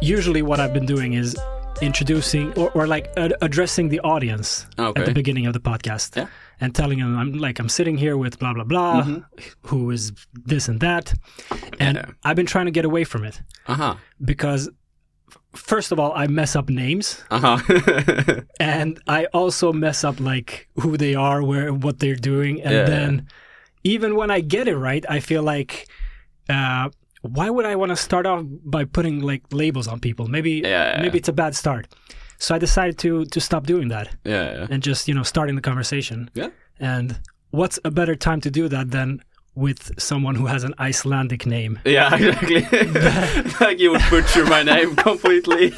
Usually, what I've been doing is introducing or, or like ad- addressing the audience Oh, Okay. at the beginning of the podcast Yeah. Mm-hmm. and telling them I'm like I'm sitting here with blah blah blah who is this and that and Yeah. I've been trying to get away from it Uh huh. because f- first of all I mess up names Uh huh. and I also mess up like who they are where what they're doing and Yeah. then even when I get it right I feel like uh why would I want to start off by putting like labels on people maybe Yeah. maybe it's a bad start so I decided to to stop doing that yeah. and just you know starting the conversation Yeah. and what's a better time to do that than with someone who has an Icelandic name Yeah, exactly. like you would butcher my name completely.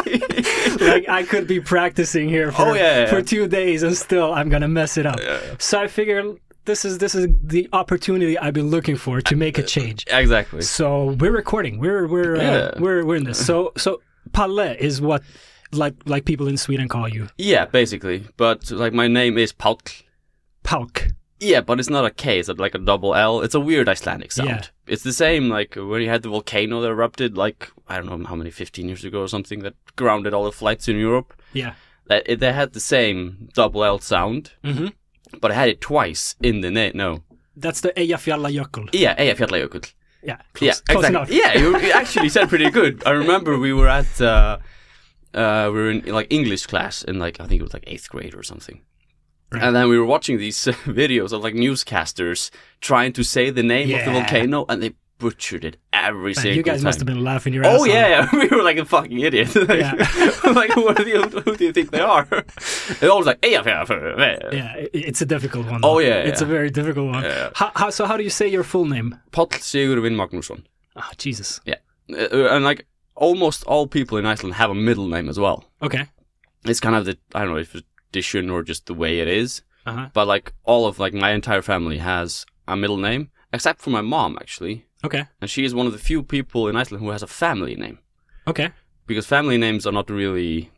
like I could be practicing here for Oh, yeah, yeah, for yeah. two days and still I'm gonna mess it up. Yeah. So I figure this is this is the opportunity I've been looking for to make a change. exactly. So we're recording. We're we're uh, Yeah. we're we're in this. So so Palle is what like like people in Sweden call you. Yeah, basically. But like my name is Palk. Pauk. Yeah, but it's not a K. It's like a double L. It's a weird Icelandic sound. Yeah. It's the same like when you had the volcano that erupted like I don't know how many 15 years ago or something that grounded all the flights in Europe. Yeah. That it, they had the same double L sound, Mm-hmm. but I had it twice in the name. No. That's the Eyjafjallajökull. Yeah, Eyjafjallajökull. Yeah. Close, yeah, close exactly. enough. Yeah, you you actually said pretty good. I remember we were at uh, uh, we were in like English class in like I think it was like eighth grade or something. Right. And then we were watching these uh, videos of like newscasters trying to say the name of the Yeah. volcano, and they butchered it every Man, single you guys time. must have been laughing your ass Oh off. yeah, we were like a fucking idiot. like, Yeah. like who, are the, who do you think they are? They're always like, yeah, yeah, yeah, yeah. Yeah, i- it's a difficult one. Oh, though. yeah, it's yeah. a very difficult one. Yeah. How, how, so how do you say your full name? Páll Sigurvin Magnússon. Ah, Jesus. Yeah, Uh, and like almost all people in Iceland have a middle name as well. Okay. it's kind of the I don't know if it's tradition or just the way it is, Uh huh. but like all of like my entire family has a middle name except for my mom actually, Okay. and she is one of the few people in Iceland who has a family name Okay. because family names are not really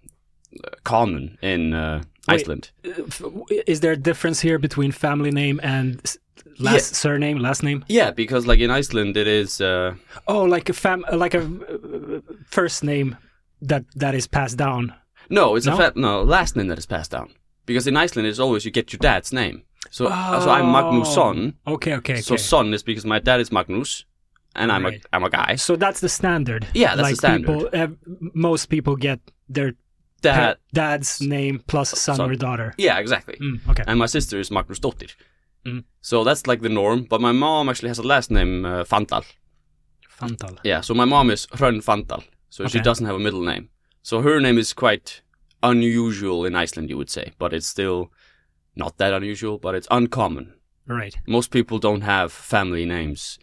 uh, common in uh, Wait. Iceland. Uh, f- Is there a difference here between family name and s- last Yeah. surname, last name? Yeah, because like in Iceland it is uh, Oh, like a fam, uh, like a uh, first name that that is passed down. no, it's No? a fa- no last name that is passed down because in Iceland it's always you get your dad's name. So Uh, so I'm Magnusson. Okay. Okay. So Oh. okay. son is because my dad is Magnus, and I'm Right. a I'm a guy. So that's the standard. Yeah, that's the like standard. People, ev- most people get their Dad. pa- dad's name plus son, son. or daughter. Yeah, exactly. Mm, okay. and my sister is Magnusdóttir. Mm. So that's like the norm. But my mom actually has a last name, uh, Fandal. Fantal. Yeah, so my mom is Hrönn Fandal. So she Okay. doesn't have a middle name. So her name is quite unusual in Iceland, you would say. But it's still not that unusual, but it's uncommon. Right. Most people don't have family names.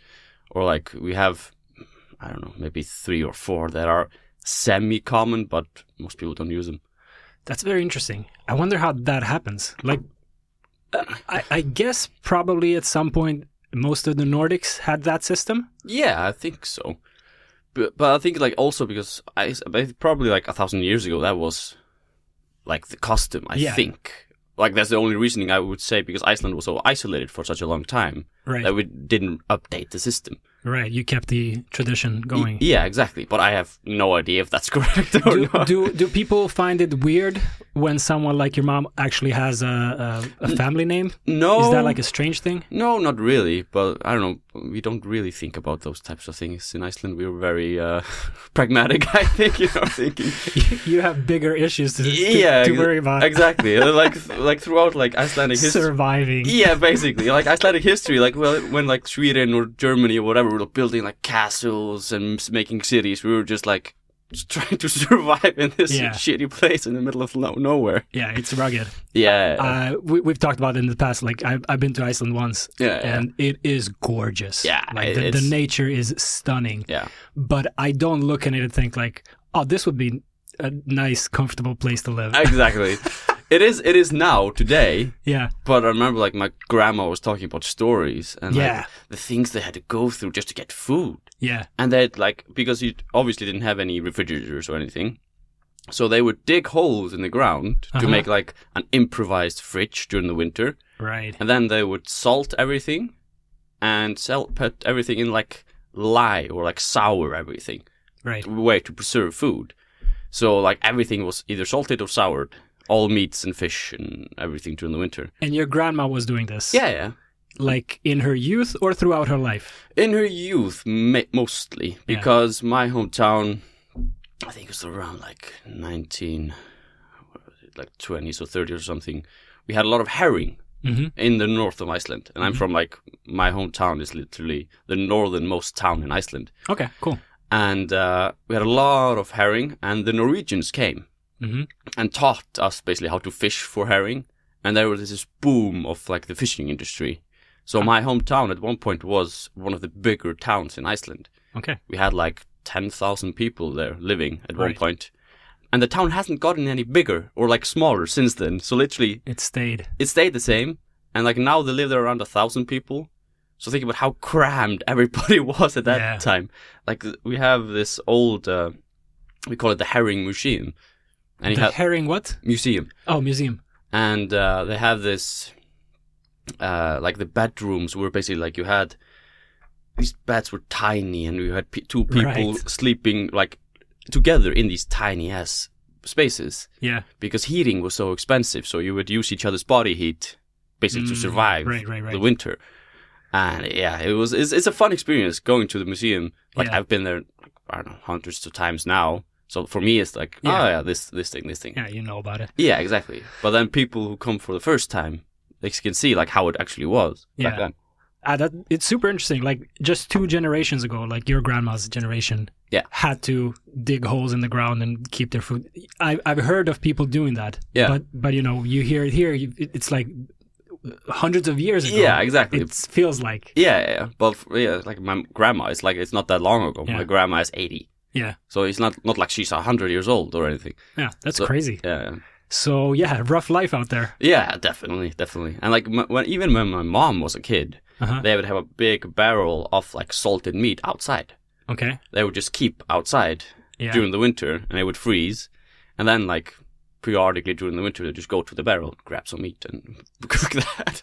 Or like we have, I don't know, maybe three or four that are semi common, but most people don't use them. That's very interesting. I wonder how that happens. Like, uh, I, I guess probably at some point most of the Nordics had that system. Yeah, I think so. But but I think like also because I I- probably like a thousand years ago that was like the custom. I Yeah. think like that's the only reasoning I would say because Iceland was so isolated for such a long time Right. that we didn't update the system. right. You kept the tradition Y- going. Yeah, exactly. But I have no idea if that's correct or do, not. do do people find it weird when someone like your mom actually has a a, a family name? no, Is that like a strange thing? no, not really. But I don't know. We don't really think about those types of things in Iceland. We were very uh, pragmatic. I think you know thinking. you have bigger issues to, to- Oh. yeah, to ex- worry about exactly. like like throughout like Icelandic history. surviving. Yeah, basically, like Icelandic history, like well, when like Sweden or Germany or whatever were building like castles and s- making cities, we were just like just trying to survive in this Yeah. shitty place in the middle of no- nowhere. Yeah, it's rugged. Yeah, Uh, we, we've talked about it in the past. Like I've, I've been to Iceland once, Yeah, yeah. and it is gorgeous. Yeah, like it the, the is. nature is stunning. yeah, But I don't look at it and think like, oh, this would be a nice, comfortable place to live. exactly. it is it is now today. Yeah. But I remember like my grandma was talking about stories and like, Yeah. the things they had to go through just to get food. Yeah. And they'd like because you obviously didn't have any refrigerators or anything. So they would dig holes in the ground to Uh-huh. make like an improvised fridge during the winter. Right. And then they would salt everything and sell put everything in like lye or like sour everything. Right. Way to preserve food. So like everything was either salted or soured. All meats and fish and everything during the winter. And your grandma was doing this. Yeah, yeah. Like in her youth or throughout her life. In her youth, ma- mostly Yeah. because my hometown, I think it was around like nineteen, what was it, like twenties or thirties or something. We had a lot of herring Mm-hmm. in the north of Iceland, and I'm from like my hometown is literally the northernmost town in Iceland, Okay. Cool. and uh, we had a lot of herring, and the Norwegians came Mm-hmm. and taught us basically how to fish for herring. And there was this boom of like the fishing industry. So my hometown at one point was one of the bigger towns in Iceland. Okay. We had like 10,000 people there living at one Right. point. And the town hasn't gotten any bigger or like smaller since then. So literally, It stayed. it stayed the same. And like now they live there around a thousand people. So think about how crammed everybody was at that Yeah. time. Like th- we have this old, uh, we call it the herring museum, and the you have herring what? museum Oh, museum. and uh, they have this uh, like the bedrooms were basically like you had these beds were tiny and you had pe two people Right. sleeping like together in these tiny ass spaces Yeah. because heating was so expensive so you would use each other's body heat basically to Mm, survive right, right, right. the winter and yeah it was it's, it's a fun experience going to the museum like Yeah. i've been there i don't know hundreds of times now so for me it's like Yeah. oh yeah this this thing this thing Yeah, you know about it. yeah, exactly. But then people who come for the first time, they can see like how it actually was Yeah. back then. Ah, that it's super interesting. Like just two generations ago, like your grandma's generation, Yeah. had to dig holes in the ground and keep their food. I, I've heard of people doing that. Yeah. But but you know, you hear it here. You, it- it's like hundreds of years ago. Yeah, exactly. It feels like Yeah, yeah, yeah. But f- yeah, like my grandma, it's like it's not that long ago. Yeah. My grandma is eighty, yeah, so it's not not like she's hundred years old or anything. yeah. That's So- crazy. Yeah, yeah. So yeah, rough life out there. yeah, definitely, definitely. And like m- when even when my mom was a kid, Uh-huh. they would have a big barrel of like salted meat outside. Okay. They would just keep outside Yeah. during the winter, and it would freeze, and then like periodically during the winter, they just go to the barrel, grab some meat, and cook that.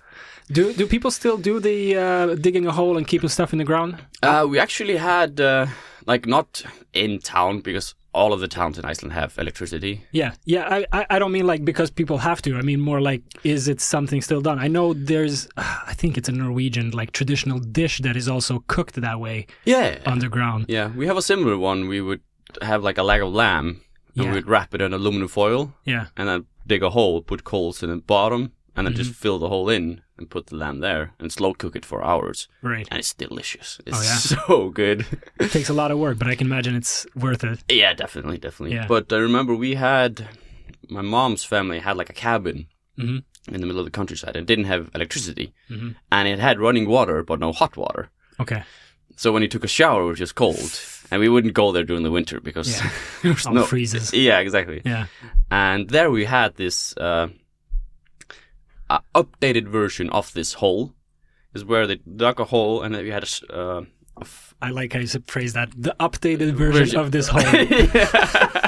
Do do people still do the uh, digging a hole and keeping stuff in the ground? Uh, we actually had uh, like not in town because all of the towns in Iceland have electricity. Yeah, yeah. I, I, I don't mean like because people have to. I mean more like is it something still done? I know there's, I think it's a Norwegian like traditional dish that is also cooked that way Yeah, underground. Um, yeah. We have a similar one. We would have like a leg of lamb, and Yeah. we would wrap it in aluminum foil, Yeah, and then dig a hole, put coals in the bottom, and then just Mm-hmm. fill the hole in and put the lamb there and slow cook it for hours. right. And it's delicious. It's Oh, so good. It takes a lot of work, but I can imagine it's worth it. yeah, definitely, definitely. Yeah. But I remember we had my mom's family had like a cabin Mhm. in the middle of the countryside and didn't have electricity. Mhm. and it had running water but no hot water. Okay, So when you took a shower, it was just cold, and we wouldn't go there during the winter because Yeah. there was all no. freezes. Yeah, exactly. Yeah, And there we had this uh, uh, updated version of this hole, is where they dug a hole and then we had a. s- Uh, a f- I like how you s- phrase that. The updated version, Version. of this whole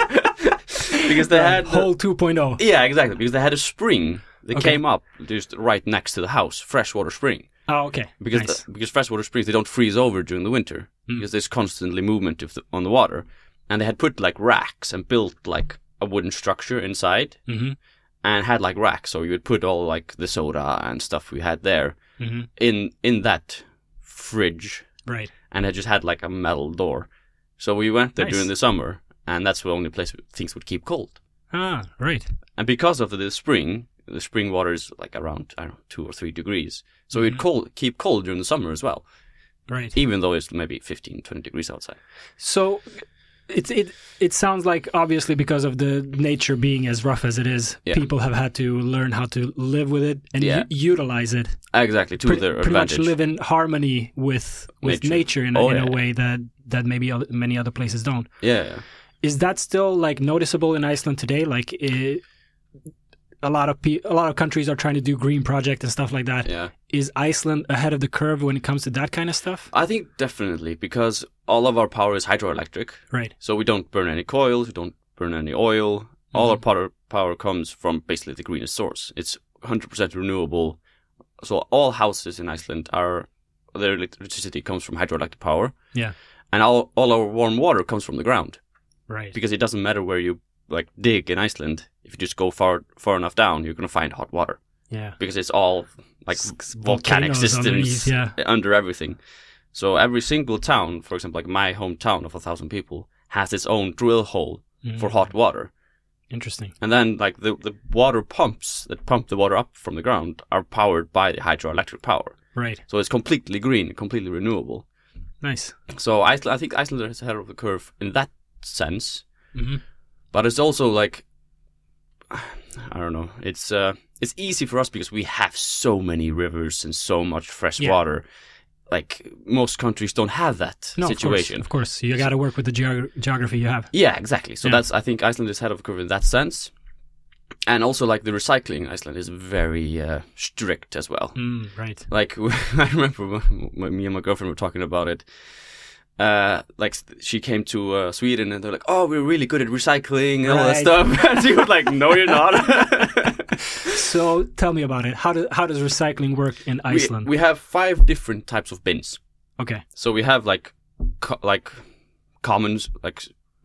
because they had the- whole oh. 2.0. yeah, exactly. Because they had a spring that Okay. came up just right next to the house, freshwater spring. Oh, okay. because nice. Hmm. the, because freshwater springs they don't freeze over during the winter because there's constantly movement of the, on the water, and they had put like racks and built like a wooden structure inside Mhm. and had like racks, so you would put all like the soda and stuff we had there Mhm. in in that fridge, right. and it just had like a metal door, so we went there Nice. during the summer, and that's the only place things would keep cold, Ah, right. and because of the spring. The spring water is like around I don't know two or three degrees, so Mm-hmm. it'd cold, keep cold during the summer as well Right. even though it's maybe 15, 20 degrees outside. So it it it sounds like obviously because of the nature being as rough as it is, Yeah. people have had to learn how to live with it and Yeah. u- utilize it. Exactly, to Pretty, their pretty much advantage. live in harmony with with Nature. nature, in, a- Oh, in yeah. a way that that maybe oth- many other places don't. yeah, yeah. Is that still like noticeable in Iceland today? Like. i a lot of pe- a lot of countries are trying to do green project and stuff like that. Is Yeah. Iceland ahead of the curve when it comes to that kind of stuff? I think definitely because all of our power is hydroelectric. Right. So we don't burn any coils, we don't burn any oil. All our Mm-hmm. power, power comes from basically the greenest source. It's 100% renewable. So all houses in Iceland are their electricity comes from hydroelectric power, Yeah. and all all our warm water comes from the ground Right. because it doesn't matter where you like dig in Iceland. If you just go far far enough down, you're gonna find hot water Yeah. because it's all like S- volcanic volcanoes underneath, systems Yeah. under everything. So every single town, for example, like my hometown of a thousand people, has its own drill hole Mm. for hot water. Interesting. And then like the, the water pumps that pump the water up from the ground are powered by the hydroelectric power. Right. So it's completely green, completely renewable. Nice. So Iceland, I think Iceland is ahead of the curve in that sense. hmm But it's also like I don't know. It's uh it's easy for us because we have so many rivers and so much fresh Yeah. water. Like most countries don't have that No, situation. Of course, of course. you got to work with the geog- geography you have. Yeah, exactly. So Yeah. that's I think Iceland is head of the curve in that sense, and also like the recycling, Iceland is very uh, strict as well. Mm, right. Like I remember when- when me and my girlfriend were talking about it. Uh, like she came to uh, Sweden and they're like, "Oh, we're really good at recycling and all that Right. stuff," and she was like, "No, you're not." So tell me about it. How do, how does recycling work in we, Iceland? we have five different types of bins. okay. So we have like co- like commons like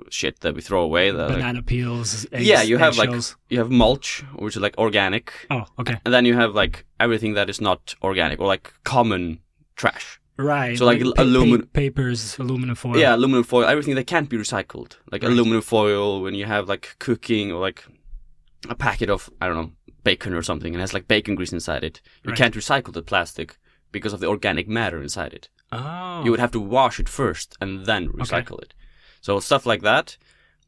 shit that we throw away. That, like- Banana peels. Eggs, yeah, you have like eggshells. you have mulch, which is like organic, Oh, okay. and then you have like everything that is not organic or like common trash. Right. So, like, alumin- papers, aluminum foil. Yeah, aluminum foil, everything that can't be recycled, like Right. aluminum foil. When you have like cooking or like a packet of I don't know bacon or something, and has like bacon grease inside it, you Right. can't recycle the plastic because of the organic matter inside it. Oh. You would have to wash it first and then recycle it. So stuff like that,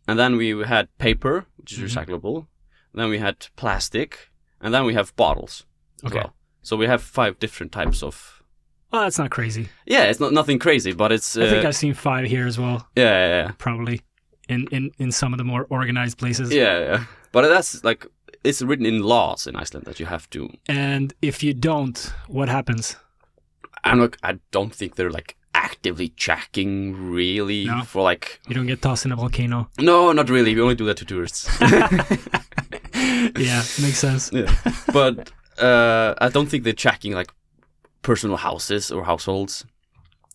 and then we had paper, which is Mhm. recyclable. Then we had plastic, and then we have bottles as Okay. well. So we have five different types of Well, that's not crazy. Yeah, it's not nothing crazy, but it's uh, I think I've seen five here as well, yeah, yeah, probably in, in, in some of the more organized places. yeah, yeah, yeah. But that's like it's written in laws in Iceland that you have to. And if you don't, what happens? I'm not. I don't think they're like actively checking really No. for like You don't get tossed in a volcano. no, not really. We only do that to tourists. Yeah, makes sense. but uh, I don't think they're checking like personal houses or households.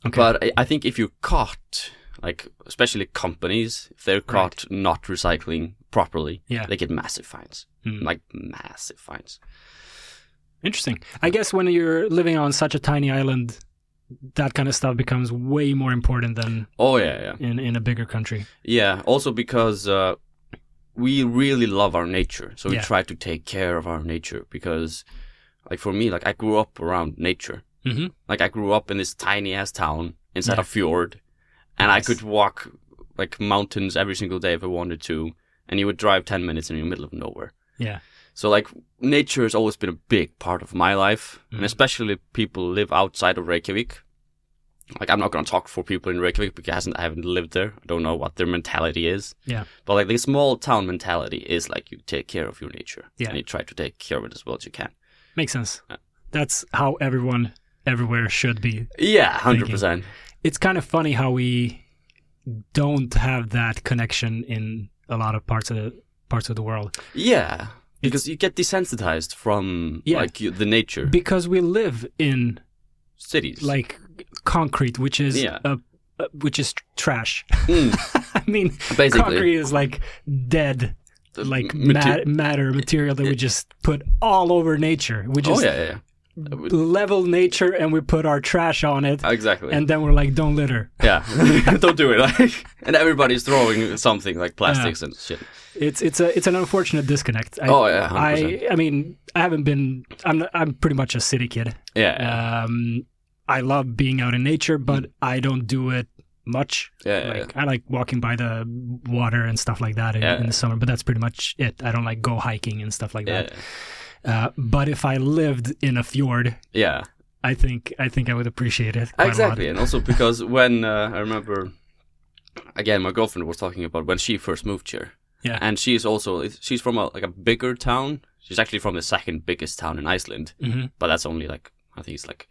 Okay. But I, I think if you're caught, like especially companies, if they're caught not recycling properly, Yeah. they get massive fines. Mm. Like massive fines. Interesting. I guess when you're living on such a tiny island, that kind of stuff becomes way more important than Oh yeah, yeah, in, in a bigger country. yeah. Also because uh, we really love our nature, so we Yeah. try to take care of our nature because, like for me, like I grew up around nature. Mm-hmm. Like I grew up in this tiny ass town inside Yeah. a fjord, and I Nice. could walk like mountains every single day if I wanted to, and you would drive ten minutes and you're in the middle of nowhere. Yeah. So like nature has always been a big part of my life, and Mhm. especially people live outside of Reykjavik. Like I'm not gonna talk for people in Reykjavik because I haven't- I haven't lived there. I don't know what their mentality is. Yeah. But like the small town mentality is like you take care of your nature Yeah. and you try to take care of it as well as you can. Makes sense. Yeah. That's how everyone everywhere should be. Yeah, hundred percent. It's kind of funny how we don't have that connection in a lot of parts of the parts of the world Yeah, because you get desensitized from Yeah. like you, the nature because we live in cities. like concrete which is Yeah. a, a- which is trash Mm, i mean basically, concrete is like dead The like mate- mat- matter material that we just put all over nature we oh just yeah, yeah, yeah. level nature and we put our trash on it Uh, exactly. and then we're like don't litter yeah, don't do it. Like, and everybody's throwing something like plastics and shit. it's it's a it's an unfortunate disconnect I, Oh, yeah, 100%. i i mean i haven't been i'm not, i'm pretty much a city kid Yeah, yeah, um i love being out in nature but i don't do it much yeah, yeah, like i like walking by the water and stuff like that in, Yeah. in the summer but that's pretty much it i don't like go hiking and stuff like yeah, that Uh, but if I lived in a fjord, yeah. I think I think I would appreciate it. quite a lot. exactly. And also because when uh, I remember, again, my girlfriend was talking about when she first moved here. Yeah. And she's also she's from a, like a bigger town She's actually from the second biggest town in Iceland, hmm but that's only like I think it's like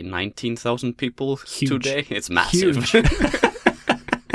nineteen thousand people Huge. today. It's massive. Huge.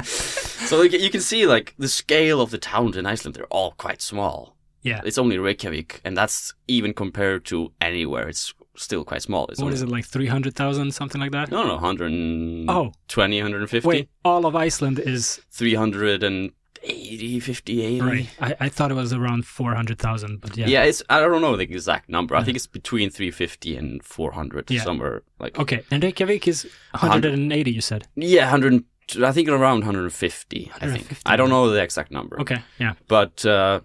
so you can- you can see like the scale of the towns in Iceland. They're all quite small. yeah. It's only Reykjavik, and that's even compared to anywhere. It's still quite small. It's What only, is it like three hundred thousand something like that? No, no, 120, Oh. 150, Wait, all of Iceland is 380, 50, 80. right. I, I thought it was around four hundred thousand, but yeah. Yeah. it's I don't know the exact number. I think it's between 350 and 400 Yeah. somewhere like Okay, and Reykjavik is one hundred and eighty. You said. yeah, 100 I think around 150, I think. 150, I don't know the exact number. Okay, yeah. But uh,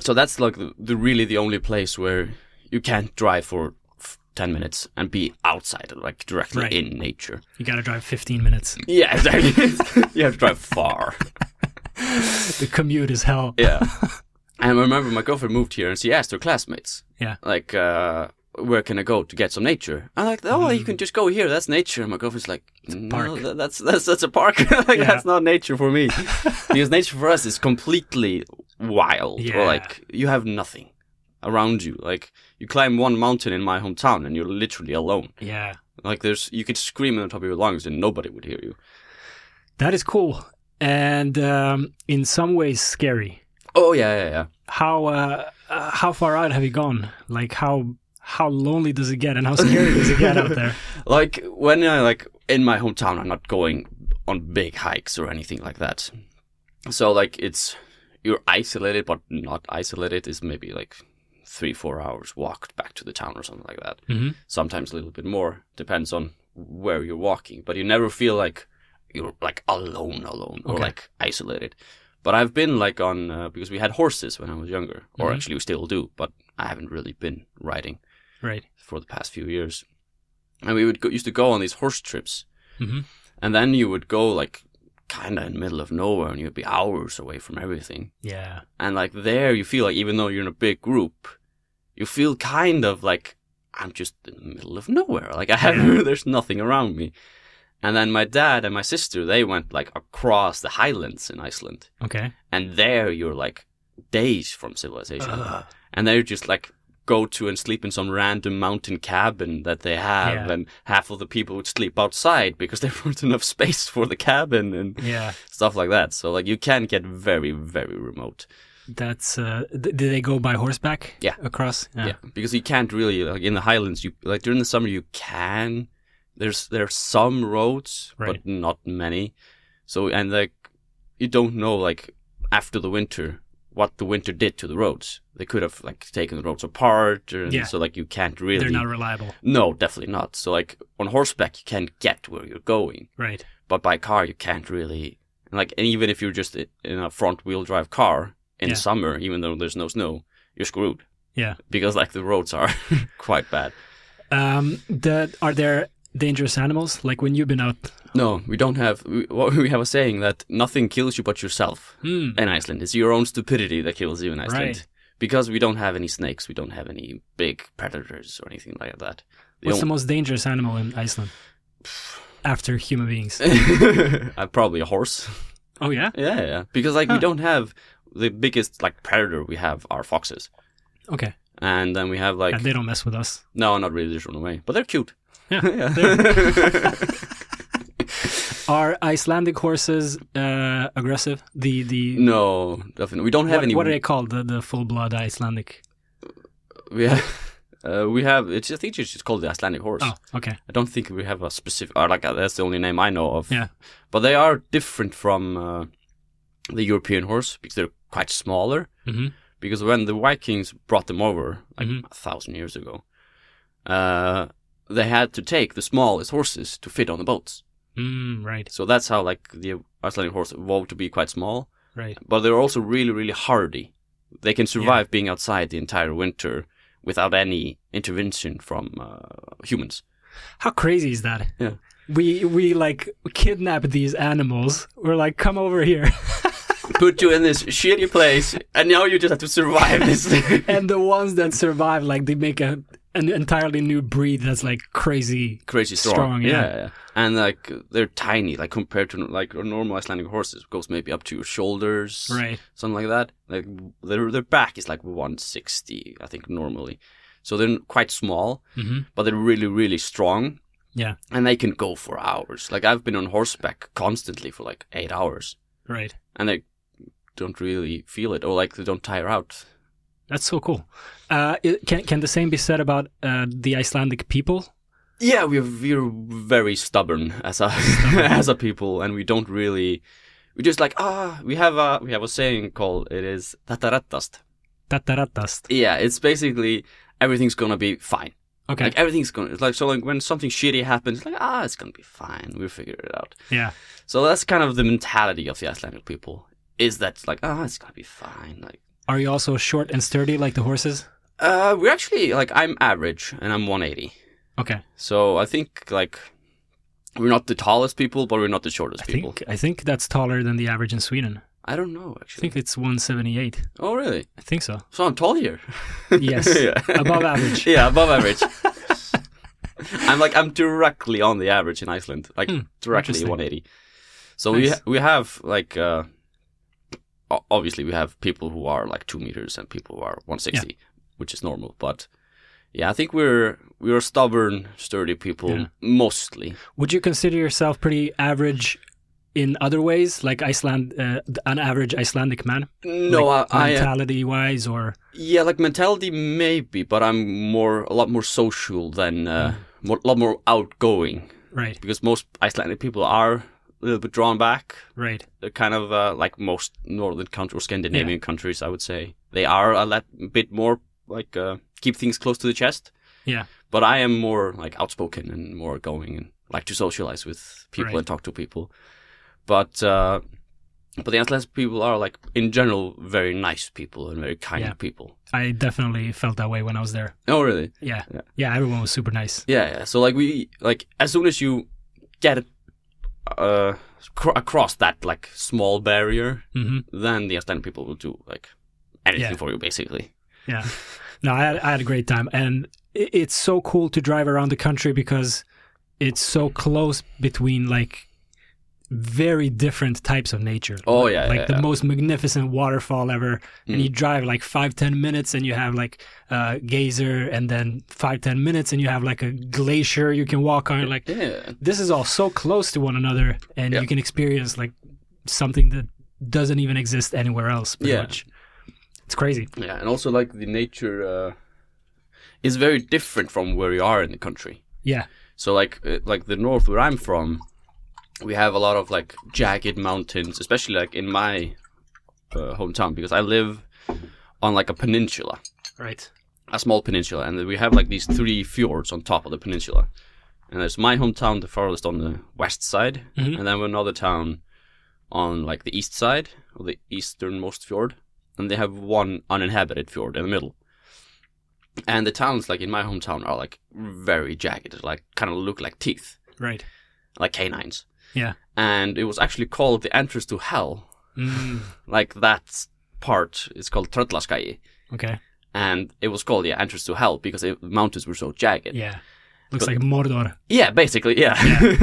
so that's like the, the really the only place where you can't drive for f- 10 minutes and be outside like directly Right. in nature. You got to drive fifteen minutes. Yeah, exactly. you have to drive far. The commute is hell. Yeah. and I remember my girlfriend moved here and she asked her classmates, Yeah. like, uh, where can I go to get some nature? I'm like, oh, you can just go here. That's nature. And my girlfriend's like, no, park." tha- that's that's that's a park. like, Yeah. That's not nature for me, because nature for us is completely wild. Yeah. Or like you have nothing around you. Like you climb one mountain in my hometown and you're literally alone. Yeah, Like there's you could scream on the top of your lungs and nobody would hear you. that is cool, and um, in some ways scary. Oh yeah, yeah, yeah. How uh, uh, how far out have you gone? Like how how lonely does it get, and how scary does it get out there? like when I like in my hometown, I'm not going on big hikes or anything like that. So like it's you're isolated, but not isolated is maybe like three four hours walk back to the town or something like that. hmm Sometimes a little bit more depends on where you're walking, but you never feel like you're like alone alone or Okay. like isolated. But I've been like on uh, because we had horses when I was younger, or Mhm. actually we still do, but I haven't really been riding Right. for the past few years. And we would go, used to go on these horse trips, hmm and then you would go like kind of in the middle of nowhere, and you'd be hours away from everything. Yeah. And like there, you feel like even though you're in a big group, you feel kind of like I'm just in the middle of nowhere. Like I have there's nothing around me. And then my dad and my sister they went like across the highlands in Iceland, Okay. and there you're like days from civilization Ugh. and they just like go to and sleep in some random mountain cabin that they have Yeah. and half of the people would sleep outside because there weren't enough space for the cabin and Yeah. stuff like that so like you can get very very remote That's. Uh, th- did they go by horseback? Yeah. Across. because you can't really like in the highlands you like during the summer you can there's there are some roads Right. but not many so and like you don't know like after the winter what the winter did to the roads they could have like taken the roads apart or, Yeah. so like you can't really They're not reliable. No, definitely not. So like on horseback you can't get where you're going, Right. but by car you can't really. and, Like and even if you're just i- in a front wheel drive car in Yeah. summer, even though there's no snow, you're screwed Yeah. because like the roads are quite bad. Um. The, are there dangerous animals? Like when you've been out? No, we don't have. We, what- we have a saying that nothing kills you but yourself Hmm. in Iceland. It's your own stupidity that kills you in Iceland. Right. Because we don't have any snakes, we don't have any big predators or anything like that. The What's on- the most dangerous animal in Iceland? After human beings. Eh. Uh, probably a horse. Oh yeah. Yeah, yeah. Because like Huh. we don't have the biggest like predator we have are foxes, Okay. and then we have like and they don't mess with us. no, not really this one away, but they're cute. Yeah, Are Icelandic horses uh, aggressive? The the no, definitely. We don't have what, any. what are they called? The the full blood Icelandic. we have. Uh, we have. It's, I think it's just called the Icelandic horse. Oh, okay. I don't think we have a specific. Or like uh, that's the only name I know of. Yeah. But they are different from uh, the European horse because they're quite smaller. hmm because when the Vikings brought them over like Mhm. a thousand years ago, uh, they had to take the smallest horses to fit on the boats. Mm, right, So that's how like the Icelandic horse evolved to be quite small, right. but they're also really really hardy. They can survive being outside the entire winter without any intervention from uh, humans. How crazy is that? Yeah. We we like kidnap these animals. We're like, come over here, Put you in this shitty place, and now you just have to survive this. and the ones that survive, like they make a an entirely new breed that's like crazy. crazy strong. Strong, yeah. yeah, And like they're tiny, like compared to like a normal Icelandic horses, goes maybe up to your shoulders, Right. something like that. Like their their back is like 160, I think normally. So they're quite small, hmm but they're really really strong. Yeah. And they can go for hours. Like I've been on horseback constantly for like eight hours, Right. and they don't really feel it, or like they don't tire out. That's so cool. Uh, it, can can the same be said about uh, the Icelandic people? Yeah, we're we're very stubborn as a as a people, and we don't really. We just like ah, we have a we have a saying called it is tatarattast. Tataratast. Yeah, it's basically everything's gonna be fine. Okay. Like everything's gonna it's like so like when something shitty happens, like ah, it's gonna be fine. We'll figure it out. yeah. So that's kind of the mentality of the Icelandic people. Is that like ah, it's gonna be fine. Like Are you also short and sturdy like the horses? uh, we're actually like I'm average and I'm 180. Okay. So I think like we're not the tallest people, but we're not the shortest I people. think I think that's taller than the average in Sweden. I don't know I actually. think it's 178. Oh really? I think so. So I'm tall here. Yes. Above average. yeah, above average. I'm like I'm directly on the average in Iceland, like Hmm, directly interesting. 180. So we Nice. ha- we have like uh, o- obviously we have people who are like two meters and people who are 160, which is normal. But yeah, I think we're we're stubborn, sturdy people Yeah. mostly. Would you consider yourself pretty average in other ways, like Iceland, uh, an average Icelandic man, No, I, uh, I mentality-wise, or Yeah, like mentality maybe, but I'm more a lot more social than uh, Mm. more, a lot more outgoing right, because most Icelandic people are a little bit drawn back. right, They're kind of uh, like most northern countries or Scandinavian countries, I would say. They are a lot, bit more like uh, keep things close to the chest. Yeah. But I am more like outspoken and more going and like to socialize with people Right. and talk to people. But uh, but the Icelandic people are like in general very nice people and very kind Yeah. people. I definitely felt that way when I was there. Oh, really? Yeah, yeah, Yeah. everyone was super nice. Yeah, yeah. So like we like as soon as you get uh cr- across that like small barrier, hmm then the Icelandic people will do like anything Yeah. for you basically. Yeah, no, I had, I had a great time, and i it's so cool to drive around the country because it's so close between like very different types of nature. Oh, yeah, like yeah, the yeah. most magnificent waterfall ever, and Mm. you drive like five ten minutes, and you have like a geyser, and then five ten minutes, and you have like a glacier you can walk on. Like Yeah. this is all so close to one another, and Yeah. you can experience like something that doesn't even exist anywhere else. Pretty Yeah. much. It's crazy. Yeah, and also like the nature uh is very different from where you are in the country. Yeah. So like uh, like the north where I'm from, we have a lot of like jagged mountains, especially like in my uh, hometown because I live on like a peninsula. Right. a small peninsula, and we have like these three fjords on top of the peninsula. And there's my hometown, the farthest on the west side, Mhm. and then another town on like the east side, or the easternmost fjord, and they have one uninhabited fjord in the middle. And the towns, like in my hometown, are like very jagged, like kind of look like teeth, Right. like canines. Yeah. And it was actually called the entrance to hell. Mm, Like that part is called Tröllaskaji okay. and it was called yeah entrance to hell because it, the mountains were so jagged Yeah. Looks like Mordor. Yeah, basically yeah,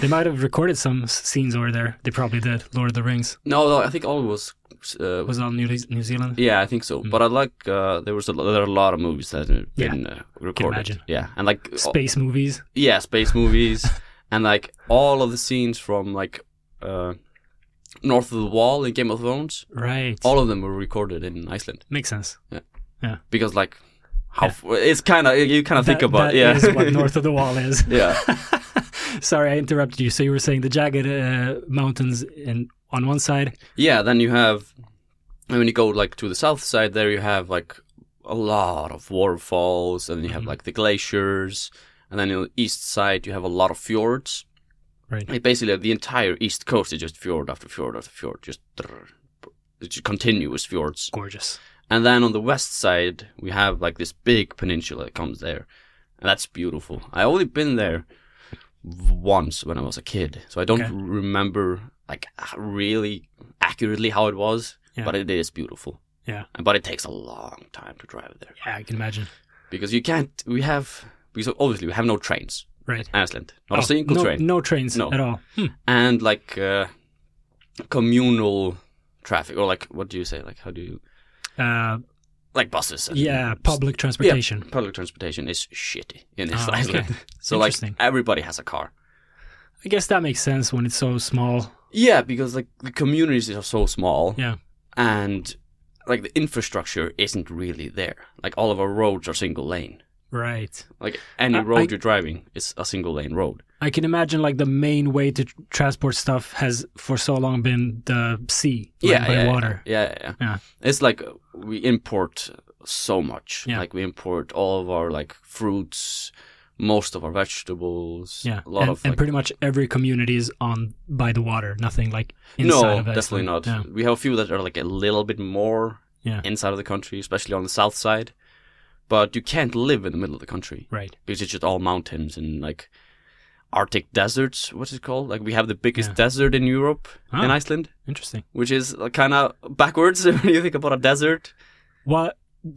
They might have recorded some s- scenes over there. They probably did. Lord of the Rings no, no i think all was uh, was on New, New Zealand. yeah i think so Mm-hmm. but i like uh, there was a, there are a lot of movies that have been uh, recorded imagine. yeah and like all- Space movies. yeah space movies and like all of the scenes from like uh, north of the wall in game of thrones Right. all of them were recorded in iceland Makes sense. because like how f it's kind of you kind of think That- about that it, yeah is what North of the Wall is. yeah Sorry, I interrupted you. So you were saying the jagged uh, mountains in on one side. Yeah, then you have and when you go like to the south side there you have like a lot of waterfalls and you have Mhm. like the glaciers and then on the east side you have a lot of fjords. Right. It basically the entire east coast is just fjord after fjord after fjord, just drrr, it's just continuous fjords. Gorgeous. And then on the west side we have like this big peninsula that comes there. And that's beautiful. I only been there once when I was a kid, so I don't Okay. remember like really accurately how it was Yeah. but it is beautiful. Yeah. And- But it takes a long time to drive there. Yeah, I can imagine. because you can't. We have because obviously we have no trains Right. in Iceland, not Oh, a single no, train, No trains No. at all. Hmm. and like uh, communal traffic or like what do you say? Like how do you Uh, like buses? and- yeah, public transportation. Public transportation is shitty in Ah, okay. Iceland. So like Interesting. everybody has a car. I guess that makes sense when it's so small. Yeah, because like the communities are so small. Yeah. And like the infrastructure isn't really there. Like all of our roads are single lane. Right. Like any I- road I- you're driving is a single lane road. I can imagine like the main way to tr- transport stuff has for so long been the sea, like, yeah, by yeah, water. Yeah, yeah, yeah. Yeah. It's like uh, we import so much. Yeah. Like we import all of our like fruits, most of our vegetables. Yeah, a lot and, of and like, pretty much every community is on by the water. Nothing like inside no, of definitely Iceland. not. Yeah. We have a few that are like a little bit more Yeah. inside of the country, especially on the south side. But you can't live in the middle of the country Right. because it's just all mountains and like Arctic deserts. What's it called? Like we have the biggest Yeah. desert in Europe in Ah. Iceland, Interesting. which is kind of backwards when you think about a desert. What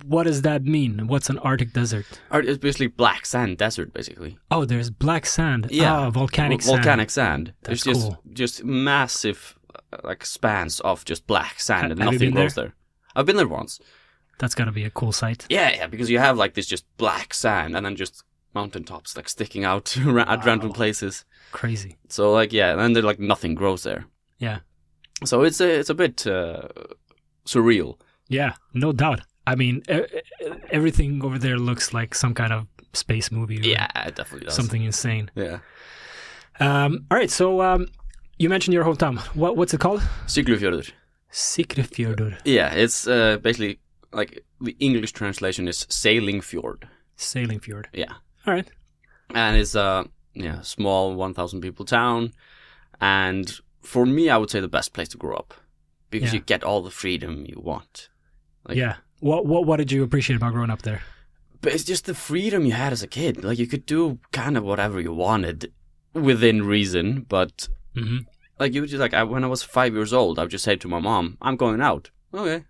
What does that mean? What's an Arctic desert? Ar- It's basically black sand desert, basically. Oh, there's black sand. Yeah. Ah, volcanic Vol- sand. volcanic sand. That's There's just cool. just massive uh, like spans of just black sand Ha- and have you nothing been grows there. I've been there once. That's gotta be a cool sight. Yeah, yeah, because you have like this just black sand and then just mountaintops like sticking out ra- at Wow. random places. Crazy. So like yeah, and then there like nothing grows there. Yeah. So it's a it's a bit uh, surreal. Yeah, no doubt. I mean, e- e- everything over there looks like some kind of space movie. or Yeah, it definitely does. Something insane. Yeah. Um, all right, so um, you mentioned your hometown. What, what's it called? Siglufjordur. Sikrifjordur. Yeah, it's uh, basically like the English translation is sailing fjord. Sailing fjord. Yeah. All right. and it's a yeah small 1,000 people town. And for me, I would say the best place to grow up because Yeah. you get all the freedom you want. Like- yeah. What, what what did you appreciate about growing up there? But it's just the freedom you had as a kid. Like you could do kind of whatever you wanted within reason, but hmm like you would just like I, when I was five years old, I would just say to my mom, "I'm going out." Okay,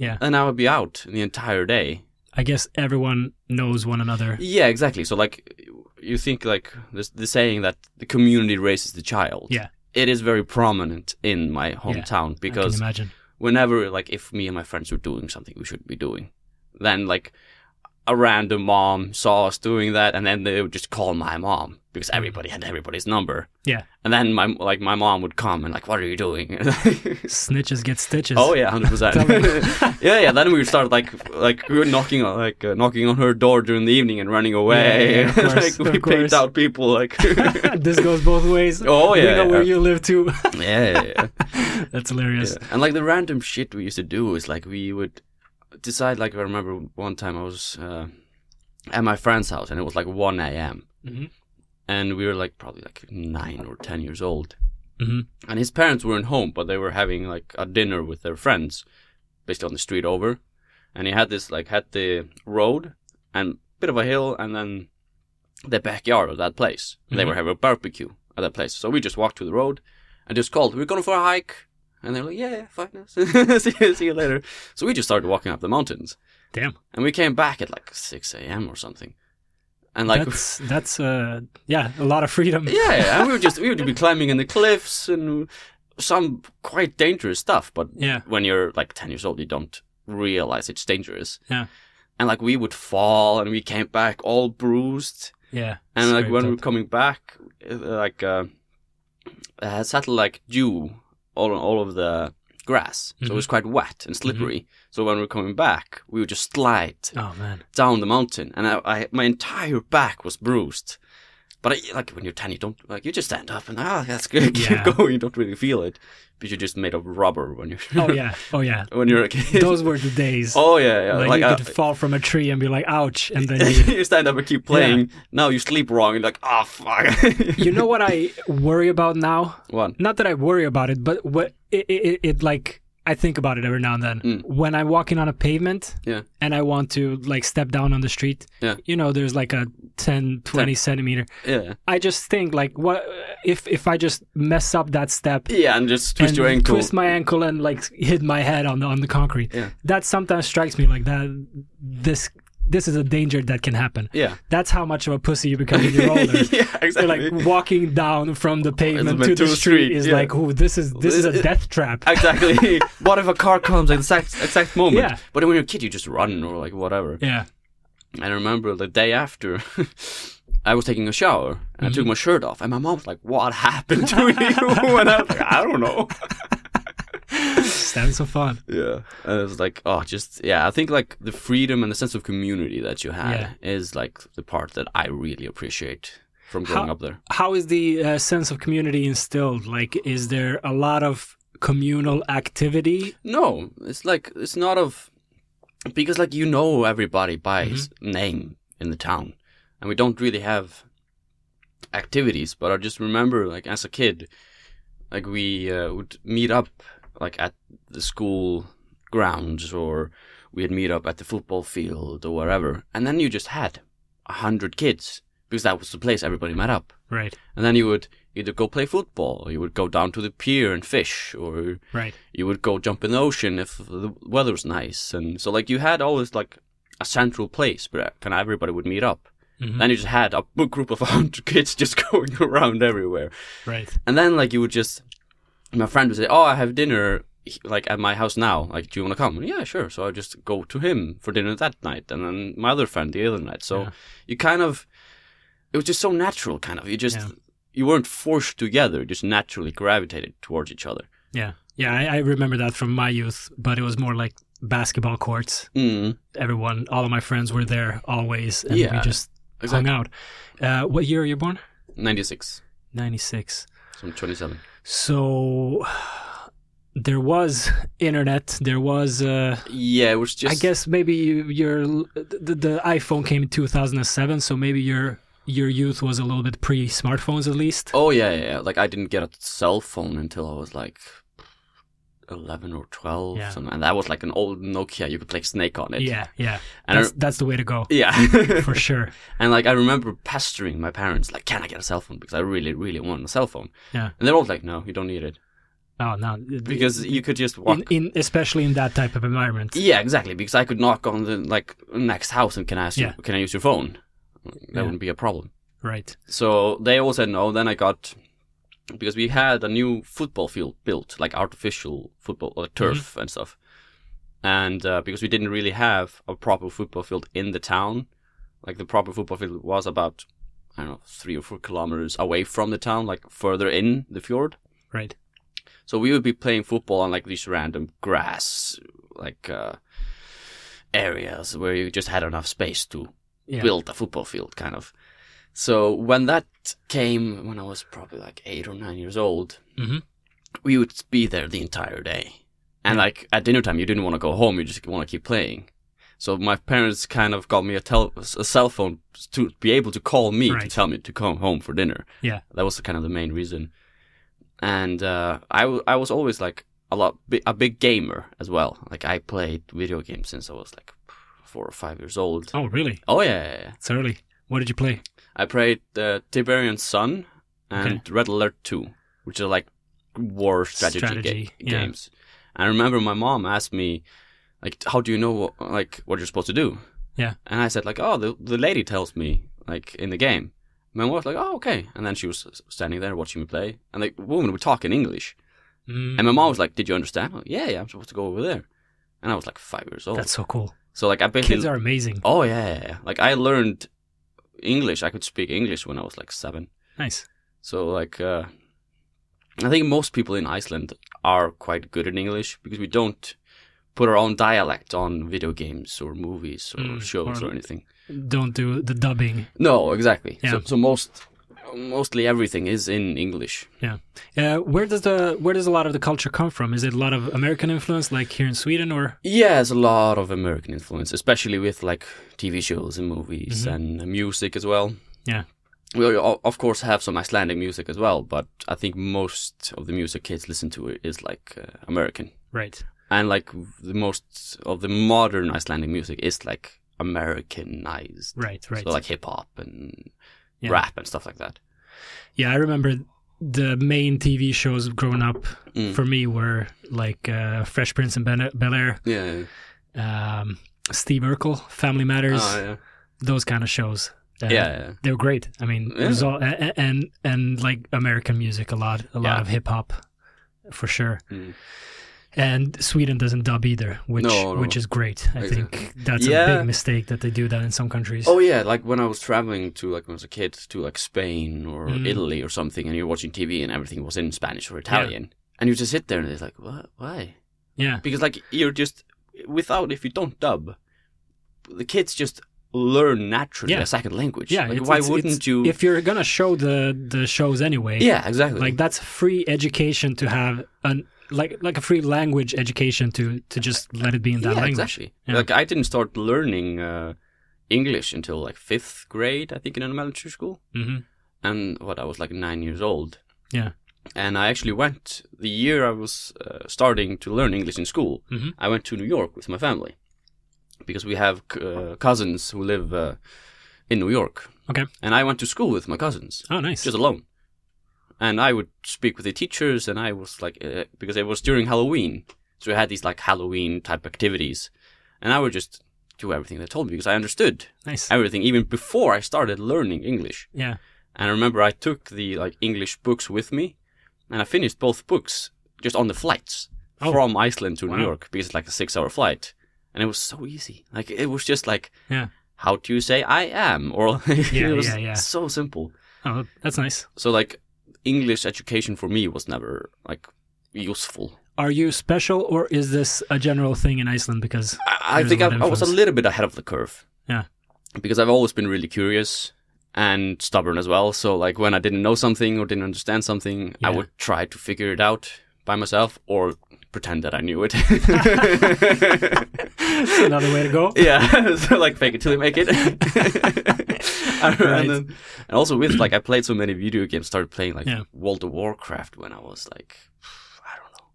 Yeah. and I would be out the entire day. I guess everyone knows one another. Yeah, exactly. So like you think like this the saying that the community raises the child. Yeah. It is very prominent in my hometown I because can imagine. whenever like if me and my friends were doing something we shouldn't be doing, then like a random mom saw us doing that and then they would just call my mom Hmm. because everybody had everybody's number. Yeah. And then my like my mom would come and like what are you doing? Snitches get stitches. Oh yeah, hundred percent. Tell me. Yeah, yeah. Then we would start like like we were knocking on like uh, knocking on her door during the evening and running away. Yeah, yeah, of course, like we of course. picked out people. Like yeah, this goes both ways. Oh, We yeah, know where yeah. you live too. yeah, yeah. That's hilarious. Yeah. And like the random shit we used to do is like we would decide. Like I remember one time I was uh, at my friend's house and it was like one a.m. Mhm. and we were like probably like nine or ten years old. Mhm. And his parents weren't home, but they were having like a dinner with their friends, basically on the street over. And he had this like had the road and bit of a hill, and then the backyard of that place. They Mhm. were having a barbecue at that place, so we just walked to the road and just called, "We're going for a hike." And they're like, "Yeah, yeah fine. see, you- see you later." So we just started walking up the mountains, Damn. and we came back at like six a.m. or something. And like that's that's uh yeah, a lot of freedom. yeah, yeah, and we would just we would be climbing in the cliffs and some quite dangerous stuff. But Yeah. when you're like ten years old, you don't realize it's dangerous. Yeah. And like we would fall, and we came back all bruised. Yeah. And like when we were Scraped up. coming back, uh, like uh, uh, settled like dew all all over the grass, so it Mm-hmm. was quite wet and slippery. So when we were coming back, we would just slide Oh man. down the mountain, and I, I my entire back was bruised. But I, like when you're ten, you don't like you just stand up and ah, that's good. Keep Yeah. going. You don't really feel it, but you're just made of rubber when you're Oh yeah. Oh yeah. when you're a kid. Those were the days. oh yeah, yeah. like, Like, you uh, could fall from a tree and be like, ouch, and then you you stand up and keep playing. Now you sleep wrong and like ah fuck. You know what I worry about now? One. Not that I worry about it, but what it, it, it, it like I think about it every now and then. Mm. When I'm walking on a pavement Yeah. and I want to like step down on the street, Yeah. you know, there's like a 10, 20 centimeter. Yeah. I just think like what if if I just mess up that step Yeah, and just twist and your ankle. twist my ankle and like hit my head on the on the concrete. Yeah. That sometimes strikes me like that this this is a danger that can happen. Yeah. That's how much of a pussy you become when you're older. yeah, So, exactly. like walking down from the pavement to meant the to a street, street, is yeah. like, oh, this is this is a It- death trap. exactly. what if a car comes at the exact, exact moment? Yeah. But when you're a kid, you just run or like whatever. yeah. And I remember the day after, I was taking a shower and I Mm-hmm. took my shirt off, and my mom was like, "What happened to you?" and I was like, "I don't know." Just having some fun. Yeah, and it was like, oh, just yeah. I think like the freedom and the sense of community that you had Yeah. is like the part that I really appreciate from growing How- up there. How is the uh, sense of community instilled? Like, is there a lot of communal activity? No, it's like it's not of because like you know everybody by his name in the town, and we don't really have activities. But I just remember like as a kid, like we uh, would meet up like at the school grounds or we'd meet up at the football field or wherever, and then you just had a hundred kids because that was the place everybody met up, Right. and then you would either go play football, or you would go down to the pier and fish, or Right. you would go jump in the ocean if the weather was nice and so like you had always like a central place where kind of everybody would meet up Mhm. and you just had a big group of 100 kids just going around everywhere Right. and then like you would just my friend would say oh i have dinner like at my house now like do you want to come and, yeah sure so i just go to him for dinner that night and then my other friend the other night so Yeah. you kind of it was just so natural kind of you just Yeah. you weren't forced together you just naturally gravitated towards each other Yeah. Yeah. I, I remember that from my youth, but it was more like basketball courts. mm, Everyone, all of my friends were there always, and we Yeah, just exactly. hung out. Uh, what year are you born? 96 Ninety six. So I'm 27. So there was internet. There was. Uh, Yeah, it was just. I guess maybe you, your the, the iPhone came in 2007, so maybe your your youth was a little bit pre-smartphones at least. Oh yeah, yeah. yeah. Like I didn't get a cell phone until I was like eleven or twelve, Yeah. something. and that was like an old Nokia. You could play Snake on it. yeah, yeah. and I, That's, that's the way to go yeah. for sure. and like I remember pestering my parents, like, "Can I get a cell phone?" Because I really, really want a cell phone. Yeah. And they're all like, "No, you don't need it," Oh no, it- because you could just walk. E in, in especially in that type of environment. Yeah, exactly. Because I could knock on the like next house and can I ask Yeah. you, can I use your phone? That Yeah. wouldn't be a problem. Right. So they all said no. Then I got because we had a new football field built, like artificial football like turf and stuff. And uh, because we didn't really have a proper football field in the town, like the proper football field was about I don't know three or four kilometers away from the town, like further in the fjord. Right. So we would be playing football on like these random grass like uh, areas where you just had enough space to Yeah. build a football field, kind of. So when that came, when I was probably like eight or nine years old, Mhm. we would be there the entire day. And like at dinner time, you didn't want to go home; you just want to keep playing. So my parents kind of got me a, tel- a cell phone to be able to call me to Right. tell me to come home for dinner. Yeah. that was kind of the main reason. And uh, I w- I was always like a lot bi- a big gamer as well. Like I played video games since I was like four or five years old. Oh really? Oh yeah, yeah, yeah. It's early. What did you play? I played uh, Tiberian Sun and Red Alert 2, which are like war strategy, ga- Strategy, yeah. games. And I remember my mom asked me, like, how do you know what, like what you're supposed to do? Yeah. And I said like, oh, the the lady tells me like in the game. My mom was like, oh, okay. And then she was s- standing there watching me play, and the woman would talk in English. Mm, And my mom was like, did you understand? I'm like, yeah, yeah, I'm supposed to go over there. And I was like five years old. that's so cool. so like I basically Kids are amazing. oh yeah, yeah, yeah, like I learned English. I could speak English when I was like seven. Nice. So like, uh, I think most people in Iceland are quite good in English because we don't put our own dialect on video games or movies or Mm, shows or- or anything. Don't do the dubbing. No, exactly. So, Yeah. so most, mostly everything is in English. Yeah. Uh, where does the where does a lot of the culture come from? Is it a lot of American influence, like here in Sweden, or Yeah, there's a lot of American influence, especially with like TV shows and movies Mhm. and music as well. Yeah. We o- of course have some Icelandic music as well, but I think most of the music kids listen to is like uh, American. right? and like the most of the modern Icelandic music is like Americanized, Right. Right. so like hip hop and Yeah. rap and stuff like that. Yeah, I remember the main TV shows growing up Mm. for me were like uh, Fresh Prince and Bel Air, Yeah, um, Steve Urkel, Family Matters, Ah, yeah. those kind of shows. Uh, yeah, yeah. they were great. I mean, it was Yeah. all, a- a- and and like American music, a lot, a lot Yeah. of hip hop, for sure. Mm. And Sweden doesn't dub either, which No, no. which is great. I think that's a Yeah. big mistake that they do that in some countries. Oh yeah, like when I was traveling to like when I was a kid to like Spain or Mm. Italy or something, and you're watching TV and everything was in Spanish or Italian, and you just sit there and it's like, what? Why? yeah, Because like you're just without if you don't dub, the kids just learn naturally Yeah. a second language. yeah. Like, it's- why it's- wouldn't it's- you? If you're gonna show the the shows anyway, yeah, exactly. like that's free education to have an like like a free language education to to just let it be in that yeah, language. exactly. Yeah. Like I didn't start learning uh, English until like fifth grade, I think, in elementary school. hmm and what I was like nine years old. Yeah. And I actually went the year I was uh, starting to learn English in school. Mhm. I went to New York with my family because we have c- uh, cousins who live uh, in New York. Okay. And I went to school with my cousins Oh, nice. just alone. And I would speak with the teachers, and I was like, uh, because it was during Halloween, so we had these like Halloween type activities, and I would just do everything they told me because I understood nice. everything even before I started learning English. yeah. And I remember I took the like English books with me, and I finished both books just on the flights Oh. from Iceland to Wow. New York because it's like a six-hour flight, and it was so easy. Like it was just like, Yeah. how do you say I am? Or Yeah, it was yeah, yeah. so simple. Oh, that's nice. So like English education for me was never like useful. Are you special, or is this a general thing in Iceland? Because I, I There's think a I, lot of I was a influence. little bit ahead of the curve. Yeah. Because I've always been really curious and stubborn as well. So like when I didn't know something or didn't understand something, I Yeah. would try to figure it out by myself or pretend that I knew it. it's another way to go. yeah. so like fake it till you make it. and, Right. then- and also with like I played so many video games, started playing like Yeah. World of Warcraft when I was like I don't know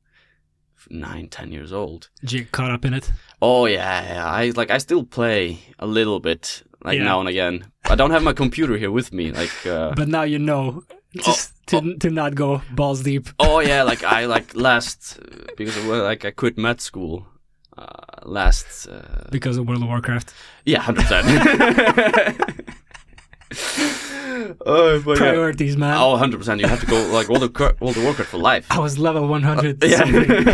nine, ten years old. Did you get caught up in it? Oh yeah, yeah. I like I still play a little bit, like Yeah. now and again. I don't have my computer here with me. Like, uh, But now you know just to, to not go balls deep. oh yeah, like I like last uh, because well, like I quit med school uh, last. Uh, Because of World of Warcraft. yeah, hundred percent. Oh, but yeah. Priorities, man. Oh, 100%. You have to go like World of, Cur- World of Warcraft for life. I was level 100 Uh, something. Yeah.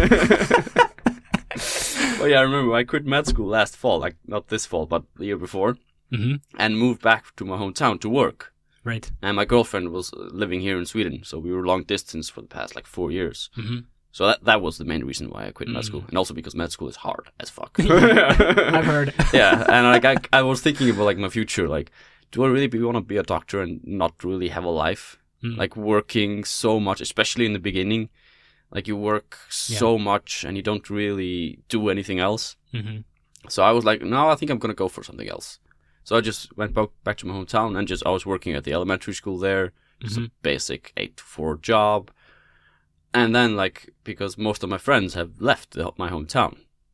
oh, yeah, I remember I quit med school last fall. Like, not this fall, but the year before. hmm and moved back to my hometown to work. Right. And my girlfriend was uh, living here in Sweden, so we were long distance for the past like four years. hmm So that that was the main reason why I quit med Mm. school, and also because med school is hard as fuck. I've yeah, heard. and like I, I was thinking about like my future, like do I really be, want to be a doctor and not really have a life? Mm. Like working so much, especially in the beginning, like you work so much and you don't really do anything else. hmm So I was like, no, I think I'm gonna go for something else. So I just went back back to my hometown and just I was working at the elementary school there, Mm-hmm. just a basic eight to four job. And then like because most of my friends have left the, my hometown,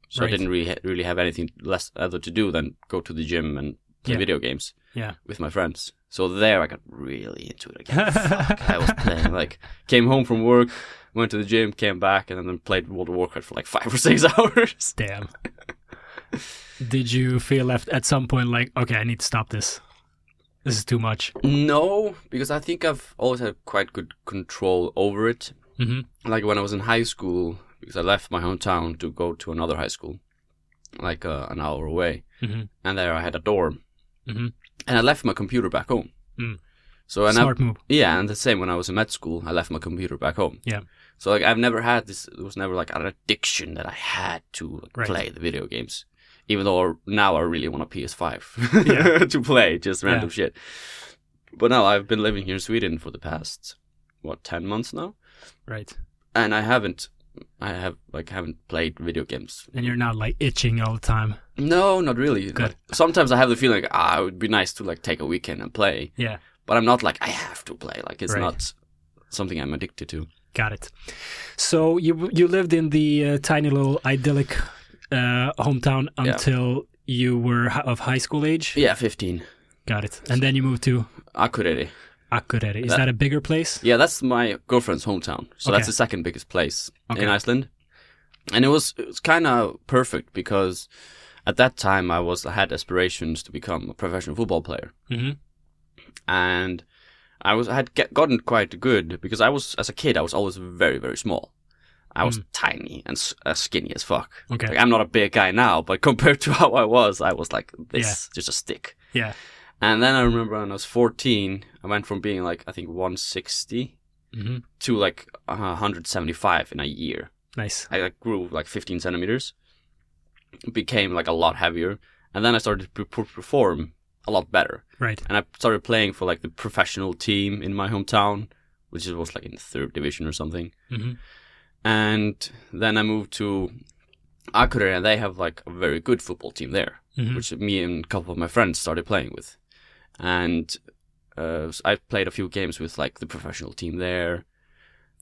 so Right. I didn't really really have anything less other to do than go to the gym and play Yeah. video games Yeah. with my friends. So there I got really into it again. Fuck, I was playing like came home from work, went to the gym, came back, and then played World of Warcraft for like five or six hours. Damn. Did you feel left at some point like, okay, I need to stop this? This is too much. No, because I think I've always had quite good control over it. hmm Like when I was in high school, because I left my hometown to go to another high school, like uh, an hour away, Mhm. and there I had a dorm, Mhm. and I left my computer back home. Mm. So and I, Smart move. yeah, and the same when I was in med school, I left my computer back home. Yeah. So like I've never had this. It was never like an addiction that I had to like, Right. play the video games, even though now I really want a PS5 Yeah. to play just Yeah. random shit. But now I've been living here in Sweden for the past what ten months now, Right. and I haven't. I have like haven't played video games. And you're not like itching all the time. No, not really. Good. Like, sometimes I have the feeling like, ah, it would be nice to like take a weekend and play, Yeah. but I'm not like I have to play. Like it's Right. not something I'm addicted to. Got it. So you you lived in the uh, tiny little idyllic uh, hometown until you were hi- of high school age. Yeah, 15. Got it. And then you moved to Akureyri. Akureyri. Is That- that a bigger place? Yeah, that's my girlfriend's hometown. So Okay. that's the second biggest place Okay. in Iceland. And it was it was kind of perfect because at that time I was I had aspirations to become a professional football player, Mhm. and I was I had get, gotten quite good because I was as a kid I was always very very small. I was Mm. tiny and s- uh, skinny as fuck. Okay. Like, I'm not a big guy now, but compared to how I was, I was like this, just a stick. Yeah. And then I remember when I was 14, I went from being like I think 160 hmm to like uh, 175 in a year. Nice. I like grew like 15 centimeters, became like a lot heavier, and then I started to per- perform a lot better. Right. And I started playing for like the professional team in my hometown, which was like in the third division or something. hmm And then I moved to Akure, and they have like a very good football team there, hmm which me and a couple of my friends started playing with. And uh, so I played a few games with like the professional team there.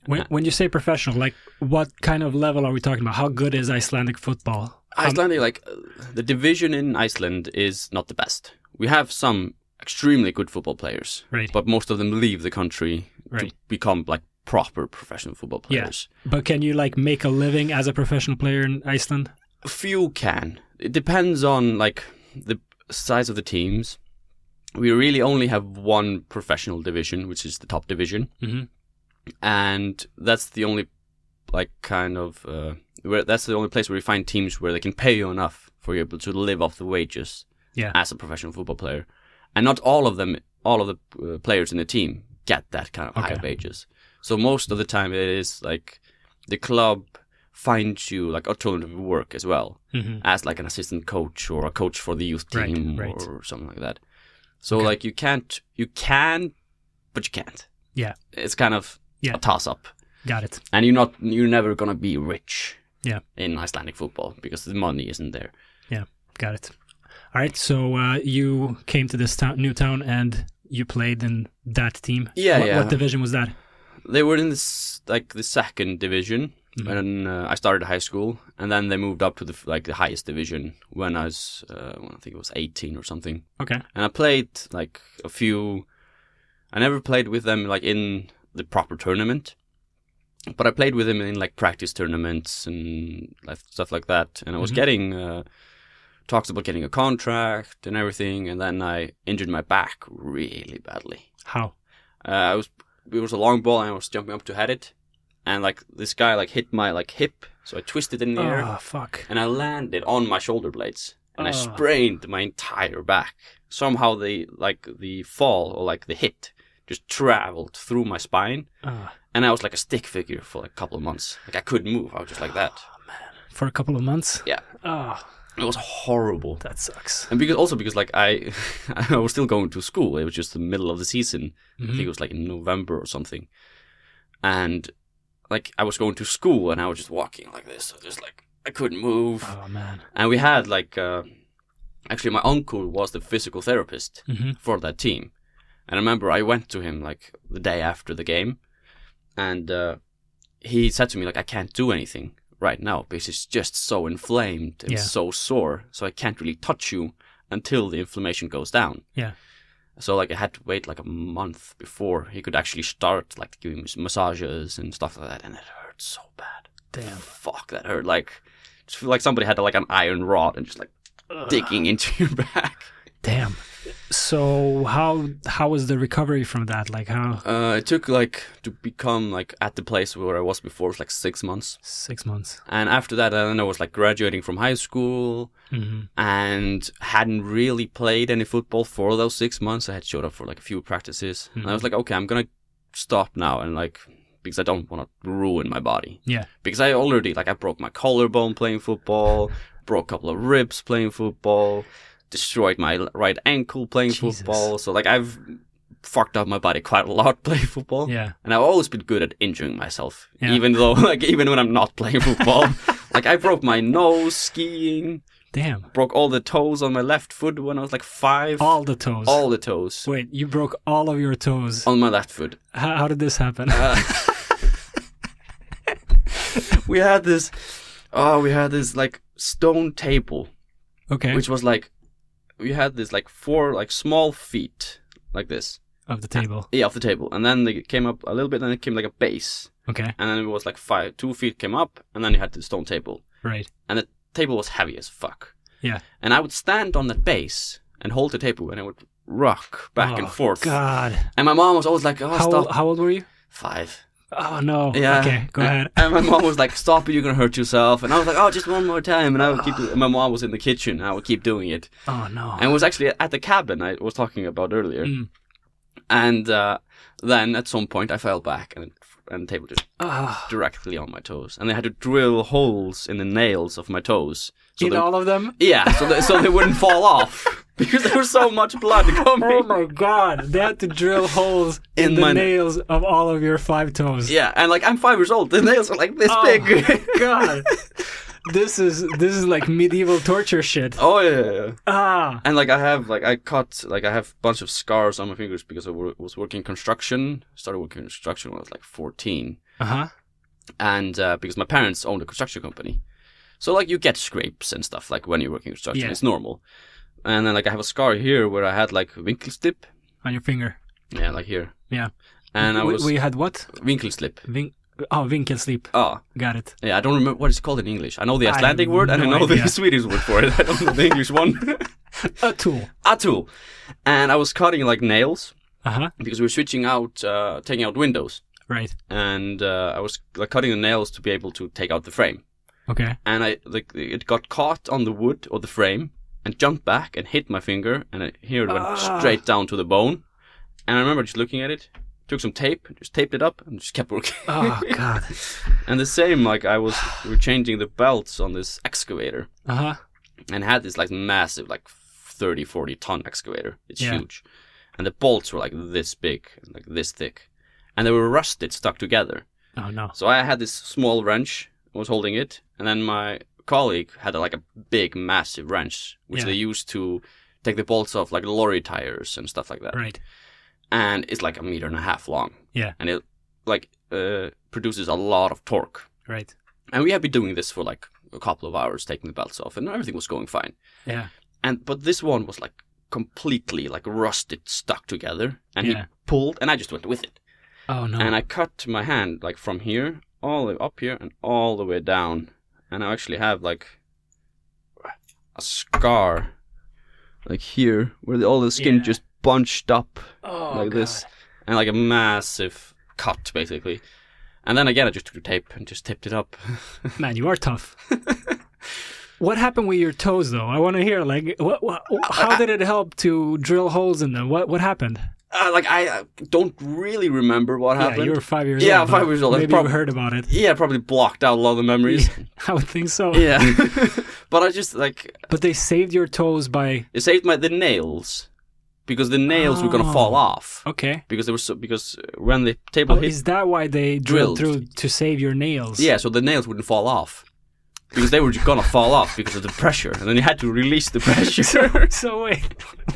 When when you say professional, like what kind of level are we talking about? How good is Icelandic football? How- Icelandic, like uh, the division in Iceland is not the best. We have some extremely good football players, right. but most of them leave the country Right. to become like proper professional football Yeah. players. But can you like make a living as a professional player in Iceland? Few can. It depends on like the size of the teams. We really only have one professional division, which is the top division, Mhm. and that's the only like kind of uh, where that's the only place where you find teams where they can pay you enough for you able to live off the wages. Yeah. as a professional football player, and not all of them, all of the uh, players in the team get that kind of high Okay. wages. So most of the time, it is like the club finds you like alternative work as well, hmm as like an assistant coach or a coach for the youth Right, team right. or something like that. So Okay. like you can't, you can, but you can't. Yeah. it's kind of Yeah. a toss up, Got it. and you're not, you're never gonna be rich. Yeah. in Icelandic football because the money isn't there. Got it. All right. So uh, you came to this town, new town, and you played in that team. Yeah, What, yeah. what division was that? they were in this like the second division Mhm. when uh, I started high school, and then they moved up to the f- like the highest division when I was uh, when I think it was eighteen or something. Okay. And I played like a few. I never played with them like in the proper tournament, but I played with them in like practice tournaments and like, stuff like that. And I was Mhm. getting uh, talks about getting a contract and everything, and then I injured my back really badly. How? Uh, I was it was a long ball and I was jumping up to head it, and like this guy like hit my like hip, so I twisted in the air Oh fuck. and I landed on my shoulder blades and I Ah. sprained my entire back. Somehow the like the fall or like the hit just traveled through my spine Uh, and I was like a stick figure for like a couple of months. Like I couldn't move. I was just like that. for a couple of months. Yeah. Oh, It was horrible. that sucks. And because also because like I I was still going to school. It was just the middle of the season. Mm-hmm. I think it was like in November or something. And like I was going to school and I was just walking like this, so just like I couldn't move. Oh man. And we had like uh, actually my uncle was the physical therapist hmm for that team. And I remember I went to him like the day after the game, and uh, he said to me like I can't do anything right now because it's just so inflamed and Yeah. so sore, so I can't really touch you until the inflammation goes down. Yeah. So like I had to wait like a month before he could actually start like giving me massages and stuff like that, and it hurt so bad. Damn. Fuck, that hurt like just feel like somebody had like an iron rod and just like digging into your back. Damn. So how how was the recovery from that? Like how Uh, it took like to become like at the place where I was before was like six months, six months? and after that, then I was like graduating from high school hmm and hadn't really played any football for those six months. I had showed up for like a few practices, and Hmm. I was like, okay, I'm gonna stop now, and like because I don't want to ruin my body Yeah. because I already like I broke my collarbone playing football, broke a couple of ribs playing football, destroyed my l- right ankle playing Jesus. football. So like I've fucked up my body quite a lot playing football. Yeah. And I've always been good at injuring myself, Yeah. even though like even when I'm not playing football. like I broke my nose skiing, Damn. broke all the toes on my left foot when I was like 5. All the toes. All the toes Wait, you broke all of your toes. on my left foot. Uh, How, how did this happen? We had this oh, we had this like stone table okay. which was like we had this like four like small feet like this of the table. yeah off the table and then they came up a little bit and it came like a base Okay. and then it was like five two feet came up and then you had the stone table Right. and the table was heavy as fuck Yeah. And I would stand on that base and hold the table, and I would rock back and Oh, forth. God. And my mom was always like, "Oh, How, stop!" old- how old were you? Five. Oh, no. Yeah. Okay, go And- ahead. And my mom was like, "Stop it! You're gonna hurt yourself." And I was like, "Oh, just one more time." And I would keep. And my mom was in the kitchen. And I would keep doing it. Oh, no. And it was actually at the cabin I was talking about earlier. Mm. And uh, then at some point I fell back and and the table just Ah. directly on my toes. And they had to drill holes in the nails of my toes. So in they, all of them? yeah, so they, so they wouldn't fall off because there was so much blood coming. Oh my god, they had to drill holes in, In the my- nails of all of your five toes. Yeah, and like I'm five years old. The nails are like this Oh big. my god. This is this is like medieval torture shit. oh yeah, yeah, yeah. Ah. And like I have like I cut like I have a bunch of scars on my fingers because I wo- was working construction. Started working construction when I was like 14. Uh-huh. and uh, because my parents owned a construction company, so like you get scrapes and stuff like when you're working construction, Yeah. it's normal. And then like I have a scar here where I had like winkle slip, On your finger. yeah, like here, Yeah. and I we, was we had what? winkle slip. Vin- oh, winkel sleep. Ah, Got it. yeah, I don't remember what it's called in English. I know the I have Icelandic word and I no know idea. the Swedish word for it. I don't know the English one. A tool. Atul, and I was cutting like nails Uh-huh. because we were switching out, uh, taking out windows, Right. and uh, I was like cutting the nails to be able to take out the frame. Okay. and I like it got caught on the wood or the frame and jumped back and hit my finger and it, here it went Ah. straight down to the bone. And I remember just looking at it, took some tape, just taped it up and just kept working. Oh god. and the same like I was we were changing the belts on this excavator Uh-huh. and had this like massive like 30 40 ton excavator. It's Yeah. huge. And the bolts were like this big, like this thick. And they were rusted stuck together. Oh no. So I had this small wrench, was holding it, and then my colleague had like a big, massive wrench, which Yeah. they used to take the bolts off like lorry tires and stuff like that. Right. And it's like a meter and a half long. Yeah. And it like uh, produces a lot of torque. Right. And we had been doing this for like a couple of hours, taking the belts off, and everything was going fine. Yeah. And but this one was like completely like rusted, stuck together, and he Yeah. pulled, and I just went with it Oh no. and I cut my hand like from here all the way up here and all the way down, and I actually have like a scar, like here where the, all the skin Yeah. just bunched up oh, like god. this, and like a massive cut basically. And then again, I just took the tape and just tipped it up. Man, you are tough. what happened with your toes, though? I want to hear. Like, what, what, how did it help to drill holes in them? What What happened? Uh, like I uh, don't really remember what Yeah, happened. you were five years Yeah, old. five but years old. I Maybe prob- you heard about it. yeah, probably blocked out a lot of the memories. I would think so. Yeah, but I just like But they saved your toes by. It saved my the nails because the nails were gonna Oh. fall off Okay. because they were so, because when the table Oh, hit is that why they drilled Drilled. through to save your nails? yeah so the nails wouldn't fall off because they were just gonna fall off because of the pressure and then you had to release the pressure. So wait,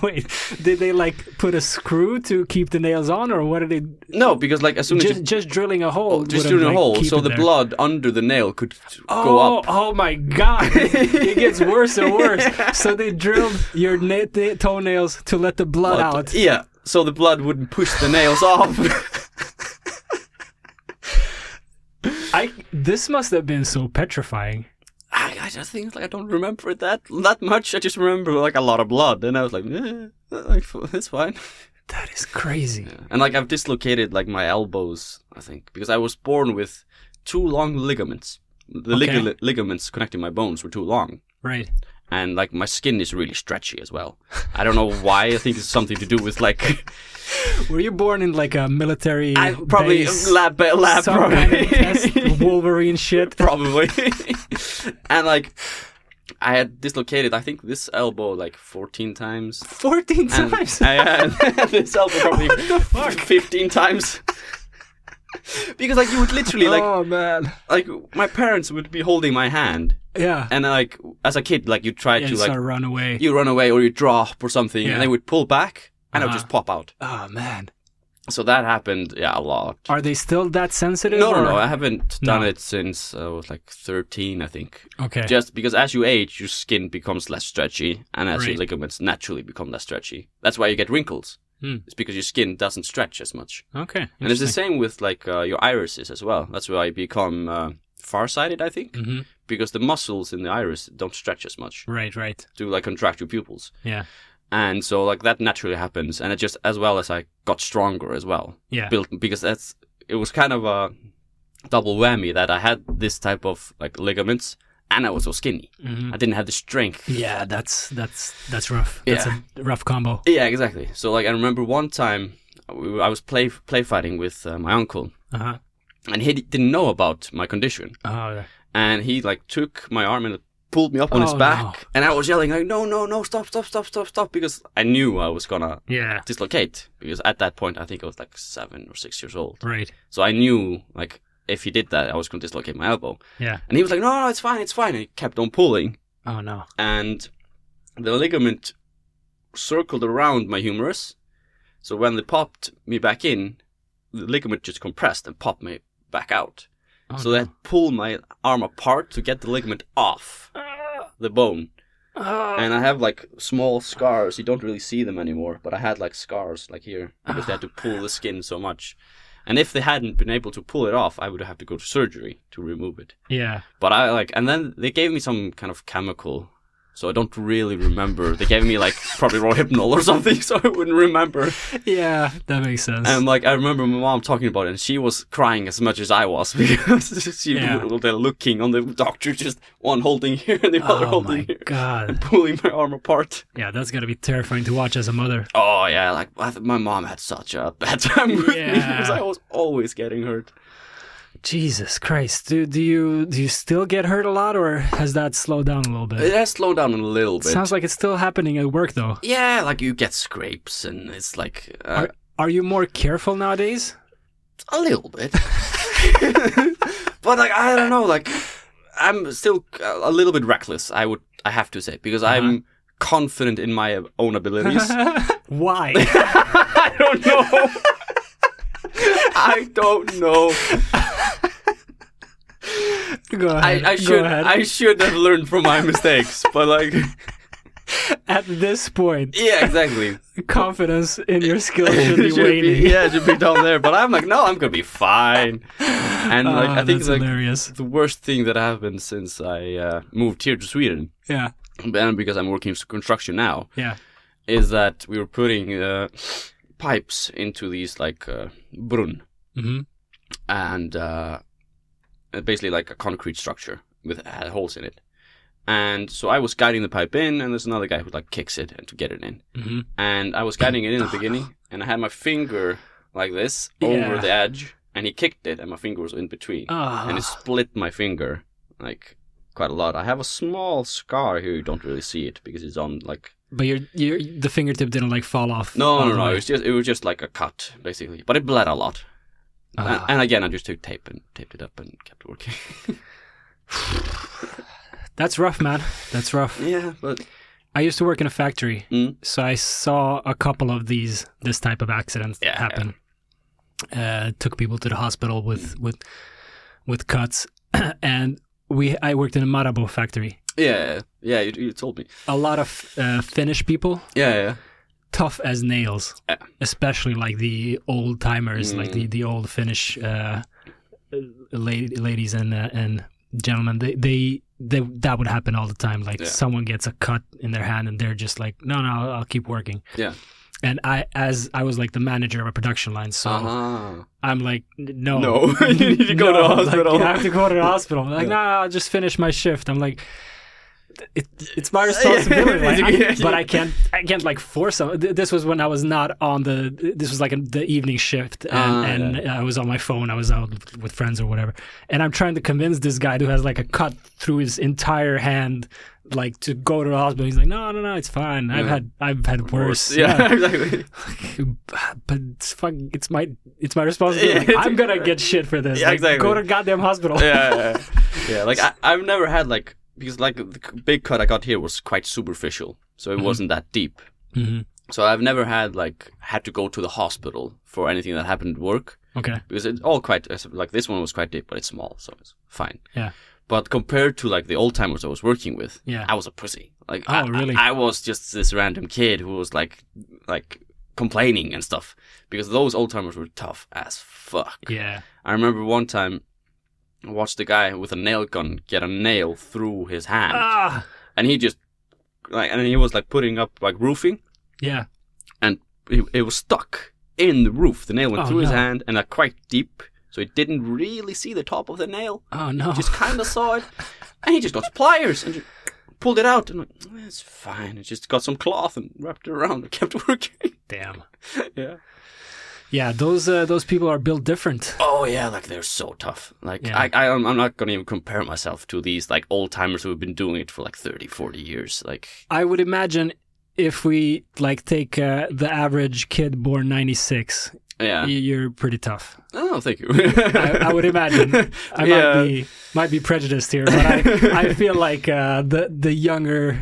wait. Did they like put a screw to keep the nails on, or what did they? no, because like as soon as Just you just drilling a hole. just wouldn't, during a like, hole, keep so it the there. blood under the nail could Oh, go up. oh my god! it gets worse and worse. So they drilled your na- na- toenails to let the blood out. Yeah, so the blood wouldn't push the nails off. I this must have been so petrifying. I, I just think like I don't remember it that that much. I just remember like a lot of blood, and I was like, eh, like it's fine. That is crazy. And like I've dislocated like my elbows, I think, because I was born with too long ligaments. The lig- Okay. ligaments connecting my bones were too long, Right. and like my skin is really stretchy as well. I don't know why. I think it's something to do with like Were you born in like a military? I probably base, lab lab some kind of test, probably Wolverine shit. probably, and like I had dislocated I think this elbow like fourteen times. Fourteen And times. I had this elbow probably fifteen times. Because like you would literally like oh man. like my parents would be holding my hand Yeah. and like as a kid like you try yeah to you like start run away. you run away or you drop or something Yeah. and they would pull back and i would Uh-huh. just pop out oh man. so that happened yeah a lot Are they still that sensitive? no no or- no i haven't No. done it since i was like 13 i think Okay. just because as you age your skin becomes less stretchy and as your Right. ligaments naturally become less stretchy that's why you get wrinkles Hmm. it's because your skin doesn't stretch as much okay. and it's the interesting. same with like uh, your irises as well that's why you become uh, farsighted, I think, hmm because the muscles in the iris don't stretch as much Right, right. to like contract your pupils. Yeah. And so like that naturally happens, and it just as well as I got stronger as well, Yeah. built because that's it was kind of a double whammy that I had this type of like ligaments and I was so skinny. hmm I didn't have the strength. Yeah, that's that's that's rough. That's a rough combo. Yeah, exactly. So like I remember one time uh, we were- I was play play fighting with uh, my uncle, Uh huh. and he didn't know about my condition, Oh, yeah. and he like took my arm and pulled me up on his Oh, back, no. and I was yelling like, "No, no, no! Stop, stop, stop, stop, stop!" Because I knew I was gonna yeah. dislocate. Because at that point, I think I was like seven or six years old, Right. so I knew like if he did that, I was gonna dislocate my elbow. Yeah. And he was like, "No, no, it's fine, it's fine," and he kept on pulling, Oh no. and the ligament circled around my humerus. So when they popped me back in, the ligament just compressed and popped me back out. Oh, so no. that pulled my arm apart to get the ligament off Ah, the bone. ah. And I have like small scars. You don't really see them anymore, but I had like scars like here because they had to pull the skin so much. And if they hadn't been able to pull it off, I would have to go to surgery to remove it. yeah. But I like, and then they gave me some kind of chemical, so I don't really remember. they gave me like probably Rohypnol or something, so I wouldn't remember. Yeah, that makes sense. And like, I remember my mom talking about it, and she was crying as much as I was because she Yeah. they're looking on the doctor, just one holding here and the other oh holding my here, god. pulling my arm apart. Yeah, that's gotta be terrifying to watch as a mother. Oh yeah, like I th- my mom had such a bad time with me because Yeah. I was always getting hurt. Jesus Christ. Do do you do you still get hurt a lot or has that slowed down a little It bit? has slowed down a little bit. Sounds like it's still happening at work though. yeah, like you get scrapes and it's like uh, Are, are you more careful nowadays? a little bit. but like I don't know, like I'm still a little bit reckless. I would I have to say Uh-huh. because I'm confident in my own abilities. Why? I don't know. I don't know. go ahead. I, Go I should ahead. I should have learned from my mistakes, but like At this point, yeah, exactly. confidence in your skills should It be should waning. be, yeah, it should be down there. But I'm like, no, I'm gonna be fine. And like, Ah, I think that's like hilarious. the worst thing that happened since I uh, moved here to Sweden Yeah, and because I'm working in construction now, yeah. is that we were putting uh, pipes into these like uh, brunn hmm Mm-hmm, and uh, basically like a concrete structure with had holes in it. And so I was guiding the pipe in, and there's another guy who like kicks it and to get it in. hmm And I was guiding it in at the beginning, and I had my finger like this over Yeah. Ah. the edge, and he kicked it, and my finger was in between, and it split my finger like quite a lot. I have a small scar here; you don't really see it because it's on like but your your the fingertip didn't like fall off. No, all no, the no. It way. was just it was just like a cut, basically. But it bled a lot. Ah. And, and again, I just took tape and taped it up and kept working. That's rough, man. That's rough. yeah, but I used to work in a factory, Mm. so I saw a couple of these this type of accidents Yeah. happen. Uh, took people to the hospital with with with cuts, and we I worked in a Marabou factory. yeah, yeah. You, you told me. A lot of uh, Finnish people, Yeah, yeah. tough as nails, Yeah. especially like the old timers, like Uh. Mm. the, the old Finnish uh, lady, ladies and uh, and gentlemen. They, they they that would happen all the time. Like Yeah. someone gets a cut in their hand and they're just like, no, no, I'll, I'll keep working. Yeah. And I, as I was like the manager of a production line, so uh I'm like, no, No, you need to go to No, like, hospital. you have to go to the hospital. Like, Yeah. no, no, I'll just finish my shift. I'm like, it, it's my responsibility, like, I- Yeah. but I can't, I can't like force them. Th- This was when I was not on the. This was like a, the evening shift, and, Ah, and I was on my phone. I was out with friends or whatever, and I'm trying to convince this guy who has like a cut through his entire hand, like to go to the hospital. He's like, no, no, no, it's fine. I've Yeah. had, I've had worse. Yeah, exactly. but it's fucking, it's my it's my responsibility. Yeah. I'm gonna get shit for this. Yeah, Like, exactly. Go to goddamn hospital. yeah, yeah, yeah. Like I, I've never had like because like the c- big cut I got here was quite superficial, so it wasn't that deep. Mhm. So I've never had like had to go to the hospital for anything that happened at work. Okay. because it's all quite like this one was quite deep, but it's small, so it's fine. Yeah. But compared to like the old timers I was working with, Yeah. I was a pussy. Like, Oh, I, really? I, I was just this random kid who was like, like complaining and stuff because those old timers were tough as fuck. Yeah. I remember one time I watched the guy with a nail gun get a nail through his hand, Ah, and he just like, and he was like putting up like roofing, yeah. and it, it was stuck in the roof. The nail went Oh, through his no. hand and like quite deep, so he didn't really see the top of the nail. Oh no. Just kind of saw it, and he just got pliers and. Just, Pulled it out and like, it's fine. I just got some cloth and wrapped it around and kept working. Damn. yeah. Yeah, those uh, those people are built different. Oh yeah, like they're so tough. Like Yeah. I, I, I'm I'm not gonna even compare myself to these like old timers who have been doing it for like 30, 40 years. Like I would imagine if we like take uh, the average kid born '96, yeah. you're pretty tough. Oh, thank you. I, I would imagine. I Yeah. might be might be prejudiced here, but I, I feel like uh, the the younger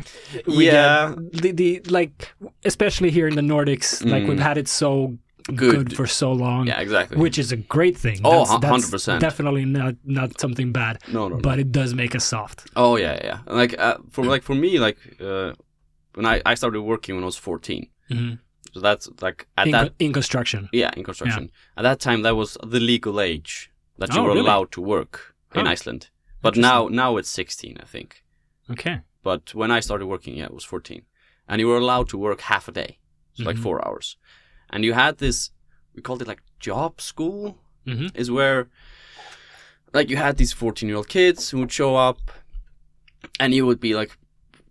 we Yeah. get, the the like especially here in the Nordics, like we've had it so good, Mm. Good. for so long, Yeah, exactly. which is a great thing. Oh, That's- hu- that's 100%. Definitely not not something bad, no, no, no. but it does make us soft. Oh yeah, yeah. And, Like uh, for like for me, like uh, when I, I started working when I was fourteen. Mhm. So that's like at In, that in construction, yeah in construction. At that time, that was the legal age that you Oh, were really? Oh. allowed to work in Huh. Iceland. But now now it's sixteen, I think. okay. But when I started working, yeah, it was 14. And you were allowed to work half a day, so like Mhm. four hours. And you had this, we called it like job school, Mhm. is where like you had these 14 year old kids who would show up and you would be like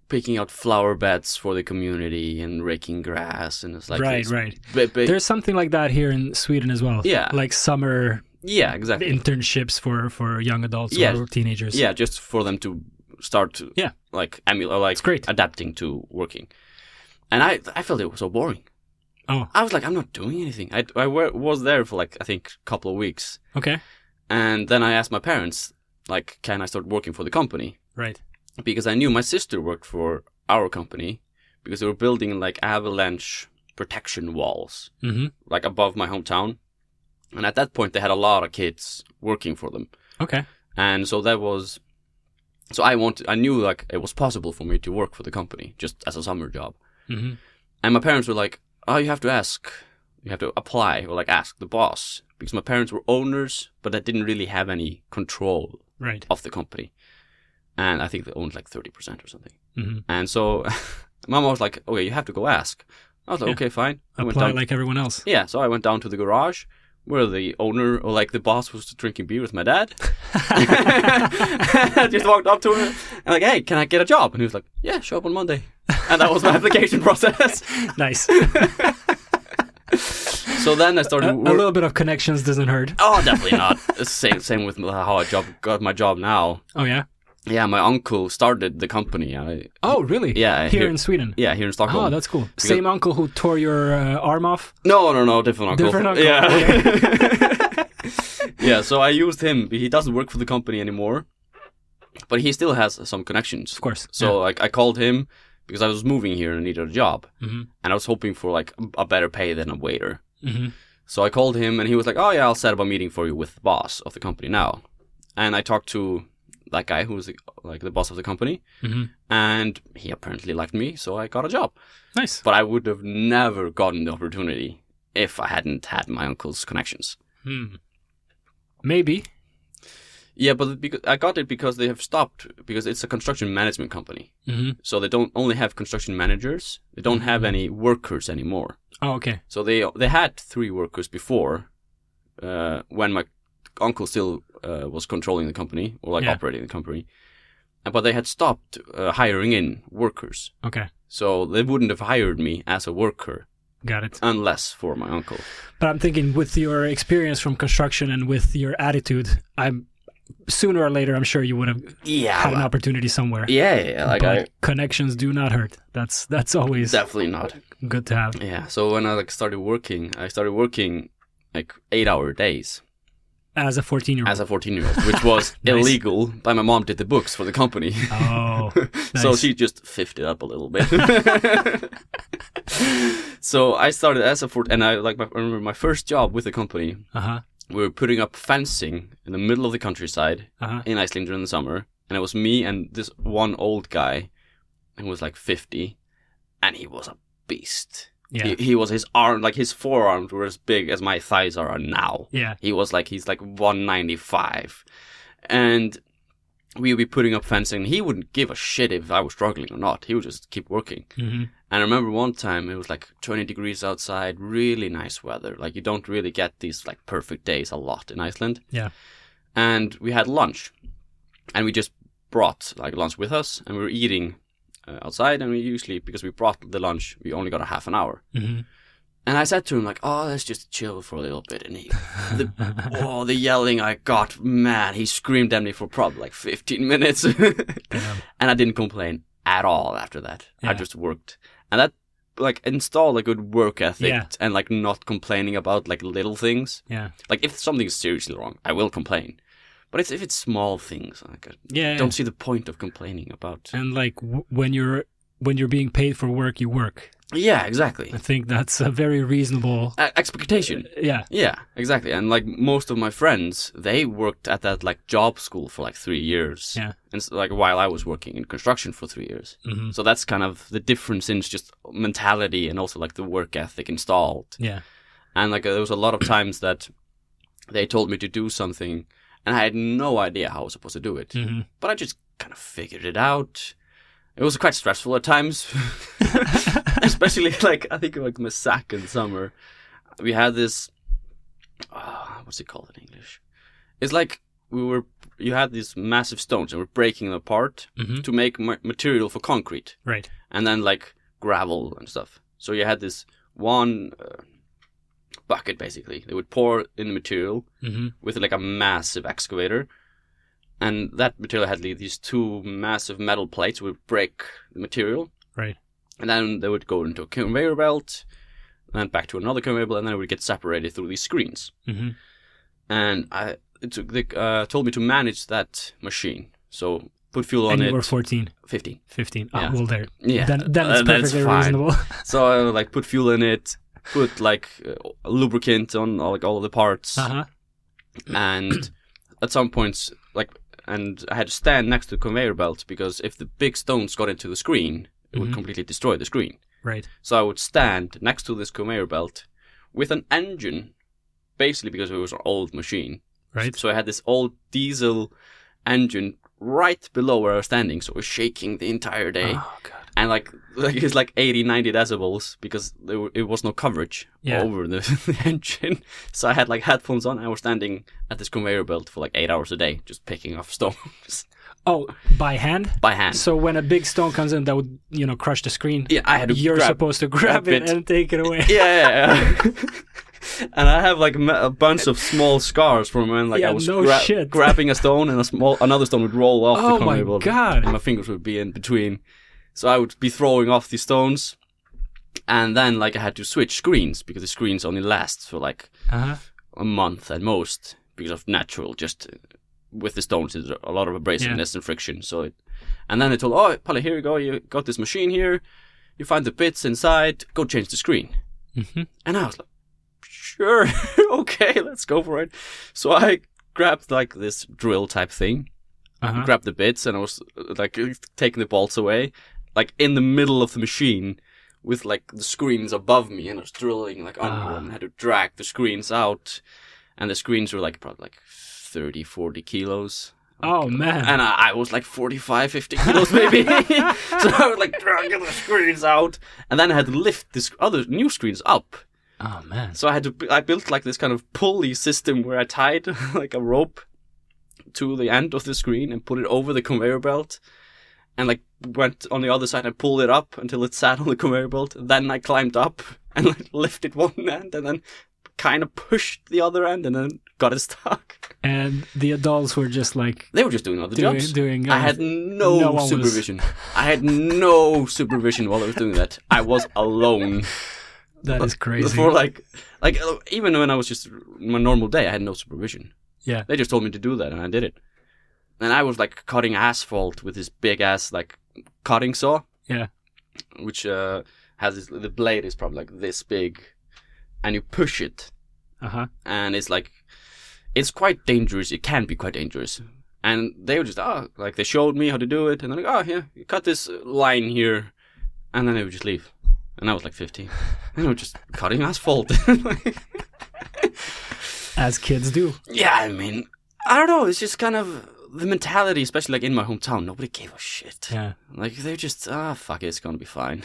picking out flower beds for the community and raking grass. And it's like, right, this right. bi- bi- There's something like that here in Sweden as well. Yeah. like summer yeah, exactly. internships for for young adults Yeah. or teenagers. Yeah, just for them to start to Yeah. like emulate, like great. adapting to working. And I, I felt it was so boring. Oh, I was like, I'm not doing anything. I, I wa- was there for like, I think, a couple of weeks. okay. And then I asked my parents, like, can I start working for the company? Right. Because I knew my sister worked for our company because they were building like avalanche protection walls, hmm like above my hometown. And at that point, they had a lot of kids working for them. Okay. And so that was, so I wanted, I knew like it was possible for me to work for the company just as a summer job. hmm And my parents were like, "Oh, you have to ask. You have to apply or like ask the boss." Because my parents were owners, but that didn't really have any control Right. of the company. And I think they owned like 30% or something. hmm And so my mom was like, "Okay, you have to go ask." I was like, Yeah. "Okay, fine." I went Apply down. like everyone else. yeah, so I went down to the garage where the owner or like the boss was drinking beer with my dad. I just walked up to him and like, "Hey, can I get a job?" And he was like, "Yeah, show up on Monday." And that was my application process. nice. So then I started. a, a wor- little bit of connections doesn't hurt. oh, definitely not. same same with how I job got my job now. Oh yeah. Yeah, my uncle started the company. I, Oh really? Yeah, Here, here- in Sweden. yeah, here in Stockholm. Oh, that's cool. Same uncle who tore your uh, arm off. no, no, no, different uncle. Different uncle. Yeah. yeah. So I used him. He doesn't work for the company anymore, but he still has some connections. Of course. So like I called him because I was moving here and needed a job, hmm and I was hoping for like a better pay than a waiter. hmm So I called him and he was like, "Oh yeah, I'll set up a meeting for you with the boss of the company now." And I talked to that guy who was the, like the boss of the company, hmm and he apparently liked me, so I got a job. Nice. But I would have never gotten the opportunity if I hadn't had my uncle's connections. Hmm. Maybe. Yeah, but because I got it because they have stopped because it's a construction management company, hmm so they don't only have construction managers; they don't have any workers anymore. Oh okay. So they they had three workers before, uh, when my uncle still uh, was controlling the company or like Yeah. operating the company, Uh, but they had stopped uh, hiring in workers. Okay. So they wouldn't have hired me as a worker Got it. unless for my uncle. But I'm thinking with your experience from construction and with your attitude, I'm sooner or later I'm sure you would have Yeah, had an opportunity somewhere. Ah. yeah, yeah. Like but I connections do not hurt. That's that's always definitely not. good to have. Yeah. So when I like started working, I started working like eight-hour days As a 14 year old. as a fourteen-year-old, which was Nice. illegal. But my mom did the books for the company. Oh, So Nice. she just fiffed it up a little bit. so I started as a fourth, and I like my, I remember my first job with the company. uh huh, We were putting up fencing in the middle of the countryside uh huh. in Iceland during the summer, and it was me and this one old guy who was like fifty, and he was a beast. Yeah, He, he was his arm, like his forearms were as big as my thighs are now. yeah. He was like he's like 195, and we would be putting up fencing. He wouldn't give a shit if I was struggling or not. He would just keep working. Mhm. And I remember one time it was like 20 degrees outside, really nice weather. Like you don't really get these like perfect days a lot in Iceland. Yeah. And we had lunch, and we just brought like lunch with us, and we were eating uh, outside. And we usually because we brought the lunch, we only got a half an hour. Mhm. And I said to him like, "Oh, let's just chill for a little bit." And he, the, oh, the yelling I got, man, he screamed at me for probably like 15 minutes, Damn. and I didn't complain at all after that. I Yeah. just worked, and that like installed a good work ethic Yeah. and like not complaining about like little things. Yeah. Like if something is seriously wrong, I will complain, but it's if it's small things, like I Yeah. don't see the point of complaining about. and like w- when you're when you're being paid for work, you work. Yeah, exactly. I think that's a very reasonable. Uh, expectation. Yeah. Yeah, exactly. And like most of my friends, they worked at that like job school for like three years. Yeah. And so, like while I was working in construction for three years. hmm So that's kind of the difference in just mentality and also like the work ethic installed. Yeah. And like there was a lot of times that they told me to do something and I had no idea how I was supposed to do it. hmm But I just kind of figured it out. It was quite stressful at times. Especially like I think like Masak in summer. We had this ah, what's it called in English? It's like we were you had these massive stones and we're breaking them apart Mhm. to make ma- material for concrete Right. and then like gravel and stuff. So you had this one uh, bucket basically. They would pour in the material hmm with like a massive excavator, and that material had like, these two massive metal plates would break the material, Right. and then they would go into a conveyor belt, and then back to another conveyor belt, and then it would get separated through these screens. hmm And I it took, they uh, told me to manage that machine, so put fuel on And it. you were 14, Fifteen. 15. Oh, Yeah. well, there. Yeah, Then, then it's Uh, that's perfectly fine. reasonable. So I like put fuel in it, put like uh, lubricant on like all the parts, uh-huh. and at some points like and I had to stand next to the conveyor belt because if the big stones got into the screen, it would Mhm. completely destroy the screen. Right. So I would stand next to this conveyor belt with an engine, basically because it was an old machine. Right. So I had this old diesel engine right below where I was standing, so it was shaking the entire day Oh, God. and like like it's like 80 90 decibels because there were, it was no coverage Yeah. over the, the engine so i had like headphones on i was standing at this conveyor belt for like eight hours a day just picking off stones Oh, by hand? by hand So when a big stone comes in that would, you know, crush the screen, yeah i had to you're grab- supposed to grab, grab it, it. and take it away. yeah and i have like ma- a bunch of small scars from when like Yeah, i was no gra- shit. grabbing a stone and a small another stone would roll off Oh my the conveyor belt God. and my fingers would be in between so i would be throwing off these stones and then like i had to switch screens because the screens only last for like Uh-huh. a month at most because of natural just uh, with the stones there's a lot of abrasiveness and friction so it and then I told oh Palle here you go you got this machine here you find the bits inside go change the screen hmm and I was like sure okay let's go for it so I grabbed like this drill type thing Uh-huh. grabbed the bits and I was uh, like taking the bolts away like in the middle of the machine with like the screens above me and I was drilling like under Ah. them and had to drag the screens out and the screens were like probably like 30 40 kilos Oh, man. and I, I was like 45 50 kilos maybe so I was like dragging the screens out and then I had to lift this other new screens up oh, man. so I had to bu- I built like this kind of pulley system where I tied like a rope to the end of the screen and put it over the conveyor belt and like went on the other side and pulled it up until it sat on the conveyor belt then I climbed up and like, lifted one end and then kind of pushed the other end and then got it stuck And the adults were just like they were just doing other doing, jobs doing uh, I had no, no one was- supervision I had no supervision while I was doing that I was alone that is crazy. for like, like uh, even when I was just my normal day, I had no supervision. Yeah. they just told me to do that, and I did it. And I was like cutting asphalt with this big ass like cutting saw. Yeah. which uh, has this, the blade is probably like this big, and you push it, Uh-huh. and it's like it's quite dangerous. It can be quite dangerous. And they were just oh, like they showed me how to do it, and they're like, oh, here, you cut this line here, and then they would just leave. And I was like 15, and I was just cutting asphalt. As kids do. yeah, I mean, I don't know. It's just kind of the mentality, especially like in my hometown, nobody gave a shit. Yeah. Like they're just ah fuck it, it's gonna be fine.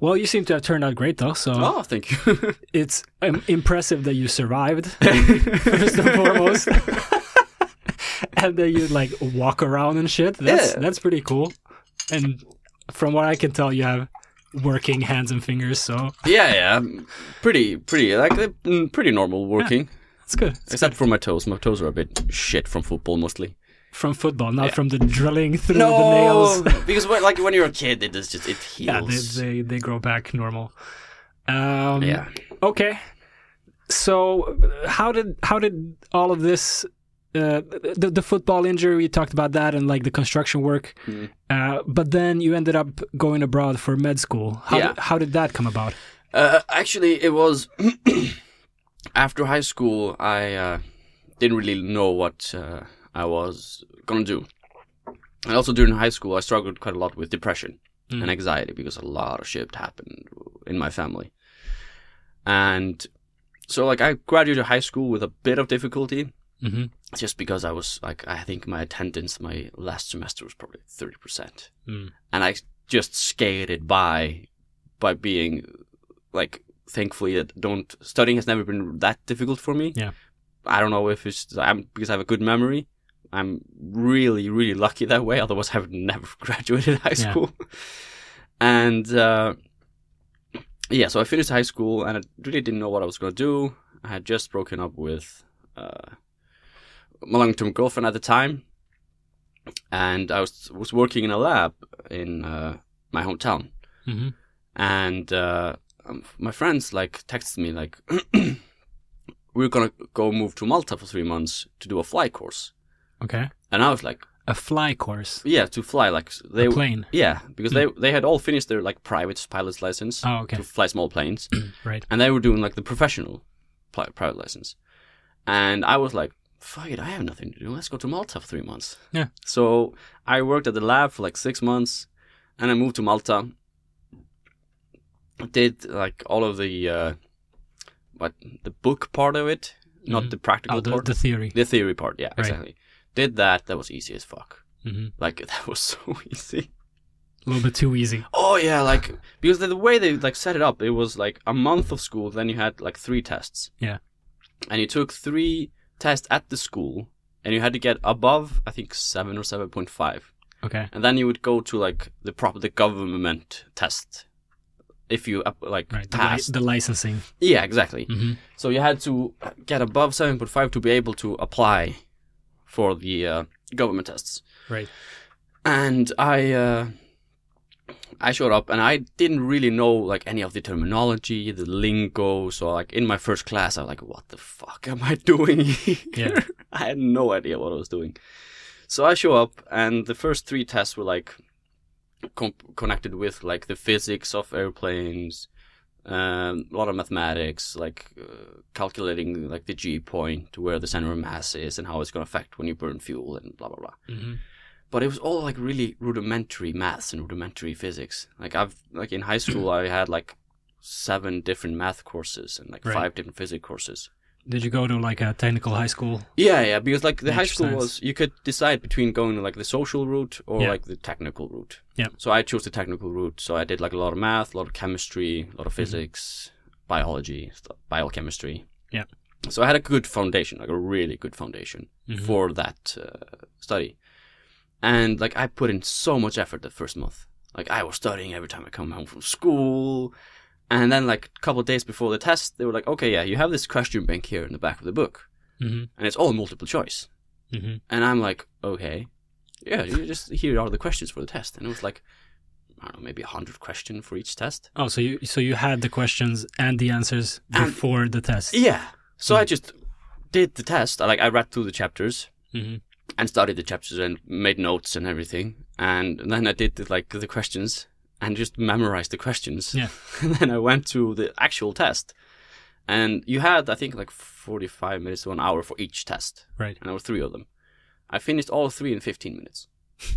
Well, you seem to have turned out great though, so Oh, thank you. it's um, impressive that you survived first and foremost, and that you like walk around and shit. That's Yeah. that's pretty cool. And from what I can tell, you have working hands and fingers, so yeah, yeah, I'm pretty, pretty like uh, mm, pretty normal working, it's good. It's except for my toes. My toes are a bit shit from football mostly. from football, not from the drilling through the No, nails. because when, like when you're a kid, it is just it Yeah, they, heals. they they grow back normal. Um, Yeah. Okay. So uh, how did how did all of this uh, the the football injury we talked about that and like the construction work, Mhm. uh, but then you ended up going abroad for med school. How Yeah. did, how did that come about? Uh, actually, it was after high school. I uh, didn't really know what uh, I was gonna do. And also during high school, I struggled quite a lot with depression Mm. and anxiety because a lot of shit happened in my family. And so, like, I graduated high school with a bit of difficulty, Mm-hmm. just because I was like, I think my attendance my last semester was probably thirty percent, Mm. and I just skated by by being like, thankfully, that don't studying has never been that difficult for me. Yeah. I don't know if it's I'm because I have a good memory. I'm really really lucky that way. Otherwise, I would never graduated high Yeah. school. and uh, yeah, so I finished high school, and I really didn't know what I was gonna do. I had just broken up with. Uh, my long-term girlfriend at the time, and I was was working in a lab in uh, my hometown, Mm-hmm. Mhm. and uh, um, my friends like texted me like, "We're gonna go move to Malta for three months to do a fly course," Okay. and I was like, A fly course, "Yeah, to fly like they a plane. Hmm. yeah," because they they had all finished their like private pilot's license Oh, okay. to fly small planes, Right. and they were doing like the professional pri- private license. And I was like, fuck it, I have nothing to do. Let's go to Malta for three months. Yeah. So I worked at the lab for like six months and I moved to Malta. Did like all of the, uh, what, the book part of it, not Mhm. the practical Oh, the, part, the theory. the theory part. Yeah, Right. exactly. Did that. That was easy as fuck. hmm Like that was so easy. A little bit too easy. Oh yeah, like because the, the way they like set it up, it was like a month of school, then you had like three tests. Yeah. And you took three tests at the school, and you had to get above, I think seven or seven point five, Okay. and then you would go to like the proper the government test, if you up- like Right. The, li- passed. the licensing. yeah, exactly. hmm So you had to get above 7.5 to be able to apply for the uh, government tests. Right. And I uh, I showed up and I didn't really know like any of the terminology, the lingo. So like in my first class, I was like, "What the fuck am I doing here?" Yeah. I had no idea what I was doing. So I show up and the first three tests were like com- connected with like the physics of airplanes, um, a lot of mathematics, like uh, calculating like the G point to where the center of mass is and how it's going to affect when you burn fuel and blah blah blah. hmm But it was all like really rudimentary maths and rudimentary physics. Like I've like in high school I had like seven different math courses and like Right. five different physics courses. Did you go to like a technical high school? Yeah, yeah, because like the high Makes school sense. was you could decide between going like the social route or Yeah. like the technical route. Yeah. So I chose the technical route. So I did like a lot of math, a lot of chemistry, a lot of Mm-hmm. physics, biology, st- biochemistry. Yeah. So I had a good foundation, like a really good foundation Mhm. for that uh, study. And like I put in so much effort the first month. Like I was studying every time I come home from school. And then like a couple of days before the test, they were like, "Okay, yeah, you have this question bank here in the back of the book." Mm-hmm. and it's all multiple choice. hmm And I'm like, okay, yeah, you just here are the questions for the test. And it was like, I don't know, maybe hundred question for each test. Oh, so you so you had the questions and the answers And- before the test. Yeah. So I just did the test. I like I read through the chapters Mhm. and studied the chapters and made notes and everything. And then I did the, like the questions and just memorized the questions. Yeah. and then I went to the actual test. And you had I think like forty five minutes to an hour for each test. Right. and there were three of them. I finished all three in 15 minutes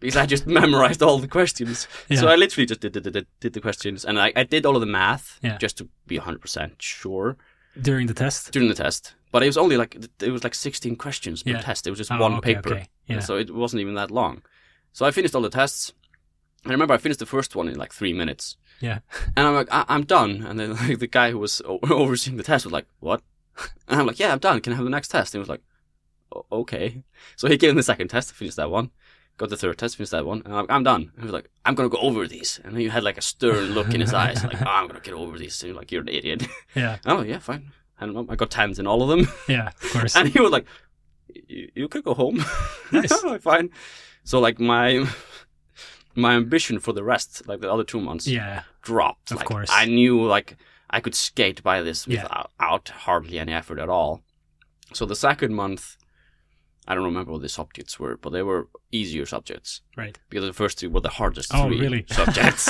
because I just memorized all the questions. So Yeah. I literally just did, did, did, did the questions and I, I did all of the math Yeah. just to be 100% sure. during the test. during the test. But it was only like it was like 16 questions per Yeah. test. It was just Oh, one okay, paper, okay. Yeah. so it wasn't even that long. So I finished all the tests. I remember I finished the first one in like three minutes, Yeah. and I'm like, I- I'm done. And then like the guy who was o- overseeing the test was like, "What?" And I'm like, "Yeah, I'm done. Can I have the next test?" And he was like, "O- "Okay." So he gave me the second test. I finished that one. Got the third test. Finished that one. And I'm, I'm done. And he was like, "I'm gonna go over these." And he had like a stern look in his eyes, like, "Ah, "I'm gonna get over these." And you're like, "You're an idiot." Yeah. Oh yeah, fine. I don't know. I got tens in all of them, Yeah. Of course. and he was like, "You you could go home." Nice. I'm like, fine. So like my my ambition for the rest, like the other two months, yeah. dropped. Of Like, course. I knew like I could skate by this Yeah. without out hardly any effort at all. So the second month, I don't remember what the subjects were, but they were easier subjects Right. because the first two were the hardest Oh, three really? subjects.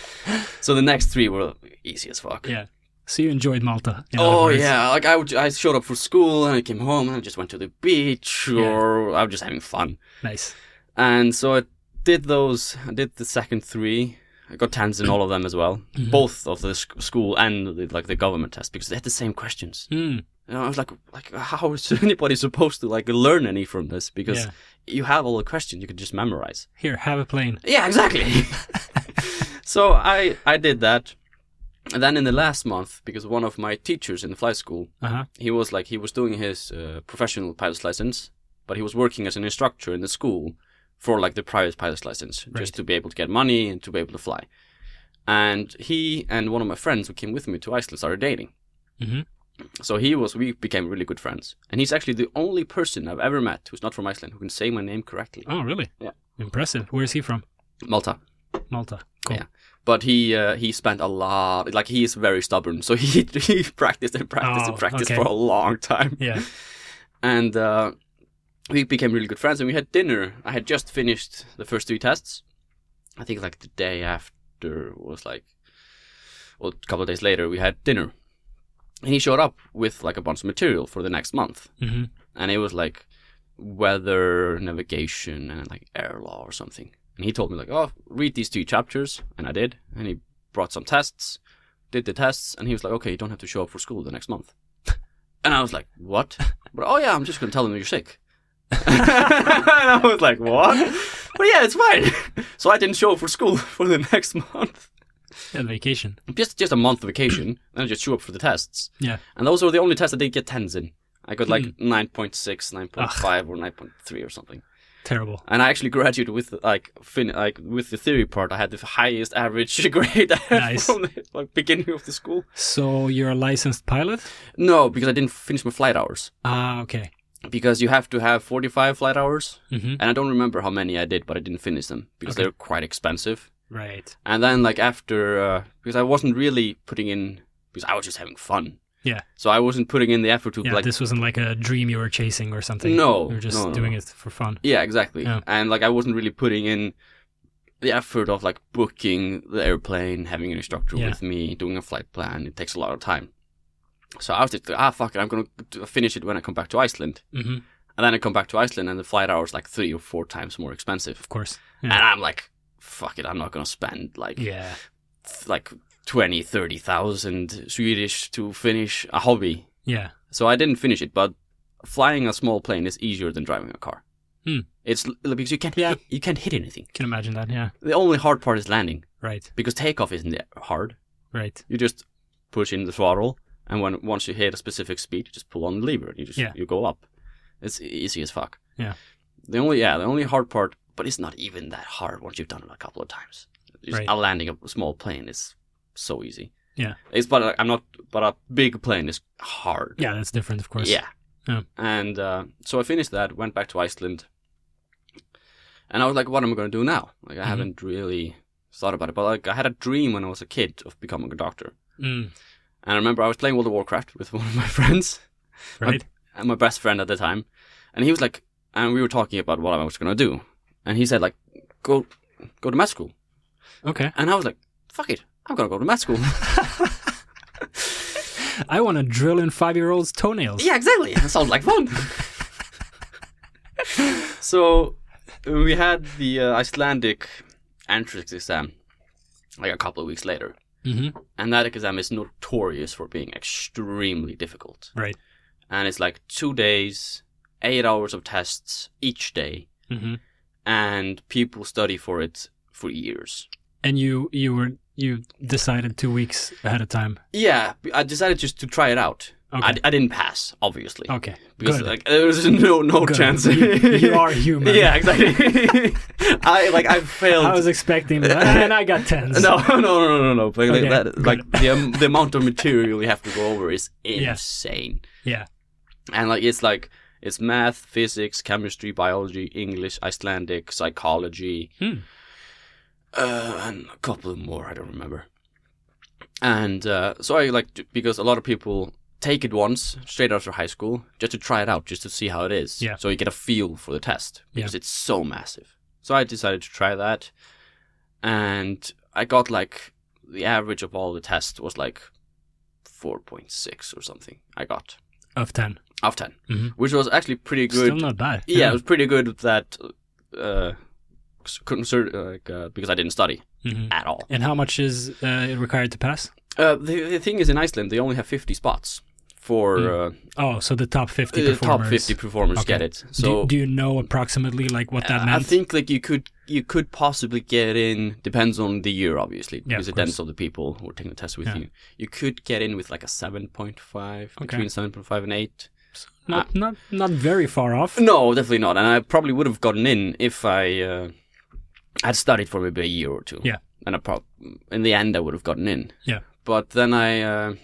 so the next three were easy as fuck. Yeah. So you enjoyed Malta. in other Oh words. yeah, like I would, I showed up for school and I came home and I just went to the beach Yeah. or I was just having fun. Nice. And so I did those. I did the second three. I got tens in all of them as well, Mhm. both of the sc- school and the, like the government test because they had the same questions. Mm, And I was like, like how is anybody supposed to like learn any from this? Because Yeah. you have all the questions, you can just memorize. Here, have a plane. Yeah, exactly. so I I did that. And then in the last month, because one of my teachers in the fly school, Uh huh. he was like he was doing his uh, professional pilot's license, but he was working as an instructor in the school for like the private pilot's license, Right. just to be able to get money and to be able to fly. And he and one of my friends who came with me to Iceland started dating. Mhm. So he was we became really good friends, and he's actually the only person I've ever met who's not from Iceland who can say my name correctly, Oh, really? Yeah. Impressive. Where is he from? Malta. Malta. Cool. Yeah. But he uh, he spent a lot. Like he is very stubborn, so he he practiced and practiced Oh, and practiced okay. for a long time. Yeah. And uh, we became really good friends, and we had dinner. I had just finished the first three tests. I think like the day after was like, well, a couple of days later we had dinner, and he showed up with like a bunch of material for the next month, hmm and it was like weather, navigation, and like air law or something. And he told me like, "Oh, read these two chapters," and I did. And he brought some tests, did the tests, and he was like, "Okay, you don't have to show up for school the next month." And I was like, "What?" But oh yeah, I'm just gonna tell them you're sick. and I was like, "What?" But yeah, it's fine. So I didn't show up for school for the next month. And vacation. Just just a month vacation, and I just show up for the tests. Yeah. And those were the only tests I did get tens in. I got like Hmm. 9.6, 9.5, or 9.3 or something. Terrible. And I actually graduated with like fin- like with the theory part. I had the highest average grade I had Nice. from the like, beginning of the school. So you're a licensed pilot? No, because I didn't finish my flight hours. Ah, okay. Because you have to have 45 flight hours, hmm and I don't remember how many I did, but I didn't finish them because Okay. they're quite expensive. Right. And then like after, uh, because I wasn't really putting in, because I was just having fun. Yeah. So I wasn't putting in the effort to Yeah. like this wasn't like a dream you were chasing or something. No, You were just no, no, doing no. it for fun. Yeah, exactly. Yeah. And like I wasn't really putting in the effort of like booking the airplane, having an instructor Yeah. with me, doing a flight plan. It takes a lot of time. So I was just ah fuck it, I'm gonna do- finish it when I come back to Iceland. hmm And then I come back to Iceland, and the flight hours like three or four times more expensive. Of course. And Yeah. I'm like, fuck it, I'm not gonna spend like yeah. th- like twenty, thirty thousand Swedish to finish a hobby. Yeah. So I didn't finish it, but flying a small plane is easier than driving a car. Hmm. It's l- because you can't Yeah. hit, you can't hit anything. Can imagine that. Yeah. The only hard part is landing Right. because takeoff isn't that hard. Right. You just push in the throttle, and when once you hit a specific speed, you just pull on the lever. and You just Yeah. you go up. It's e- easy as fuck. Yeah. The only yeah the only hard part, but it's not even that hard once you've done it a couple of times. Just Right. a landing a small plane is so easy. Yeah. It's but uh, I'm not but a big plane is hard. Yeah. That's different, of course. Yeah. Yeah. And uh, so I finished that, went back to Iceland, and I was like, "What am I going to do now?" Like, I Mhm. haven't really thought about it, but like, I had a dream when I was a kid of becoming a doctor. Mm, And I remember I was playing World of Warcraft with one of my friends, right. and my best friend at the time, and he was like, and we were talking about what I was going to do, and he said like, "Go, go to med school," Okay. and I was like, "Fuck it, I'm going to go to med school." I want to drill in five-year-olds' toenails. Yeah, exactly. That sounds like fun. so we had the uh, Icelandic entrance exam like a couple of weeks later, Mm-hmm. and that exam is notorious for being extremely difficult. Right. And it's like two days, eight hours of tests each day, Mm-hmm. and people study for it for years. And you you were you decided two weeks ahead of time. Yeah, I decided just to try it out. Okay. I, I didn't pass, obviously, Okay. because Good. like there was no no Good. chance. You, you are human. yeah, exactly. I like I failed. I was expecting that, and I got tens. No, no, no, no, no, no. Like, Okay, that, good. like the, um, the amount of material you have to go over is Yeah. insane. Yeah. And like it's like it's math, physics, chemistry, biology, English, Icelandic, psychology, Hmm. uh, and a couple of more. I don't remember. And uh, so I like to- because a lot of people take it once straight after high school just to try it out, just to see how it is. Yeah. So you get a feel for the test Yeah. because it's so massive. So I decided to try that, and I got like the average of all the tests was like four point six or something. I got Of ten. out of 10 Mhm. which was actually pretty good. Still not bad. yeah, it was pretty good with that. Uh, concern, like, uh, because I didn't study Mhm. at all. And how much is uh, required to pass? Uh, the, the thing is, in Iceland, they only have fifty spots for uh, Oh, so the top fifty the Uh, top performers. fifty performers Okay. get it. Do- So Uh, do, you know approximately like what that I meant? think like you could you could possibly get in. Depends on the year, obviously, because of it depends on the people who are taking the test with Yeah. you. You could get in with like a seven point five Okay. between seven point five and eight. not not not very far off. No, definitely not. And I probably would have gotten in if I uh, had studied for maybe a year or two. Yeah. And I prob- in the end, I would have gotten in. Yeah. But then I, uh,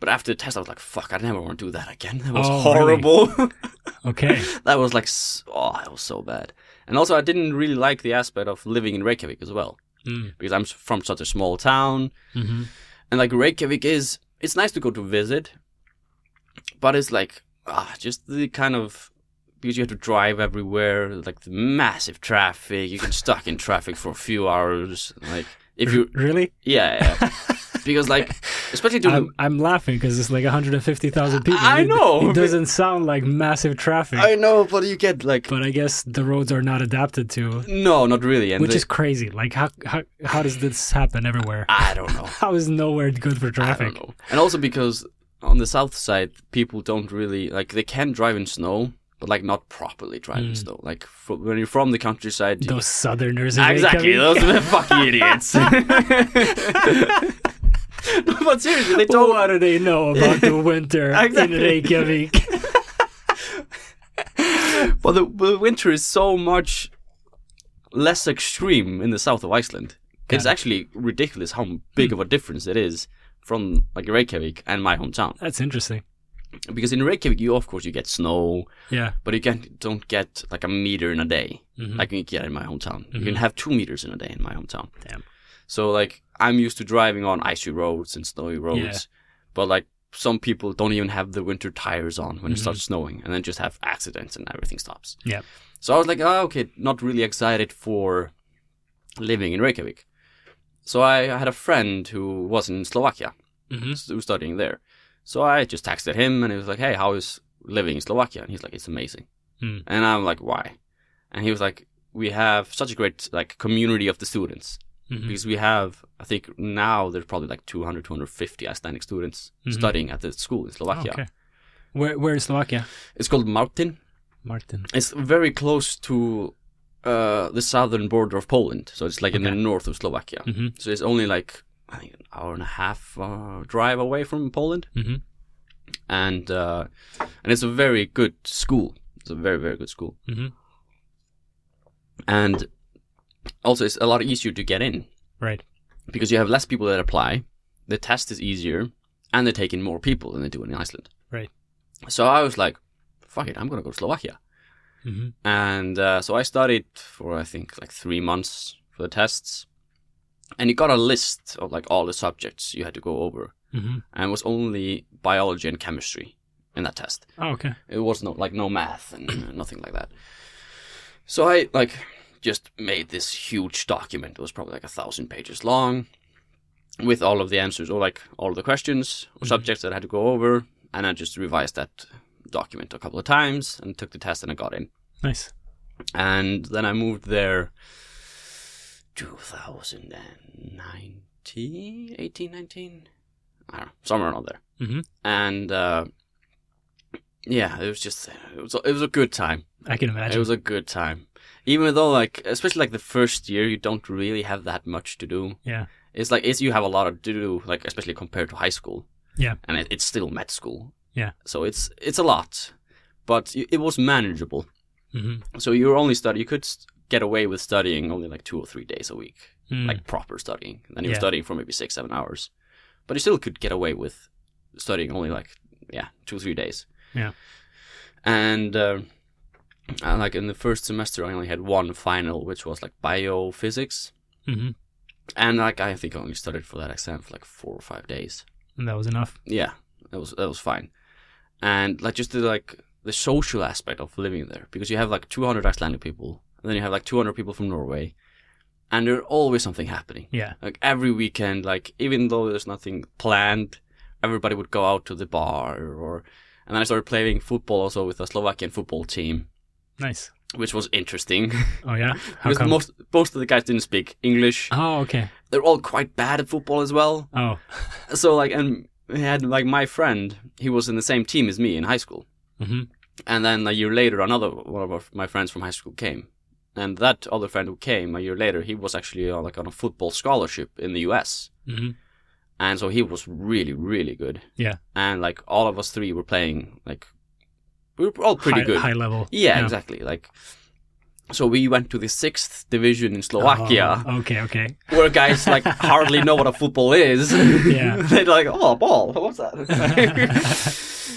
but after the test, I was like, "Fuck! I never want to do that again. That was Oh, really? horrible. Okay. that was like, s- oh, that was so bad." And also, I didn't really like the aspect of living in Reykjavik as well Mm. because I'm s- from such a small town, hmm and like Reykjavik is, it's nice to go to visit, but it's like ah, just the kind of because you have to drive everywhere, like the massive traffic. You get stuck in traffic for a few hours, like if you Really? yeah, yeah. because like especially during. I'm, I'm laughing because it's like 150,000 people. I It- know. It doesn't sound like massive traffic, I know, but you get like but I guess the roads are not adapted to, no, not really, and which they- is crazy. Like, how, how, how does this happen everywhere? I don't know. How is nowhere good for I traffic? don't know. And also because on the south side, people don't really like they can drive in snow, but like not properly drive in Mm. snow. Like fro- when you're from the countryside, you- Those southerners. in exactly Reykjavik. those are the fucking idiots. but seriously, they don't. What do they know about the winter Exactly. in Reykjavik? But the, the winter is so much less extreme in the south of Iceland. Got it's it. actually ridiculous how big of a difference it is from like Reykjavik and my hometown. That's interesting. Because in Reykjavik, you of course you get snow, Yeah. but you can don't get like a meter in a day Mhm. like you get in my hometown. You can Mhm. have two meters in a day in my hometown. Damn. So like I'm used to driving on icy roads and snowy roads, but like some people don't even have the winter tires on when it Mhm. starts snowing, and then just have accidents and everything stops. Yep. So I was like, oh, okay, not really excited for living in Reykjavik. So I, I had a friend who was in Slovakia, Mhm. who was studying there. So I just texted him, and he was like, hey, how is living in Slovakia? And he's like, it's amazing. Hmm. And I'm like, why? And he was like, we have such a great like community of the students Mhm. because we have i think now there's probably like 200 250 icelandic students Mhm. studying at the school in slovakia Oh, Okay. Where, where is Slovakia? it's called martin Martin. it's very close to uh, the southern border of poland so it's like in the Okay. north of slovakia Mhm. so it's only like i think an hour and a half uh, drive away from poland Mhm. and uh, and it's a very good school it's a very very good school Mhm. and also it's a lot easier to get in Right. because you have less people that apply, the test is easier, and they take in more people than they do in Iceland. Right. So I was like, fuck it, I'm going to go to Slovakia. hmm And uh, so I studied for, I think, like three months for the tests. And you got a list of like all the subjects you had to go over. hmm And it was only biology and chemistry in that test. Oh, okay. It was no like no math and nothing like that. So I like just made this huge document. It was probably like a thousand pages long, with all of the answers or like all of the questions or Mhm. subjects that I had to go over, and I just revised that document a couple of times and took the test and I got in. Nice. And then I moved there, 2019. 19, 18, 19, I don't know, somewhere around there. Mhm. And uh, yeah, it was just it was a, it was a good time. I can It imagine. was a good time. Even though like especially like the first year you don't really have that much to do. Yeah. It's like it's you have a lot of to do like especially compared to high school. Yeah. And it, it's still med school. Yeah. So it's it's a lot. But it it was manageable. Mhm. So you were only study you could st- get away with studying only like 2 or 3 days a week Mm. like proper studying. And then you're Yeah. studying for maybe six, seven hours. But you still could get away with studying only like, yeah, two, three days. Yeah. And, uh, and like in the first semester, I only had one final, which was like biophysics. Mhm. And like, I think I only studied for that exam for like four or five days. and that was enough. Yeah, that was, that was fine. And like, just the like, the social aspect of living there, because you have like 200 Icelandic people, and then you have like 200 people from Norway, and there's always something happening Yeah. like every weekend like even though there's nothing planned everybody would go out to the bar or and then i started playing football also with a slovakian football team Nice. which was interesting Oh yeah. How because come? most most of the guys didn't speak english oh okay. they're all quite bad at football as well Oh. so like and we had like my friend he was in the same team as me in high school Mhm. and then a year later another one of our, my friends from high school came and that other friend who came a year later he was actually uh, like on a football scholarship in the us Mhm. and so he was really really good Yeah. and like all of us three were playing like we were all pretty high, good High level. yeah, exactly like so we went to the sixth division in slovakia Oh, okay. Okay. where guys like hardly know what a football is Yeah. they're like oh a ball what's that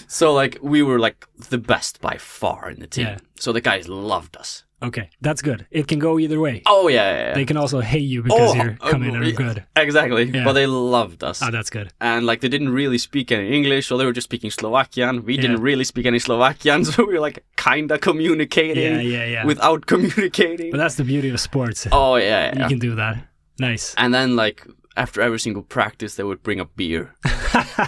so like we were like the best by far in the team Yeah. so the guys loved us Okay. That's good. It can go either way. oh yeah, yeah, yeah. They can also hate you because Oh, you're oh, coming in yeah. and good. exactly Yeah. but they loved us Oh, that's good. and like they didn't really speak any English, so they were just speaking Slovakian. We Yeah. didn't really speak any Slovakian, so we were like kinda Yeah. communicating Yeah. Yeah. without communicating. but that's the beauty of sports. oh yeah, You yeah. can do that. Nice. And then like after every single practice, they would bring up beer.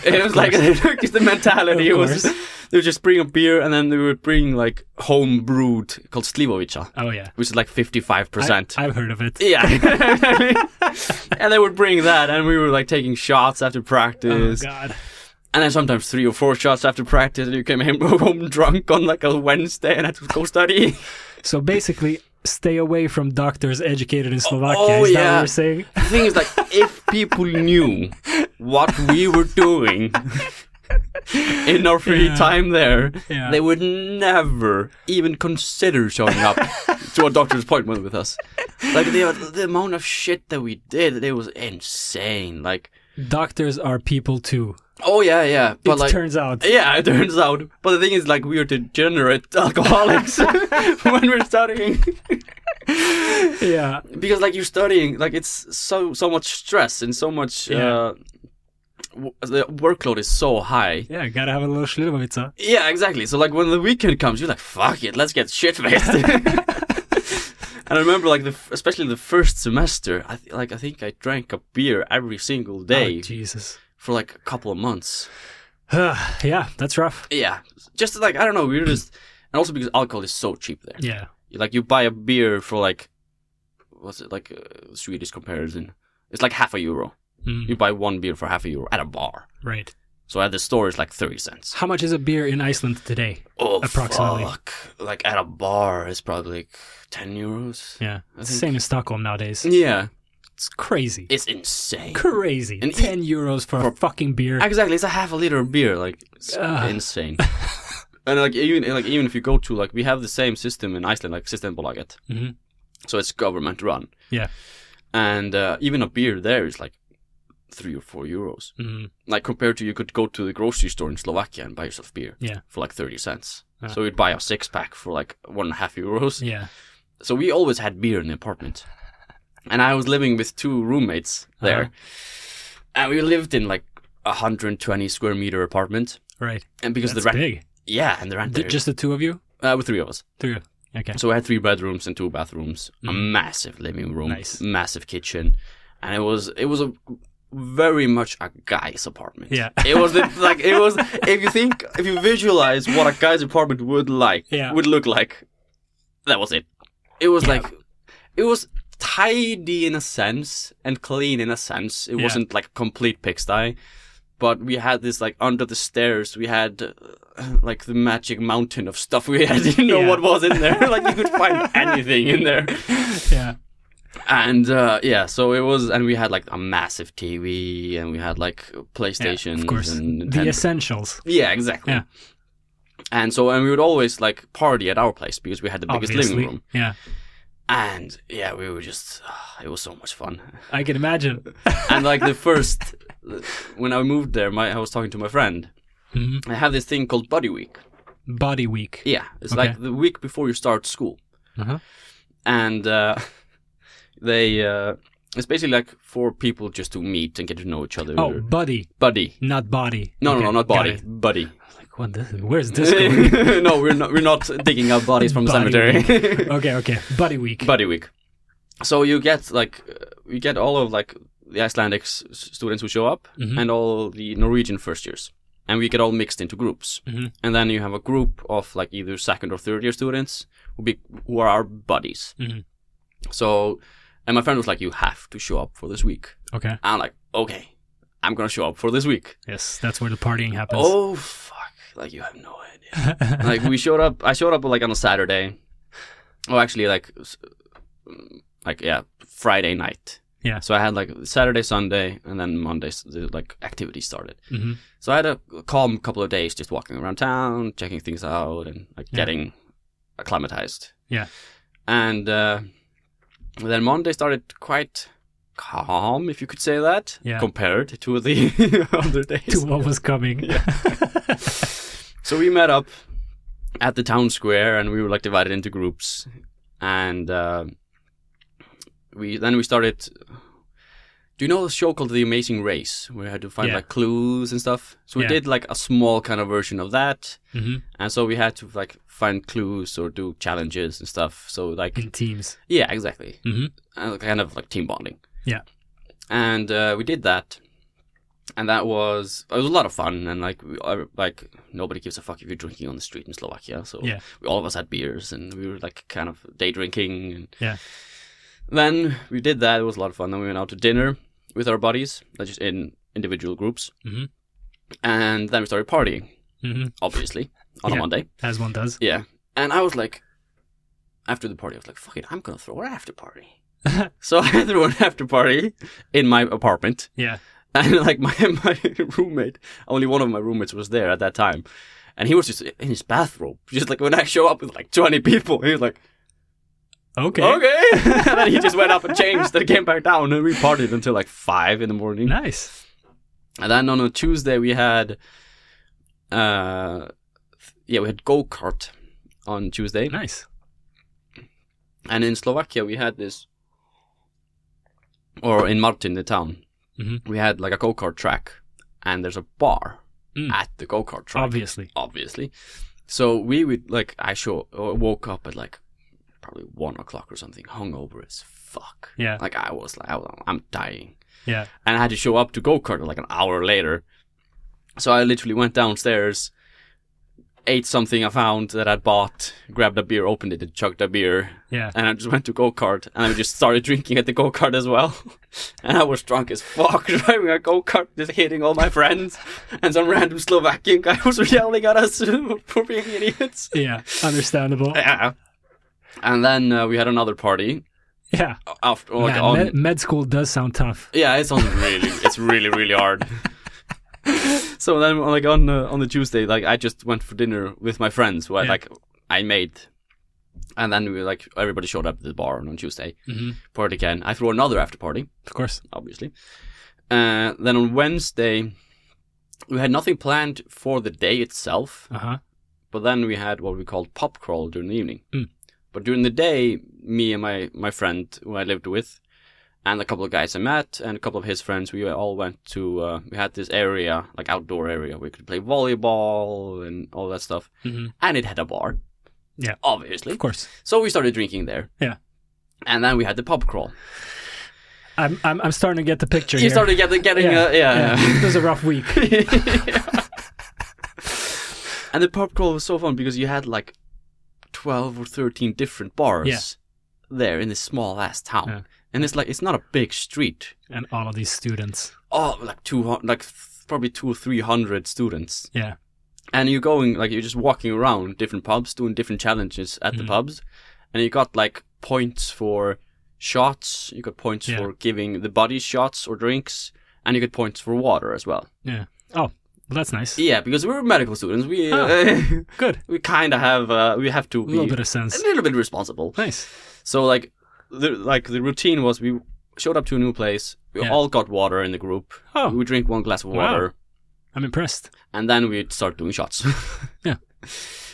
it was like just the mentality. Of It was course. they would just bring up beer, and then they would bring like home brewed called Slivovica, Oh yeah. which is like fifty five percent. I've heard of it. Yeah, and they would bring that, and we were like taking shots after Oh practice. God. And then sometimes three or four shots after practice, and you came home- home drunk on like a Wednesday and had to go study. So basically, stay away from doctors educated in Slovakia. oh, is that yeah. what you're saying? the thing is, like, if people knew what we were doing in our free Yeah. time there, Yeah. they would never even consider showing up to a doctor's appointment with us. Like, the, the amount of shit that we did, it was insane. Like, Doctors are people too. oh, yeah, yeah. But, it like, turns out. Yeah, it turns out. But the thing is, like, we are degenerate alcoholics when we're studying. yeah. because, like, you're studying, like, it's so so much stress and so much. Uh, Yeah. w- the workload is so high. Yeah. Gotta have a little Schlidovica. Yeah, exactly. So, like, when the weekend comes, you're like, fuck it, let's get shit faced. And I remember, like, the, f- especially the first semester, I th- like I think I drank a beer every single day Oh, Jesus. for like a couple of months. yeah. That's rough. Yeah, just like I don't know, we were just, and also because alcohol is so cheap there. Yeah. like you buy a beer for like what's it like uh, Swedish comparison? It's like half a euro. Mm, You buy one beer for half a euro at a bar. right. So at the store it's like thirty cents. How much is a beer in Iceland today? Oh, Approximately. Fuck. Like at a bar it's probably like ten euros. Yeah. I It's the think- Mm. same in Stockholm nowadays. Yeah, It's crazy. it's insane. crazy. And 10 euros for, a fucking beer. Exactly, it's a half a liter of beer. Like it's Ugh. insane. and like even like even if you go to like we have the same system in Iceland like Systembolaget. Mhm. So it's government run. Yeah. And uh, even a beer there is like three or four euros. Mm, Like compared to you could go to the grocery store in Slovakia and buy yourself beer. Yeah. For like thirty cents. Ah. So you'd buy a six pack for like one and a half euros. yeah. So we always had beer in the apartment. And I was living with two roommates there. Uh-huh. And we lived in like a 120 square meter apartment. Right. And because That's the big. rent, yeah, and the rent D- there- just the two of you? uh, with three of us. Three. Okay. So we had three bedrooms and two bathrooms, a Mm. massive living room, Nice. massive kitchen, and it was it was a very much a guy's apartment. Yeah. it was the, like it was. If you think, if you visualize what a guy's apartment would like, Yeah. would look like, that was it. It was like, it was tidy in a sense and clean in a sense. It Yeah. wasn't like a complete pigsty, but we had this like under the stairs. We had uh, like the magic mountain of stuff. We had didn't know Yeah. what was in there. like you could find anything in there. yeah. And uh, yeah, so it was, and we had like a massive TV, and we had like PlayStation, of course. and The Nintendo. essentials. Yeah, exactly. Yeah. And so, and we would always like party at our place because we had the biggest obviously. living room. Yeah. And yeah, we were just, uh, it was so much fun. I can imagine. And like the first, when I moved there, my, I was talking to my friend. Mhm. I have this thing called Buddy Week. Body week. Yeah, it's Okay. like the week before you start school. Uh-huh. And uh, they, uh, it's basically like for people just to meet and get to know each other. Oh, buddy, buddy. not body. No, Okay, no, no, not got body. it. Buddy. I was Like, what this, where's this going? no, we're not. We're not digging up bodies from the Buddy cemetery. okay, okay. Buddy week. Buddy week. So you get like uh, you get all of like the Icelandic s- students who show up Mhm. and all the Norwegian first years, and we get all mixed into groups. Mhm. And then you have a group of like either second or third year students who be who are our buddies. Mhm. So, and my friend was like, "You have to show up for this week." okay. I'm like, "Okay, I'm gonna show up for this week." Yes, that's where the partying happens. Oh fuck! Like you have no idea like we showed up i showed up like on a saturday oh actually like s- like yeah friday night Yeah. so i had like saturday sunday and then monday s- the like activity started hmm so i had a calm couple of days just walking around town checking things out and like Yeah. getting acclimatized Yeah. and uh, then monday started quite calm if you could say that Yeah. compared to the other days To what was coming. so we met up at the town square, and we were like divided into groups, and uh, we then we started. Do you know the show called The Amazing Race, where you had to find Yeah. like clues and stuff? So we Yeah. did like a small kind of version of that, Mhm. and so we had to like find clues or do challenges and stuff. So like In teams. yeah, exactly, Mhm. and kind of like team bonding. Yeah. and uh, we did that, and that was it was a lot of fun, and like we, I- like nobody gives a fuck if you're drinking on the street in Slovakia. So Yeah. we, all of us had beers, and we were like kind of day drinking. And Yeah. Then we did that. It was a lot of fun. Then we went out to dinner with our buddies, like just in individual groups, Mhm. and then we started partying, Mhm. obviously, on Yeah. a Monday. As one does. Yeah. Mm. And I was like, after the party, I was like, fuck it, I'm going to throw an after party. so I threw an after party in my apartment. Yeah. And like my, my roommate, only one of my roommates was there at that time. And he was just in his bathrobe. Just like when I show up with like 20 people, he was like, Okay. okay. and then he just went up and changed and came back down and we partied until like 5 in the morning. Nice. And then on a Tuesday we had, uh, yeah, we had go-kart on Tuesday. Nice. And in Slovakia, we had this, or in Martin, the town, Mhm. we had like a go kart track, and there's a bar Mm. at the go kart track, Obviously. obviously. So we would like, I show, uh, woke up at like probably one o'clock or something, hungover as fuck. Yeah. Like I was like, I was, I'm dying Yeah. and I had to show up to go kart like an hour later. So I literally went downstairs, ate something I found that I'd bought, grabbed a beer, opened it, and chugged a beer. Yeah. And I just went to go kart, and I just started drinking at the go kart as well. And I was drunk as fuck driving a go kart, just hitting all my friends. And some random Slovakian guy was yelling at us for being idiots. Yeah. Understandable. Yeah. And then uh, we had another party uh, Yeah. after Oh, like, um, Man, on, med, med school does sound tough. Yeah, it's on really, it's really, really hard. so then, like on uh, on the Tuesday, like I just went for dinner with my friends, where Yeah. like I made, and then we like everybody showed up at the bar on Tuesday. Mhm. Party again. I threw another after party, Of course. obviously. Uh, then on Wednesday, we had nothing planned for the day itself, Uh huh. but then we had what we called pop crawl during the evening. Mm. But during the day, me and my, my friend who I lived with, and a couple of guys I met, and a couple of his friends, we all went to, uh, we had this area, like outdoor area, where we could play volleyball and all that stuff. Mhm. And it had a bar. Yeah. Obviously. Of course. So we started drinking there. Yeah. And then we had the pub crawl. I'm I'm, I'm starting to get the picture You here. started getting, getting yeah. Uh, yeah. It was a rough week. and the pub crawl was so fun because you had like 12 or 13 different bars Yeah. there in this small ass town, Yeah. and it's like it's not a big street. and all of these students. Oh, like two hundred, like th- probably two or three hundred students, Yeah, and you're going like you're just walking around different pubs doing different challenges at the Mhm. pubs, and you got like points for shots. You got points Yeah. for giving the body shots or drinks, and you get points for water as well. yeah. Oh, well, that's nice. Yeah, because we're medical students, we uh, Good. we kind of have uh, we have to A be little bit of a sense. little bit responsible. Nice. So like the like the routine was we showed up to a new place. We Yeah. all got water in the group. Oh. We drink one glass of Wow. water I'm impressed. and then we'd start doing shots. Yeah.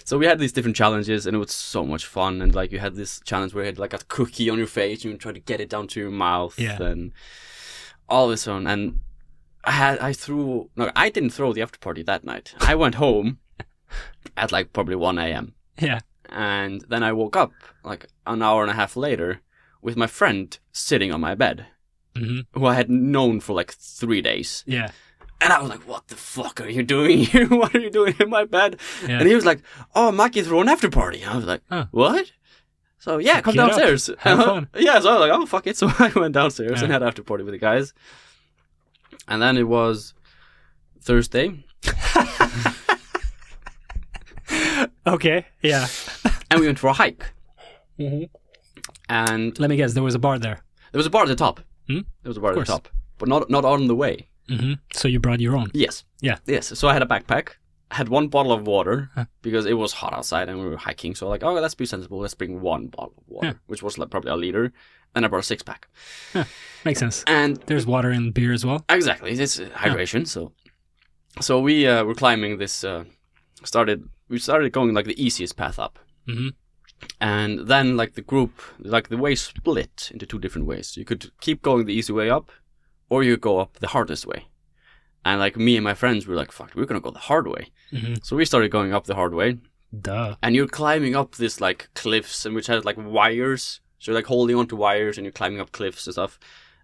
So we had these different challenges and it was so much fun and like you had this challenge where you had like a cookie on your face and you try to get it down to your mouth Yeah. and all this on and I had I threw no I didn't throw the after party that night. I went home at like probably one AM Yeah. and then I woke up like an hour and a half later with my friend sitting on my bed, hmm who I had known for like three days. Yeah. And I was like, "What the fuck are you doing here? what are you doing in my bed?" Yeah. And he was like, "Oh, Maki threw an after party." And I was like, Huh. "What?" So yeah, come Get up. downstairs. Uh-huh. Have fun. yeah, so I was like, "Oh fuck it!" So I went downstairs and Yeah. had after party with the guys. And then it was Thursday, Okay. Yeah. and we went for a hike. Mhm. And Let me guess. There was a bar there. there was a bar at the top. Hmm? There was a bar at the course. top, but not not on the way. hmm So you brought your own. Yes. Yeah. Yes. So I had a backpack, had one bottle of water Huh. because it was hot outside and we were hiking. So like, oh, let's be sensible. Let's bring one bottle of water, Yeah. which was like probably a liter. And I brought a six pack. Makes sense. And There's water and beer as well. exactly, it's uh, hydration. So, so we uh, were climbing this. Uh, started we started going like the easiest path up. Mhm. And then, like the group, like the way split into two different ways. You could keep going the easy way up, or you go up the hardest way. And like me and my friends were like, "Fuck, we're gonna go the hard way." hmm So we started going up the hard way, Duh. and you're climbing up this like cliffs, and which has like wires. So you're like holding onto wires, and you're climbing up cliffs and stuff.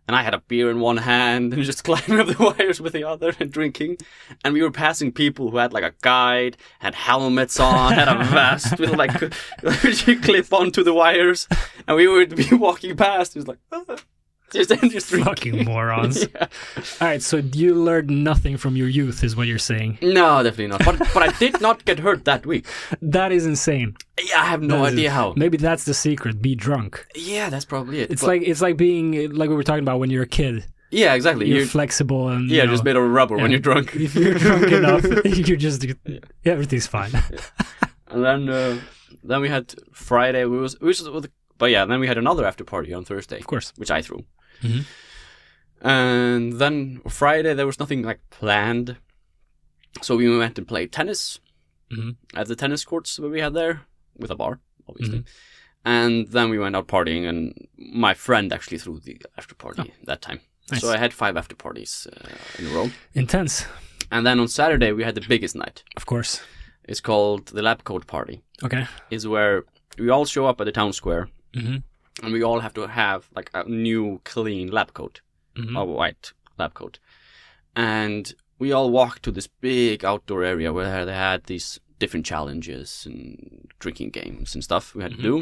And I had a beer in one hand, and just climbing up the wires with the other, and drinking. And we were passing people who had like a guide, had helmets on, had a vest with like which you clip onto the wires, and we would be walking past. It was like "Ah." just just drinking. Fucking morons. Yeah. All right. So you learned nothing from your youth, is what you're saying. No, definitely not. But but I did not get hurt that week. That is insane. Yeah, I have no That is- idea how. Maybe that's the secret. Be drunk. Yeah, that's probably it. It's But- like it's like being like we were talking about when you're a kid. yeah, exactly. You're, You're- flexible and you Yeah, know, just made of rubber yeah. when you're drunk. if you're drunk enough, you just everything's fine. and then uh, then we had Friday. We was which was with, but yeah. Then we had another after party on Thursday, Of course. which I threw. Mhm. And then Friday there was nothing like planned, so we went and played tennis Mhm. at the tennis courts that we had there with a bar, obviously. Mm-hmm. And then we went out partying, and my friend actually threw the after party that time. Oh. Nice. So I had five after parties uh, in a row. Intense, And then on Saturday we had the biggest night. of course. It's called the lab coat party. Okay. Is where we all show up at the town square hmm and we all have to have like a new clean lab coat, Mhm. a white lab coat, and we all walk to this big outdoor area where they had these different challenges and drinking games and stuff we had to do.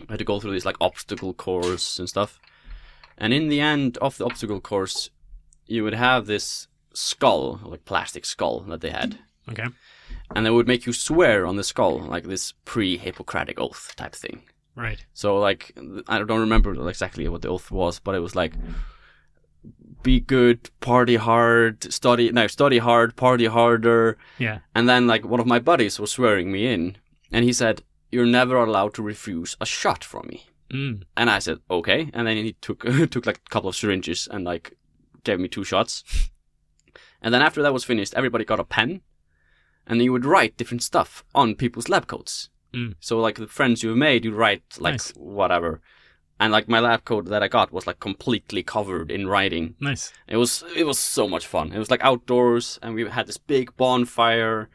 We had to go through this like obstacle course and stuff, and in the end of the obstacle course, you would have this skull, like plastic skull that they had Okay. and they would make you swear on the skull, like this pre-Hippocratic oath type thing. Right. So like, I don't remember exactly what the oath was, but it was like, be good, party hard, study no, study hard, party harder, Yeah. and then like one of my buddies was swearing me in, and he said, "You're never allowed to refuse a shot from me." Mm. And I said, okay. And then he took took like a couple of syringes and like gave me two shots. And then after that was finished, everybody got a pen, and you would write different stuff on people's lab coats. Mm. So like the friends you've made, you write like Nice. whatever. And like my lab coat that I got was like completely covered in writing. Nice. It was it was so much fun. It was like outdoors, and we had this big bonfire,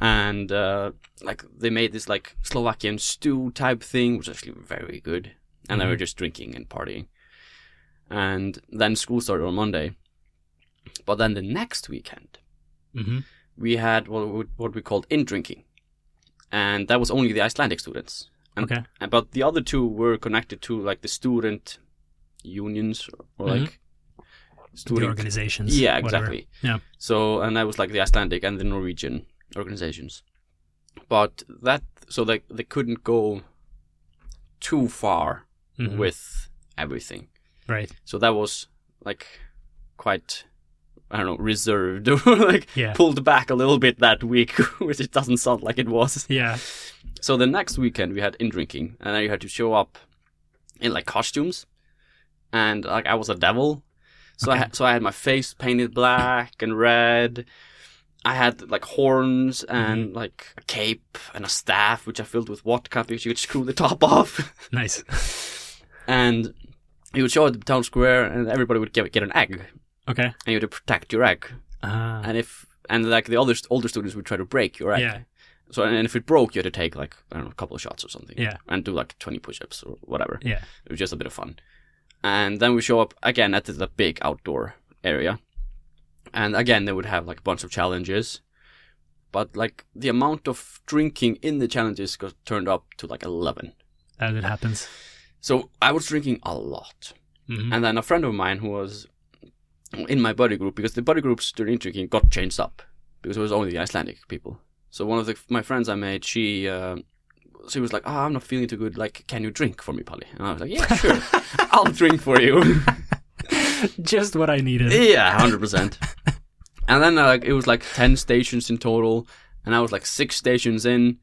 and uh, like they made this like Slovakian stew type thing, which was actually very good. And they were just drinking and partying, and then school started on Monday. But then the next weekend, hmm we had what we- what we called in drinking, and that was only the Icelandic students. And, Okay. and- but the other two were connected to like the student unions or, Mhm. like the student. organizations. Yeah, whatever. exactly. Yeah. So and I was like the Icelandic and the Norwegian organizations, but that so they they couldn't go too far Mhm. with everything. Right. So that was like quite I don't know reserved or like Yeah. pulled back a little bit that week, which it doesn't sound like it was. Yeah. So the next weekend we had in drinking, and then you had to show up in like costumes, and like I was a devil, so I Okay. had, so I had my face painted black and red. I had like horns and like a cape and a staff, which I filled with vodka because you could screw the top off. Nice. and you would show up at the town square, and everybody would get, get an egg, and Okay. you had to protect your egg. Uh, Mm-hmm. And if and like the other older students would try to break your egg. yeah. So and if it broke, you had to take like I don't know, a couple of shots or something. Yeah. And do like twenty push-ups or whatever. Yeah. It was just a bit of fun. And then we show up again at the big outdoor area, and again they would have like a bunch of challenges, but like the amount of drinking in the challenges got turned up to like eleven. As it happens. So I was drinking a lot, Mhm. Mm-hmm. and then a friend of mine who was in my buddy group because the buddy groups during drinking got changed up because it was only the Icelandic people. So one of the, my friends I made, she uh, she was like, "Ah, I'm not feeling too good. Like, can you drink for me, Polly?" And I was like, "Yeah, sure, I'll drink for you." Just what I needed. yeah, hundred percent. And then uh, like it was like ten stations in total, and I was like six stations in,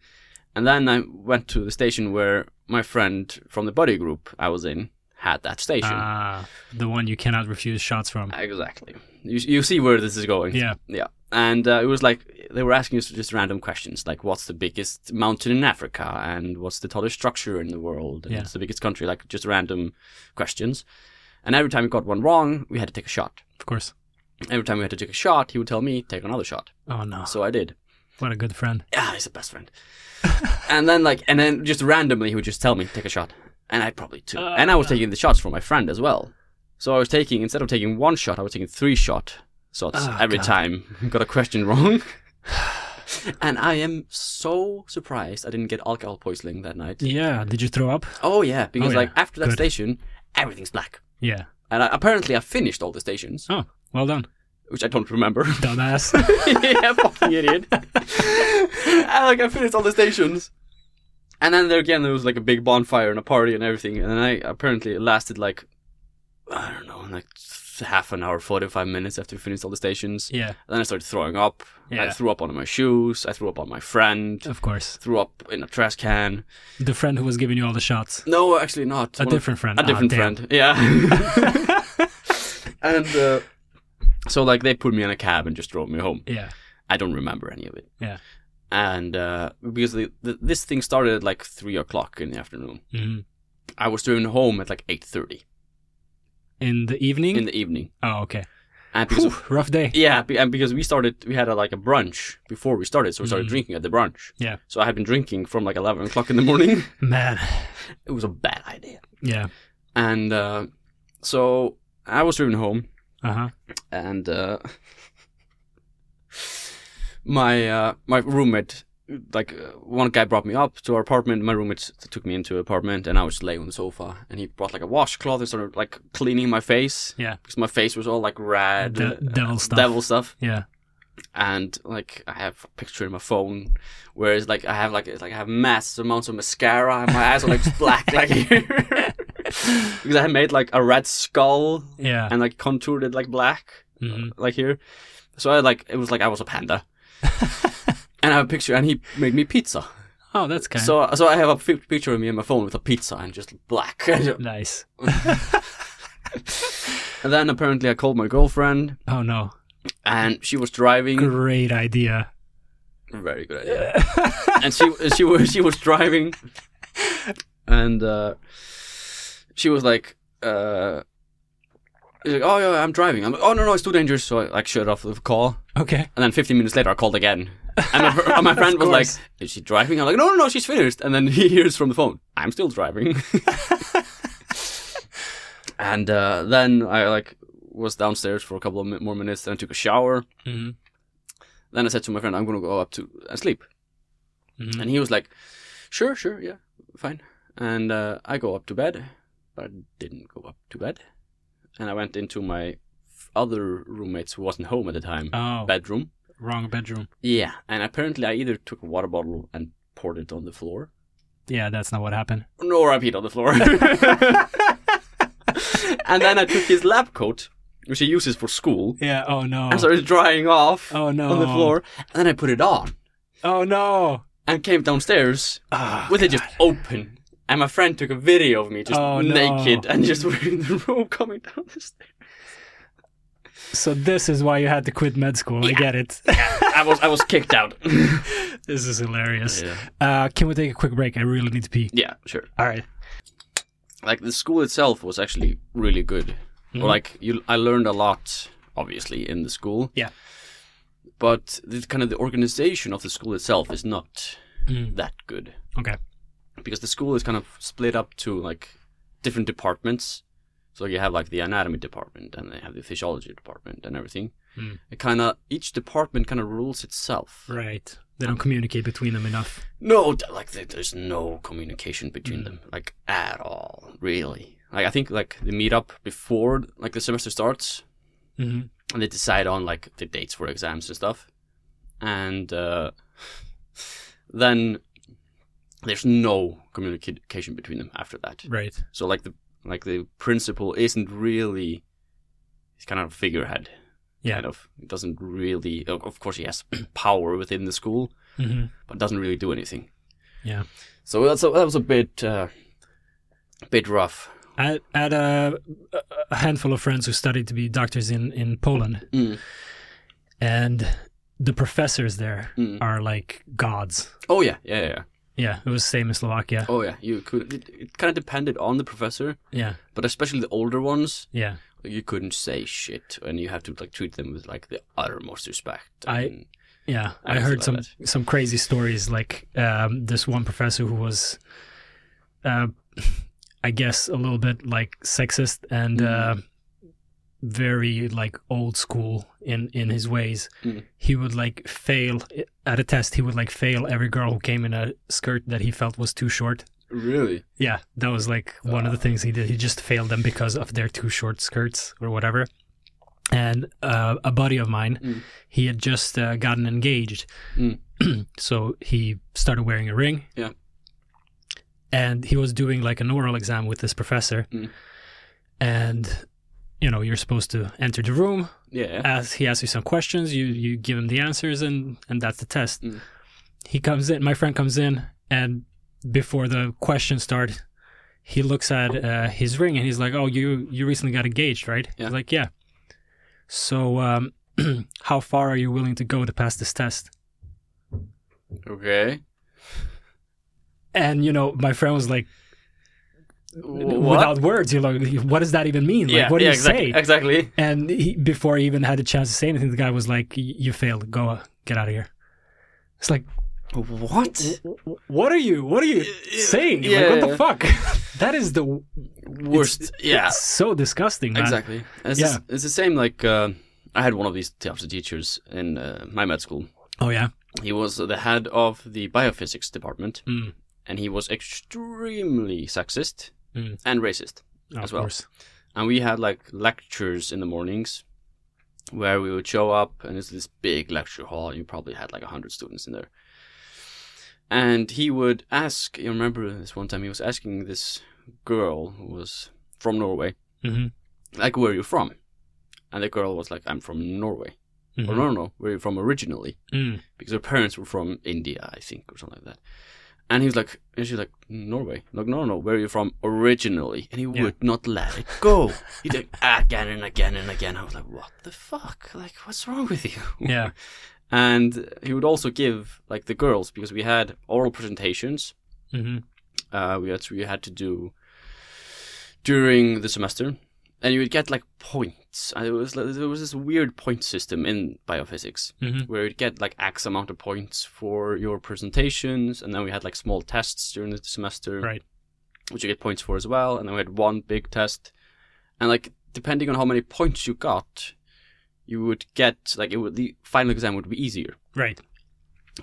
and then I went to the station where my friend from the buddy group I was in had that station. Ah, the one you cannot refuse shots from. Exactly. You you see where this is going. Yeah. Yeah. And uh, it was like they were asking us just random questions, like what's the biggest mountain in Africa, and what's the tallest structure in the world, and Yeah. what's the biggest country, like just random questions. And every time we got one wrong, we had to take a shot. Of course. Every time we had to take a shot, he would tell me take another shot. Oh no. So I did. What a good friend. Yeah, Ah, he's the best friend. and then like, and then just randomly, he would just tell me take a shot, and I probably too. Uh. and I was taking the shots from my friend as well. So I was taking instead of taking one shot, I was taking three shot shots Oh, every God. time. Got a question wrong. and I am so surprised I didn't get alcohol poisoning that night. Yeah. Did you throw up? Oh yeah, because yeah. like after that Good. station, everything's black. Yeah. And I, apparently, I finished all the stations, Oh, well done, which I don't remember. dumbass. yeah, fucking idiot. and, like I finished all the stations. And then there again, there was like a big bonfire and a party and everything. And I apparently it lasted like I don't know, like half an hour, forty-five minutes after we finished all the stations. yeah. And then I started throwing up. I Yeah. Oh. threw up on my shoes. I threw up on my friend. Of course. Threw up in a trash can. The friend who was giving you all the shots. No, actually not. A One of- different friend. a different Ah, damn. friend. Yeah. and uh, so like they put me in a cab and just drove me home. Yeah. I don't remember any of it. Yeah. And uh, because the, the, this thing started at like three o'clock in the afternoon, Mhm. I was driven home at like eight thirty In the evening. in the evening. oh, okay. And because Whew, rough day. yeah, be- and because we started, we had a, like a brunch before we started, so we started Mhm. drinking at the brunch. Yeah. So I had been drinking from like eleven o'clock in the morning. Man. it was a bad idea. Yeah. And uh, so I was driven home, Uh huh. and uh, my uh, my roommate like uh, one guy brought me up to our apartment my roommate took me into an apartment and i was laying on the sofa and he brought like a washcloth and started like cleaning my face Yeah. because my face was all like red De- uh, devil stuff. devil stuff Yeah. and like i have a picture in my phone whereas like i have like it's like i have massive amounts of mascara and my eyes are like black like here because i made like a red skull Yeah. and like contoured it like black Mhm. like here. So I like it was like I was a panda. and I have a picture, and he made me pizza. Oh, that's kind. So so I have a fi picture of me on my phone with a pizza and just black. and nice. then apparently I called my girlfriend, Oh no. and she was driving. Great idea. Very good idea. and she she was she was driving, and uh, she was like. Uh, she's like, oh yeah, I'm driving. I'm like, oh no, no, it's too dangerous. So I like shut off the call, okay. And then 15 minutes later, I called again. And my, fr- and my friend was like, course. Is she driving? I'm like, No, no, no, she's finished. And then he hears from the phone, I'm still driving. and uh, then I like was downstairs for a couple of mi- more minutes. Then I took a shower. Mhm. Then I said to my friend, I'm going to go up to and uh, sleep. Mhm. Mm-hmm. And he was like, Sure, sure, yeah. fine. And uh, I go up to bed, but I didn't go up to bed. And I went into my f- other roommate's who wasn't home at the time Oh, bedroom. wrong bedroom. Yeah, and apparently I either took a water bottle and poured it on the floor, Yeah, that's not what happened. nor I peed on the floor. and then I took his lab coat, which he uses for school, Yeah. Oh no. and started drying off Oh no. on the floor. And then I put it on Oh no. and came downstairs Ah, with it just open. And my friend took a video of me just Oh, no. naked and just in the room coming down the stairs. so this is why you had to quit med school. I get it. I was I was kicked out. this is hilarious. yeah. Uh, can we take a quick break? I really need to pee. yeah, sure. All right. Like the school itself was actually really good. Mm-hmm. Or Like you, I learned a lot, obviously, in the school. Yeah. But the kind of the organization of the school itself is not Mm. that good Okay. because the school is kind of split up to like different departments. So you have like the anatomy department and they have the physiology department and everything. Mm. It kind of each department kind of rules itself. Right. They don't communicate between them enough. No, th- like there- there's no communication between them, like at all, really. Like I think like the meetup before like the semester starts, hmm and they decide on like the dates for exams and stuff, and uh, then there's no communication between them after that. Right. So like the like the principal isn't really he's kind of a figurehead. Yeah. Kind of He doesn't really. Of of course, he has power within the school, hmm but doesn't really do anything. Yeah. So that's a, that was a bit uh, bit rough. I I had a, a handful of friends who studied to be doctors in, in Poland, Mm. and the professors there Mm. are like gods. Oh yeah, yeah, yeah, yeah. Yeah, it was the same in Slovakia. Oh yeah, you could. It, it kind of depended on the professor, Yeah, but especially the older ones, yeah. you couldn't say shit, and you have to like treat them with like the uttermost respect. I- and- Yeah, I, I also heard love some some crazy stories. Like um, this one professor who was, uh, I guess, a little bit like sexist and uh, very like old school in in his ways. Mm. He would like fail at a test. He would like fail every girl who came in a skirt that he felt was too short. really. Yeah, that was like one of Uh, the things he did. He just failed them because of their too short skirts or whatever. And uh, a buddy of mine, Mm. he had just uh, gotten engaged. Mm. so he started wearing a ring. Yeah. And he was doing like an oral exam with this professor. Mm. And, you know, you're supposed to enter the room, Yeah. as he asks you some questions, you you give him the answers, and and that's the test. Mm. He comes in. My friend comes in, and before the questions start, he looks at uh, his ring and he's like, "Oh, you you recently got engaged, right?" Yeah. He's like, "Yeah." So, um, how far are you willing to go to pass this test? Okay. And you know, my friend was like, What? without words, you know, what does that even mean? Like, yeah. what do yeah. you exactly. say? Exactly. And he, before he even had a chance to say anything, the guy was like, "Y- "You failed. Go uh, get out of here." It's like. What? what are you what are you Yeah, saying yeah, like what Uh, yeah. the fuck that is the Worst. yeah. it's so disgusting man. Exactly. And It's, Yeah. the, it's the same. Like uh, I had one of these types of teachers in uh, my med school. oh yeah He was the head of the biophysics department, Mm. and he was extremely sexist Mm. and racist. Oh, of As well. course And we had like lectures in the mornings, where we would show up, and it's this big lecture hall. You probably had like hundred students in there. And he would ask. You remember this one time he was asking this girl who was from Norway, hmm like, "Where are you from?" And the girl was like, "I'm from Norway." Or no, no, where you're from originally, mm-hmm, Mm. because her parents were from India, I think, or something like that. And he was like, and she's like, Norway. Like, no, no, where are you from originally? And he Yeah. would not let it go. He'd like, again and again and again. I was like, what the fuck? Like, what's wrong with you? yeah And he would also give, like, the girls, because we had oral presentations, hmm uh, we, had, we had to do during the semester. And you would get, like, points. And it was, like, there was this weird point system in biophysics hmm where you'd get like X amount of points for your presentations, and then we had like small tests during the semester, Right. Which you get points for as well, and then we had one big test, and like depending on how many points you got, you would get like it would the final exam would be easier. right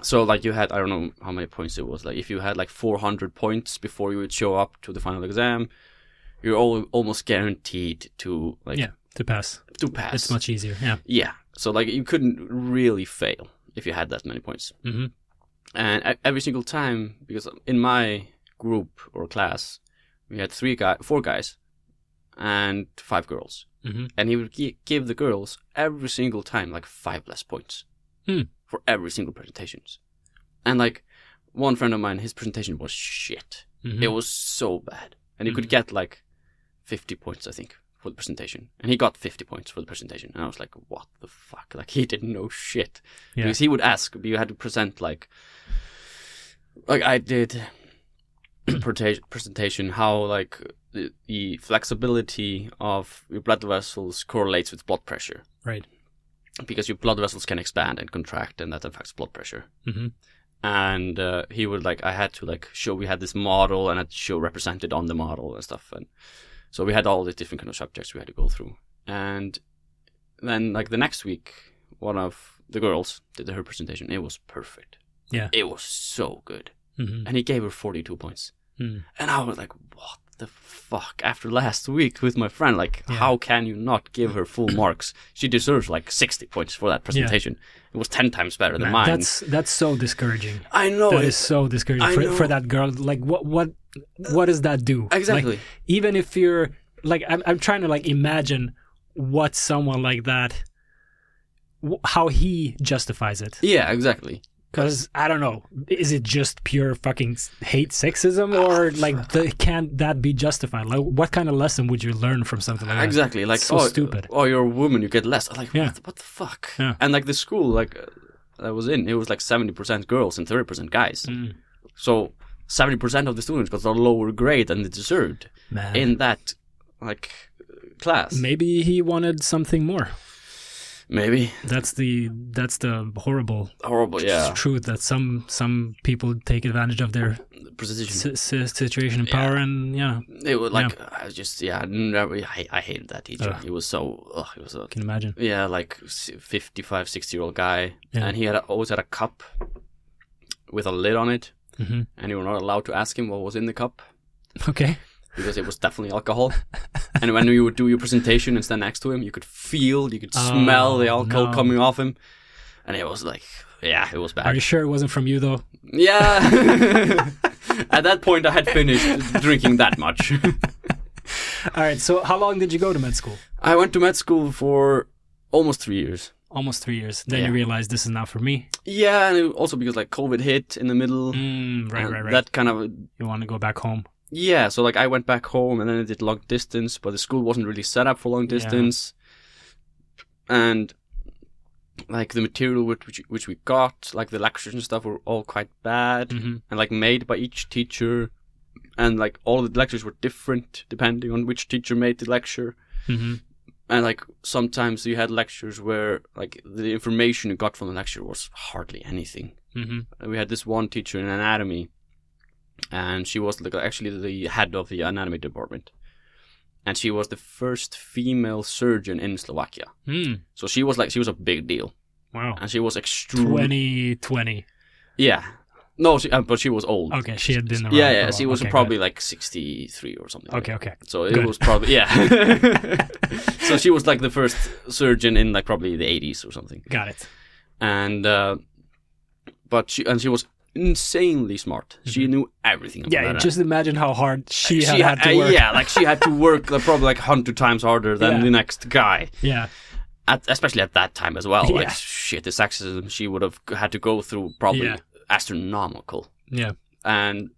So like you had I don't know how many points it was like if you had like 400 points before you would show up to the final exam, you're all, almost guaranteed to like yeah, to pass. to pass. It's much easier. Yeah. Yeah. So like you couldn't really fail if you had that many points. Mhm. And e- every single time, because in my group or class, we had three guy, four guys, and five girls, Mhm. and he would gi- give the girls every single time like five less points Hmm. for every single presentations, and like one friend of mine, his presentation was shit. Mhm. It was so bad. And you could Mm-hmm. get like 50 points, I think, for the presentation. And he got 50 points for the presentation. And I was like, what the fuck? Like, he didn't know shit. Yeah. Because he would ask, you had to present like, like I did prota- presentation, how like the, the flexibility of your blood vessels correlates with blood pressure. Right. Because your blood vessels can expand and contract, and that affects blood pressure Mhm. and uh, he would like I had to like show we had this model and I had to show represented on the model and stuff and so we had all the different kind of subjects we had to go through and then like the next week one of the girls did her presentation it was perfect Yeah. it was so good Mhm. and he gave her 42 points Hmm. and I was like what the fuck after last week with my friend like Yeah. how can you not give her full marks she deserves like 60 points for that presentation it was 10 times better than Man, mine that's that's so discouraging. I know that it- is so discouraging I for, know. for that girl. Like, what what what does that do? Like, Exactly. even if you're like, I'm I'm trying to like imagine what someone like that, wh- how he justifies it. Yeah, exactly. Because I don't know, is it just pure fucking s- hate sexism, or Ah, like the, can that be justified? Like, what kind of lesson would you learn from something like that? Exactly. Like uh, so oh, stupid. Oh, you're a woman, you get less. I'm like Yeah. what, the, what the fuck? Yeah. And like the school, like uh, I was in, it was like seventy percent girls and thirty percent guys. Mm. So seventy percent of the students got a lower grade than they deserved Man, in that like class. maybe he wanted something more. Maybe That's the that's the horrible horrible. Yeah. truth that some some people take advantage of their Presentation. si- si- situation and power, and yeah, It was like I just yeah. I Never, I, I hated that teacher. It was so. Ugh, it was a can imagine. yeah like s- 55 60 year old guy Yeah. and he had a, always had a cup with a lid on it Mhm. and you were not allowed to ask him what was in the cup Okay, because it was definitely alcohol and when you would do your presentation and stand next to him you could feel you could Oh, smell the alcohol no. coming off him and it was like yeah it was are bad you sure it wasn't from you though? yeah at that point i had finished drinking that much All right, so how long did you go to med school? i went to med school for almost three years Almost three years. Then Yeah. you realized this is not for me. yeah and it, also because like covid hit in the middle Mm, right, right, right. and Mm-hmm. Uh-huh. that kind of you want to go back home? Yeah, so like I went back home and then I did long distance, but the school wasn't really set up for long Yeah. distance. And like the material which which- which we got, like the lectures and stuff were all quite bad hmm and like made by each teacher and like all the lectures were different depending on which teacher made the lecture. hmm And like sometimes you had lectures where like the information you got from the lecture was hardly anything hmm we had this one teacher in anatomy, and she was like actually the head of the anatomy department, and she was the first female surgeon in Slovakia. Mm. So she was like she was a big deal, Wow. and she was extremely 2020. yeah. No, she, uh, but she was old. Okay, she had been around. Yeah, for a yeah. while. She was Okay, probably like sixty-three or something. good. Okay, okay. So it Good. was probably yeah. so she was like the first surgeon in like probably the eighties or something, Got it. and uh, but she and she was insanely smart. She knew everything. About Mm-hmm. Yeah, anatomy. just imagine how hard she, had, uh, she uh, had to work. yeah, like she had to work like, probably like hundred times harder than Yeah. the next guy, yeah. at, especially at that time as well. Like Yeah. shit, the sexism she would have had to go through probably Yeah. astronomical. Yeah. And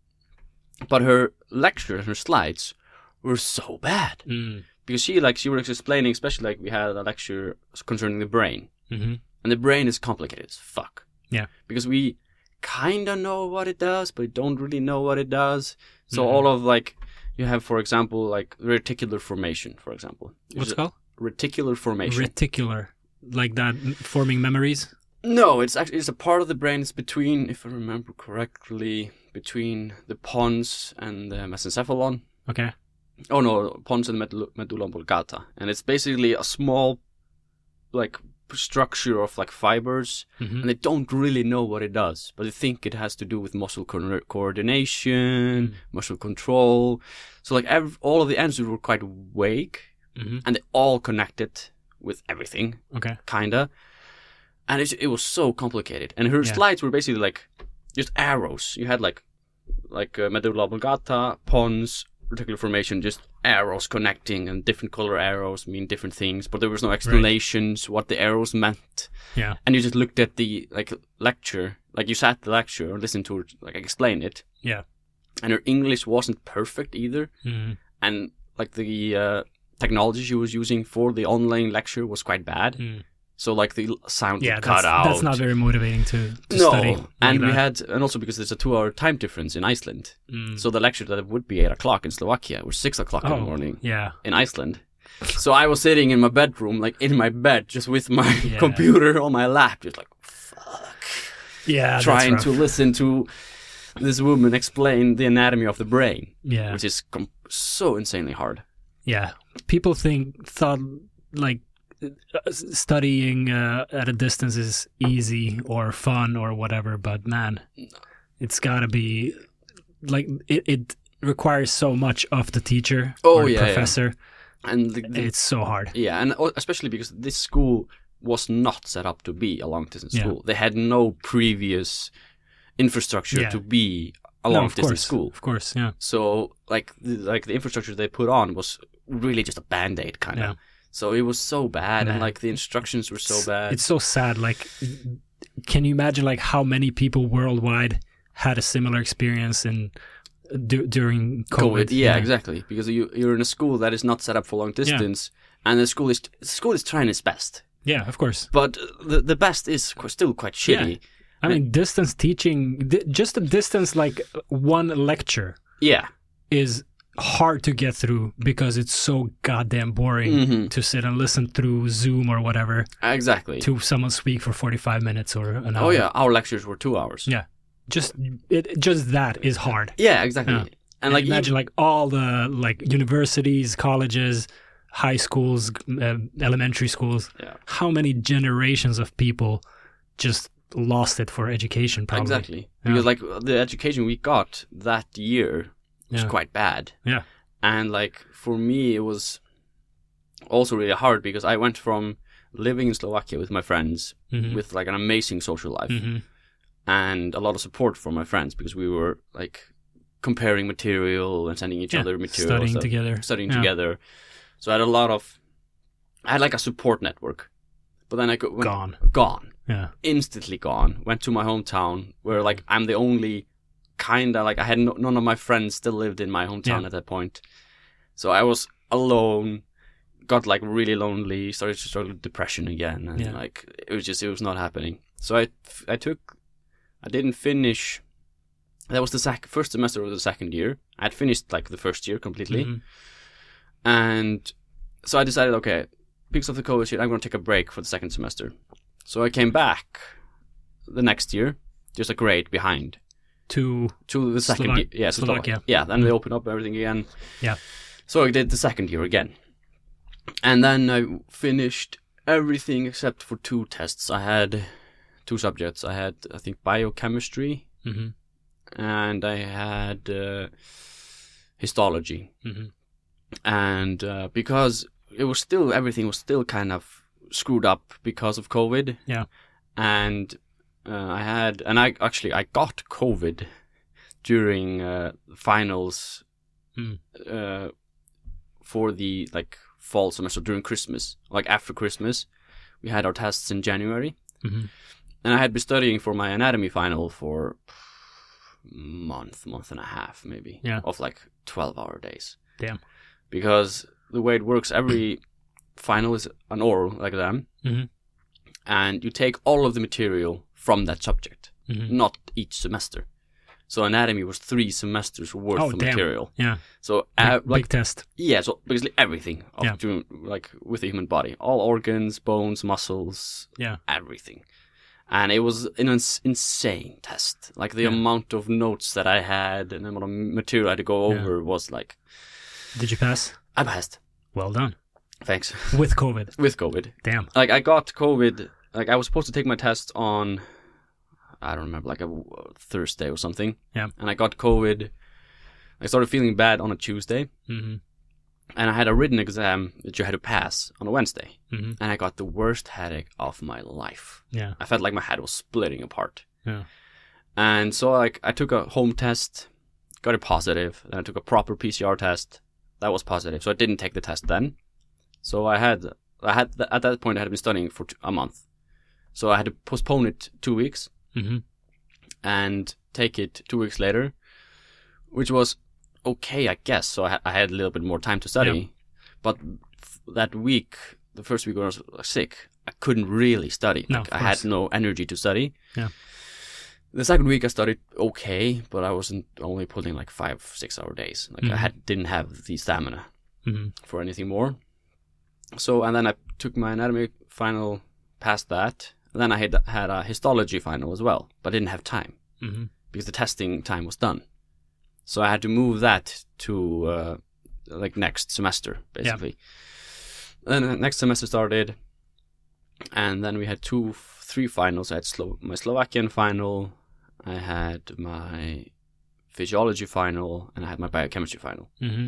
but her lecture and her slides were so bad Mm. because she like she was explaining, especially like we had a lecture concerning the brain, hmm and the brain is complicated as fuck. Yeah. because we kind of know what it does, but we don't really know what it does. So Mhm. all of like you have, for example, like reticular formation, for example. What's it Is called? reticular formation? Reticular. Like that, m- forming memories. no, it's actually it's a part of the brain. It's between, if I remember correctly, between the pons and the mesencephalon. Okay. Oh no, pons and medulla, medulla oblongata, and it's basically a small, like structure of like fibers, Mhm. and they don't really know what it does, but they think it has to do with muscle co- coordination, muscle control. So like ev- all of the answers were quite vague, Mhm. and they all connected with everything Okay. kinda. And it, it was so complicated. And her Yeah. slides were basically like just arrows. You had like like uh, medulla oblongata, pons, reticular formation, just arrows connecting, and different color arrows mean different things. But there was no explanations what the arrows meant. Yeah. And you just looked at the like lecture, like you sat the lecture or listened to her like explain it. Yeah. And her English wasn't perfect either Mhm. and like the uh, technology she was using for the online lecture was quite bad. Mm. So like the l- sound Yeah. would cut That's, out. that's not very motivating to, to no, study. and we like that. had, and also because there's a two-hour time difference in Iceland, Mm. so the lecture that would be eight o'clock in Slovakia was six o'clock in Oh, the morning Yeah. in Iceland. So I was sitting in my bedroom, like in my bed, just with my Yeah. computer on my lap, just like fuck, Yeah. that's trying rough. to listen to this woman explain the anatomy of the brain, Yeah. which is com- so insanely hard. Yeah. People think thought like uh, s- studying uh, at a distance is easy or fun or whatever, but man, it's got to be like it, it requires so much of the teacher Oh, or yeah, yeah. professor. And the, the It's so hard. Yeah, and o- especially because this school was not set up to be a long distance Yeah. school. They had no previous infrastructure Yeah. to be a No, long of distance course, school. Of course, yeah. So like the, like the infrastructure they put on was really just a band aid kind of. Yeah. So it was so bad, Man. and like the instructions were so It's- bad. It's so sad. Like, can you imagine like how many people worldwide had a similar experience in du- during COVID? COVID. Yeah, exactly. Because you you're in a school that is not set up for long distance, and the school is school is trying its best, Yeah, of course. but the the best is qu- still quite shitty. I mean, distance teaching, di- just a distance like one lecture Yeah. is hard to get through because it's so goddamn boring Mhm. to sit and listen through Zoom or whatever Exactly. to someone speak for 45 minutes or an hour. Oh yeah, our lectures were two hours. Yeah. Just it, just that is hard. Yeah, exactly. Yeah. And like e imagine like all the like universities, colleges, high schools, g- uh, elementary schools. Yeah. How many generations of people just lost it for education even- probably. exactly Yeah. because like the education we got that year was Yeah. quite bad. Yeah. And like for me, it was also really hard because I went from living in Slovakia with my friends Mhm. with like an amazing social life Mhm. and a lot of support from my friends because we were like comparing material and sending each Yeah, other material studying stuff, together. studying Yeah. together. So I had a lot of I had like a support network, but then I could went, Gone. gone. Yeah. instantly gone. Went to my hometown where like I'm the only kinda like I had no, none of my friends still lived in my hometown Yeah. at that point. So I was alone. Got like really lonely. Started to struggle with depression again, and Yeah. like it was just it was not happening. So I I took I didn't finish. That was the sec- first semester of the second year. I had finished like the first year completely, Mhm. and so I decided, okay, because of the COVID shit, I'm going to take a break for the second semester. So I came back the next year, just a grade behind To to the second Slovak- year. Yeah, to Slovakia. Yeah, then they opened up everything again. Yeah. So I did the second year again. And then I finished everything except for two tests. I had two subjects. I had, I think, biochemistry Mhm. and I had uh, histology Mhm. and uh, because it was still everything was still kind of screwed up because of COVID. Yeah. and uh, I had and I actually I got COVID during uh, finals Hmm. uh, for the like fall semester during Christmas, like after Christmas, we had our tests in January, Mhm. and I had been studying for my anatomy final for month, month and a half maybe, Yeah. of like twelve hour days because the way it works, every final is an oral exam, Mhm. and you take all of the material from that subject, Mhm. not each semester. So anatomy was three semesters worth Oh, of damn. material. Yeah. So uh, big, like big test. yeah, so basically everything of Yeah. doing, like with the human body, all organs, bones, muscles, Yeah. everything. And it was an ins- insane test. Like the Yeah. amount of notes that I had and the amount of material I had to go Yeah. over was like Did you pass? I passed. Well done. Thanks. with COVID. With COVID. Damn. Like I got COVID. Like I was supposed to take my test on, I don't remember, like a Thursday or something. Yeah. And I got COVID. I started feeling bad on a Tuesday, hmm and I had a written exam that you had to pass on a Wednesday, hmm and I got the worst headache of my life. Yeah. I felt like my head was splitting apart. Yeah. And so like I took a home test, got it positive, then I took a proper PCR test. That was positive. So I didn't take the test then. So I had I had at that point I had been studying for t- a month. So I had to postpone it 2 weeks hmm and take it 2 weeks later, which was okay, I guess. So I, ha- I had a little bit more time to study. But f- that week, the first week when I was sick, I couldn't really study. No, Like, of I had course. no energy to study. Yeah. The second week I studied okay, but I wasn't only putting like five, six hour days. Like I Mhm. had didn't have the stamina hmm for anything more. So and then I took my anatomy final, passed that. And then I had had a histology final as well, but I didn't have time hmm because the testing time was done. So I had to move that to uh, like next semester, basically. And the next semester started, and then we had two, three finals. I had Slo- my Slovakian final, I had my physiology final, and I had my biochemistry final. hmm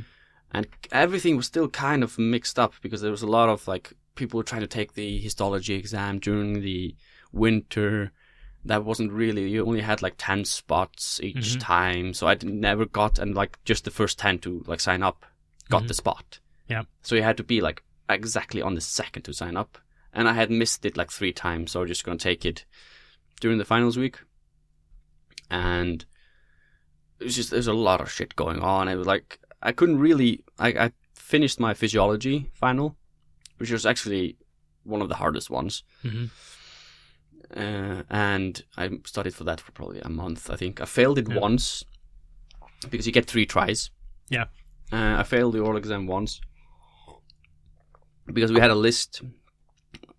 And everything was still kind of mixed up because there was a lot of like people were trying to take the histology exam during the winter. That wasn't really. You only had like ten spots each Mhm. time, so I d- never got and like just the first ten to like sign up got Mhm. the spot. Yeah. So you had to be like exactly on the second to sign up, and I had missed it like three times. So I was just gonna take it during the finals week, and it's just there's a lot of shit going on. It was like I couldn't really. I, I finished my physiology final, which was actually one of the hardest ones, hmm uh, and I studied for that for probably a month. I think I failed it Yeah. once because you get three tries. Yeah. uh, I failed the oral exam once because we had a list.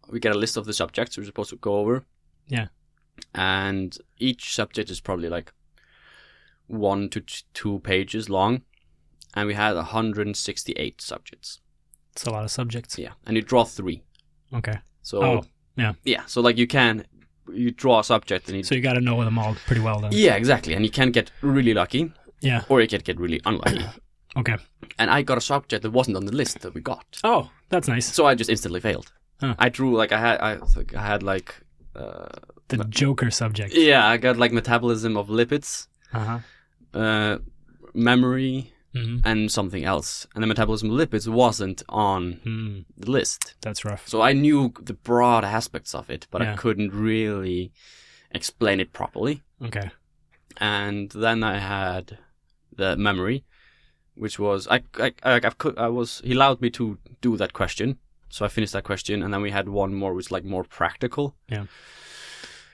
We get a list of the subjects we're supposed to go over. Yeah. and each subject is probably like one to t- two pages long, and we had 168 subjects. It's a lot of subjects. Yeah, and you draw three. Okay. So Oh, yeah. yeah. So like you can you draw a subject and you So you got to know them all pretty well then. yeah exactly, and you can get really lucky Yeah. or you can get really unlucky. Okay. and I got a subject that wasn't on the list that we got, Oh, that's nice. so I just instantly failed. Huh. I drew like I had I, think I had like. Uh, The Joker subject. yeah, I got like metabolism of lipids, Uh huh. uh, memory, hmm and something else. And the metabolism of lipids wasn't on Mm, the list. that's rough. So I knew the broad aspects of it, but I Yeah. couldn't really explain it properly. Okay. And then I had the memory, which was I I I, I've, cou- I was he allowed me to do that question, so I finished that question, and then we had one more, which is like more practical. Yeah.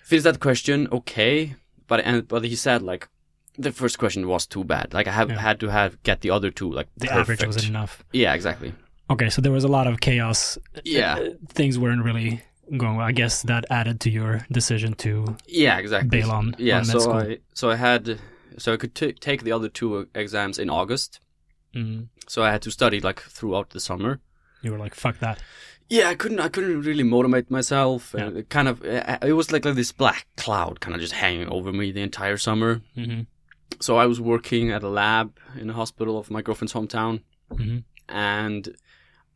Finished that question, okay, but and but he said like. The first question was too bad. Like I have Yeah. had to have get the other two like The perfect. average was enough. Yeah, exactly. Okay, so there was a lot of chaos. Yeah, Uh, Things weren't really going well. I guess that added to your decision to. yeah, exactly. bail on- Yeah, on med so school. I so I had so I could t- take the other two exams in August. Mm, So I had to study like throughout the summer. you were like, fuck that. Yeah, I couldn't I couldn't really motivate myself. and it kind of uh, it was like, like this black cloud kind of just hanging over me the entire summer. hmm So I was working at a lab in a hospital of my girlfriend's hometown, Mhm. and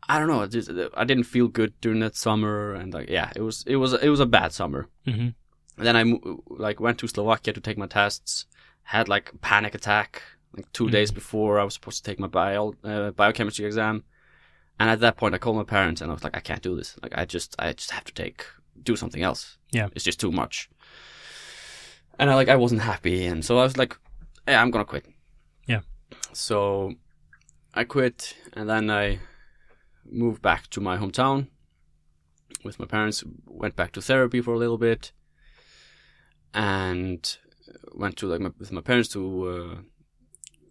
I don't know. I Just, I didn't feel good during that summer, and like yeah, it was it was it was a bad summer. hmm then I mo- like went to Slovakia to take my tests. Had like panic attack like 2 Mm. days before I was supposed to take my bio uh, biochemistry exam, and at that point I called my parents and I was like, I can't do this. Like I just I just have to take do something else. Yeah. it's just too much. And I like I wasn't happy, and so I was like, hey, I'm gonna quit. Yeah. So I quit, and then I moved back to my hometown with my parents. Went back to therapy for a little bit and went to like my, with my parents to uh,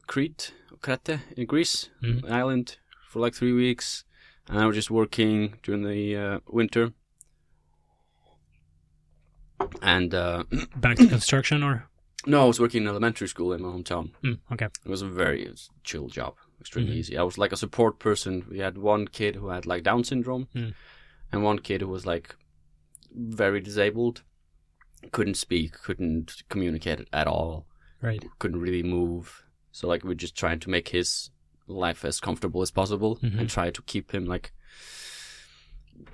Crete, Crete in Greece, Mhm. an island for like three weeks, and I was just working during the uh, winter. And uh, Back to construction or? no, I was working in elementary school in my hometown. Mm, okay. It was a very chill job. It extremely Mhm. easy. I was like a support person. We had one kid who had like Down syndrome, Mm. and one kid who was like very disabled, couldn't speak, couldn't communicate at all, Right. couldn't really move. So like we're just trying to make his life as comfortable as possible Mhm. and try to keep him like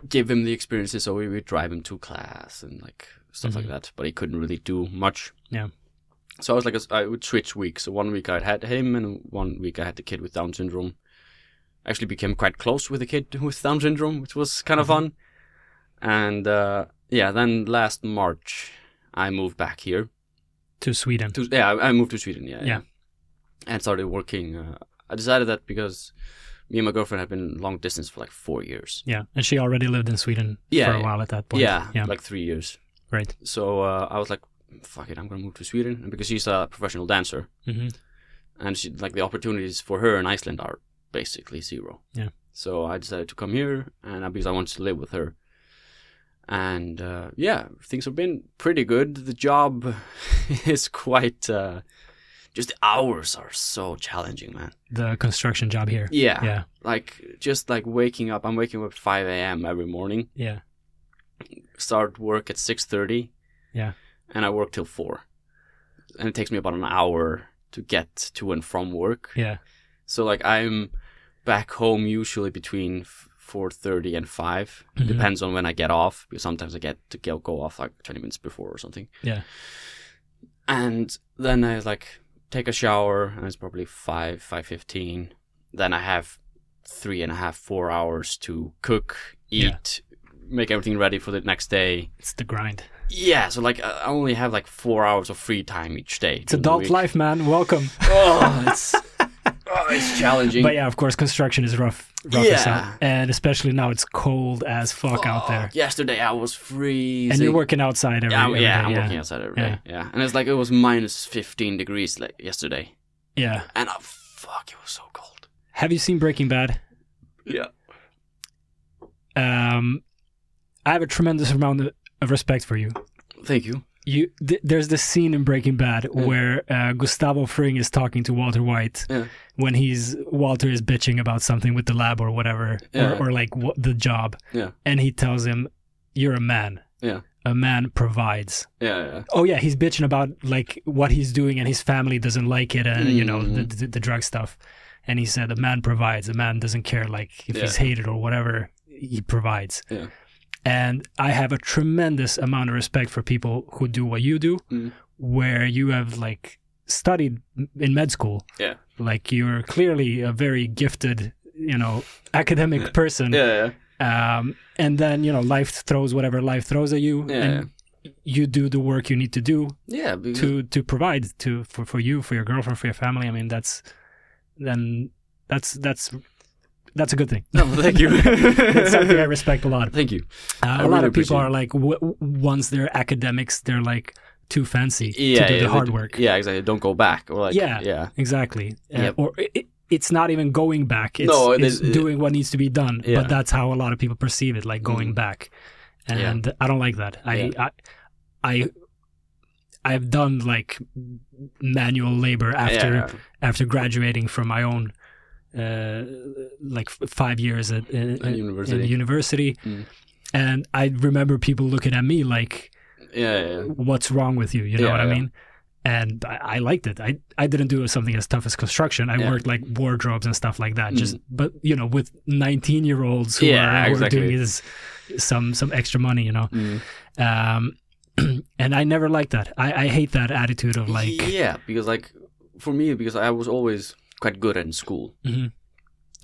give him the experiences so we would drive him to class and like stuff like Mhm. that. But he couldn't really do much. Yeah. So I was like, a- I would switch weeks. So one week I had him, and one week I had the kid with Down syndrome. Actually, became quite close with the kid with Down syndrome, which was kind of Mhm. fun. And uh, yeah, then last March I moved back here. To Sweden. To, yeah, I I moved to Sweden. Yeah, Yeah. And started working. Uh, I decided that because me and my girlfriend had been long distance for like four years. yeah. And she already lived in Sweden Yeah, for a yeah. while at that point. Yeah, Yeah. like three years. right. So uh, I was like, "Fuck it, I'm gonna move to Sweden." And because she's a professional dancer, hmm and she, like the opportunities for her in Iceland are basically zero. Yeah. So I decided to come here, and uh, because I wanted to live with her. And uh, yeah, things have been pretty good. The job is quite. Uh, just the hours are so challenging, man. The construction job here. Yeah, Yeah. Like just like waking up. I'm waking up at 5 a.m. every morning. Yeah. Start work at 6:30. Yeah. And I work till four, and it takes me about an hour to get to and from work. Yeah. So like I'm back home usually between four thirty and 5 Mhm. Depends on when I get off because sometimes I get to go, go off like twenty minutes before or something. Yeah. And then I like take a shower and it's probably five five fifteen. Then I have three and a half four hours to cook, Yeah. eat, make everything ready for the next day. It's the grind. Yeah. So like I I only have like four hours of free time each day. It's adult life, man. Welcome. Oh, it's oh, it's challenging. But yeah, of course, construction is rough. rough as hell. Yeah. And especially now it's cold as fuck out there. Fuck, Oh, Yesterday I was freezing. And you're working outside every, Yeah, I'm- every yeah, day, I'm yeah. working outside every Yeah. day. Yeah. and it's like it was minus 15 degrees like yesterday, Yeah. and oh, fuck, it was so cold. Have you seen Breaking Bad? Yeah. Um, I have a tremendous amount of- of respect for you. Thank you. you th- there's this scene in Breaking Bad Yeah. where uh, Gustavo Fring is talking to Walter White Hmm. Yeah. when he's Walter is bitching about something with the lab or whatever Yeah. or, or like what the job Yeah. and he tells him you're a man Yeah. a man provides Yeah, yeah. oh yeah he's bitching about like what he's doing and his family doesn't like it and you know the, Mhm. the, the drug stuff and he said a man provides a man doesn't care like if Yeah. he's hated or whatever he provides Yeah. and i have a tremendous amount of respect for people who do what you do Mm. where you have like studied in med school Yeah. like you're clearly a very gifted you know academic person Yeah, yeah. um, and then you know life throws whatever life throws at you Yeah, Mm-hmm. and you do the work you need to do Yeah, because, to to provide to for, for you for your girlfriend for your family i mean that's then that's that's that's a good thing no, thank you. it's something i respect a lot Thank you. uh, a really lot of people appreciate are like w- w- once they're academics they're like too fancy Yeah, to do yeah, the hard but- work Yeah, exactly. Don't go back. Or like, Yeah. yeah, yeah, exactly Uh, Yep. or i i- it's not even going back it's, No, it it's is- it- doing what needs to be done Yeah. but that's how a lot of people perceive it like going Mm. back and i don't like that I, I i i've done like manual labor after yeah. after graduating from my own uh, like f- five years at, in, At in university. university. Mm. and I remember people looking at me like, yeah, yeah, "What's wrong with you?" You know Yeah, what I yeah. mean? And I, I liked it. I I didn't do something as tough as construction. I Yeah. Mm. worked like wardrobes and stuff like that. Just but you know with nineteen year olds who, Yeah, are, who exactly. are doing is some some extra money. You know, Mm. um, and I never liked that. I, I hate that attitude of like, yeah, because like for me, because I was always quite good in school, Mhm.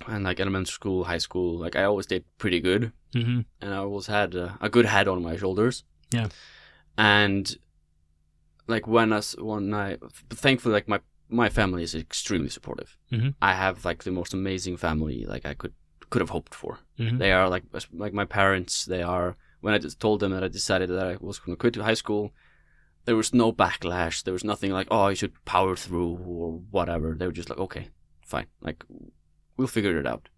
and like elementary school, high school, like I always did pretty good. Mhm. and I always had a, a good head on my shoulders. Yeah. And like when us when I thankfully like my my family is extremely supportive. Mhm. I have like the most amazing family like I could could have hoped for. Mhm. They are like like my parents. They are when I just told them that I decided that I was going to quit high school. There was no backlash. There was nothing like oh you should power through or whatever. They were just like okay fine like we'll figure it out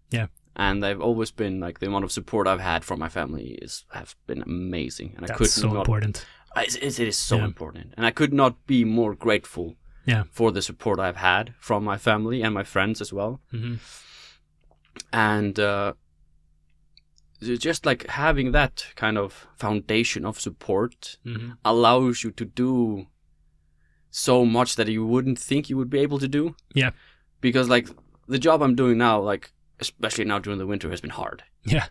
and they've always been like the amount of support I've had from my family is has been amazing, and I could that's so not. important. I- It is, it is so Yeah. important, and I could not be more grateful Yeah. for the support I've had from my family and my friends as well. hmm And uh, ju- just like having that kind of foundation of support hmm allows you to do so much that you wouldn't think you would be able to do. Yeah. Because like the job I'm doing now, like especially now during the winter, has been hard. Yeah.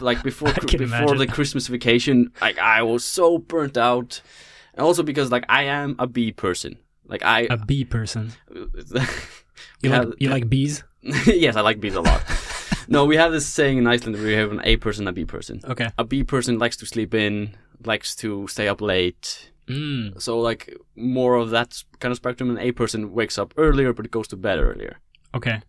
Like before I before can imagine. the Christmas vacation, like I was so burnt out, and also because like I am a bee person. Like I, A bee person. You Yeah, like you like bees? yes, I like bees a lot. no, we have this saying in Iceland: we have an A person, a B person. Okay. A B person likes to sleep in, likes to stay up late, Mm. so like more of that kind of spectrum an a person wakes up earlier but goes to bed earlier Okay.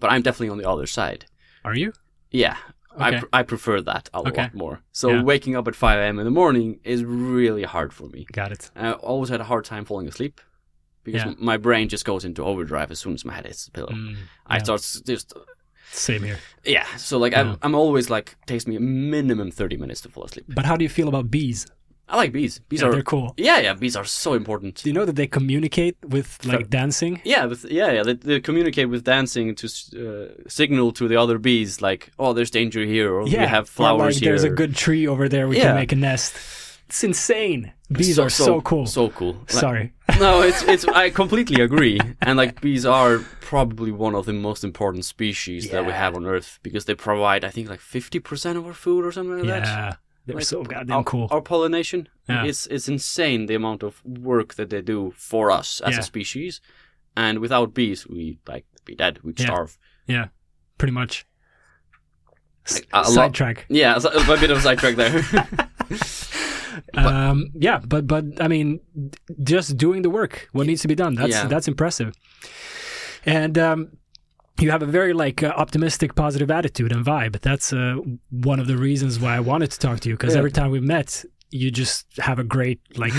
but i'm definitely on the other side Are you? yeah I, Okay. pr- I prefer that a Okay. lot more so Yeah. waking up at 5 a.m in the morning is really hard for me Got it. i always had a hard time falling asleep because Yeah. m- my brain just goes into overdrive as soon as my head hits the pillow Mm. i yeah. start s- just Same here. yeah so like I'm, Yeah. I'm always like takes me minimum 30 minutes to fall asleep But how do you feel about bees? i like bees bees Yeah, are they're cool. yeah yeah bees are so important Do you know that they communicate with like dancing? Yeah, with, yeah, yeah. They, they communicate with dancing to uh, signal to the other bees, like, "Oh, there's danger here," or "We have or, like, flowers here." There's a good tree over there. We Yeah. can make a nest. It's insane. Bees are so, cool. So cool. Like- Sorry. no, it's it's. I completely agree. And like bees are probably one of the most important species that we Yeah. have on Earth because they provide, I think, like fifty percent of our food or something like that. Yeah, they're Like, so goddamn Our, cool. our pollination. Yeah. It's it's insane the amount of work that they do for us as Yeah. a species, and without bees, we like be dead. We'd Yeah. starve. yeah, pretty much. S- Like, a lot- Sidetrack. Yeah, so, a bit of a sidetrack there. Um, yeah, but but I mean, d- just doing the work, what needs to be done. That's Yeah. that's impressive. And um, you have a very like uh, optimistic, positive attitude and vibe. That's uh, one of the reasons why I wanted to talk to you because Yeah. every time we met, you just have a great like,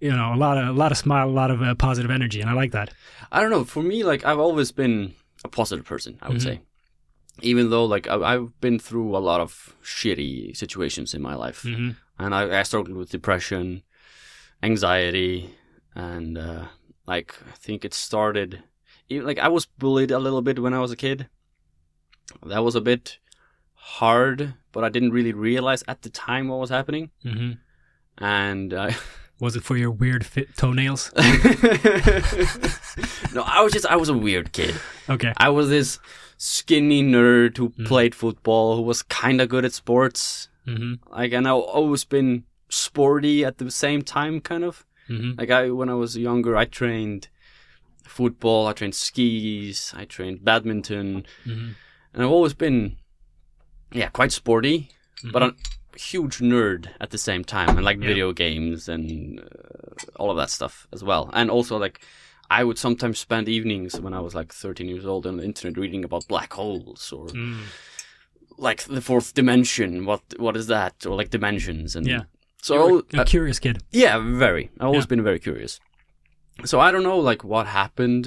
you know, a lot of a lot of smile, a lot of uh, positive energy, and I like that. I don't know. For me, like I've always been a positive person. I would Mhm. say, even though like I- I've been through a lot of shitty situations in my life, hmm and I, I struggled with depression, anxiety, and uh, like I think it started. Even, like I was bullied a little bit when I was a kid. That was a bit hard, but I didn't really realize at the time what was happening, hmm and. I Was it for your weird fit toenails? no, I was just I was a weird kid. Okay. I was this skinny nerd who Mm. played football, who was kind of good at sports. hmm Like, and I've always been sporty at the same time, kind of. hmm Like, I when I was younger, I trained football, I trained skis, I trained badminton, hmm and I've always been, yeah, quite sporty, but a huge nerd at the same time, and like Mm-hmm. Yeah. video games and uh, all of that stuff as well. And also, like, I would sometimes spend evenings when I was like 13 years old on the internet reading about black holes or Mm. like the fourth dimension. What what is that? Or like dimensions and Yeah. So uh, You're a- I- a curious kid. yeah, very. I've always Yeah. been very curious. So I don't know like what happened,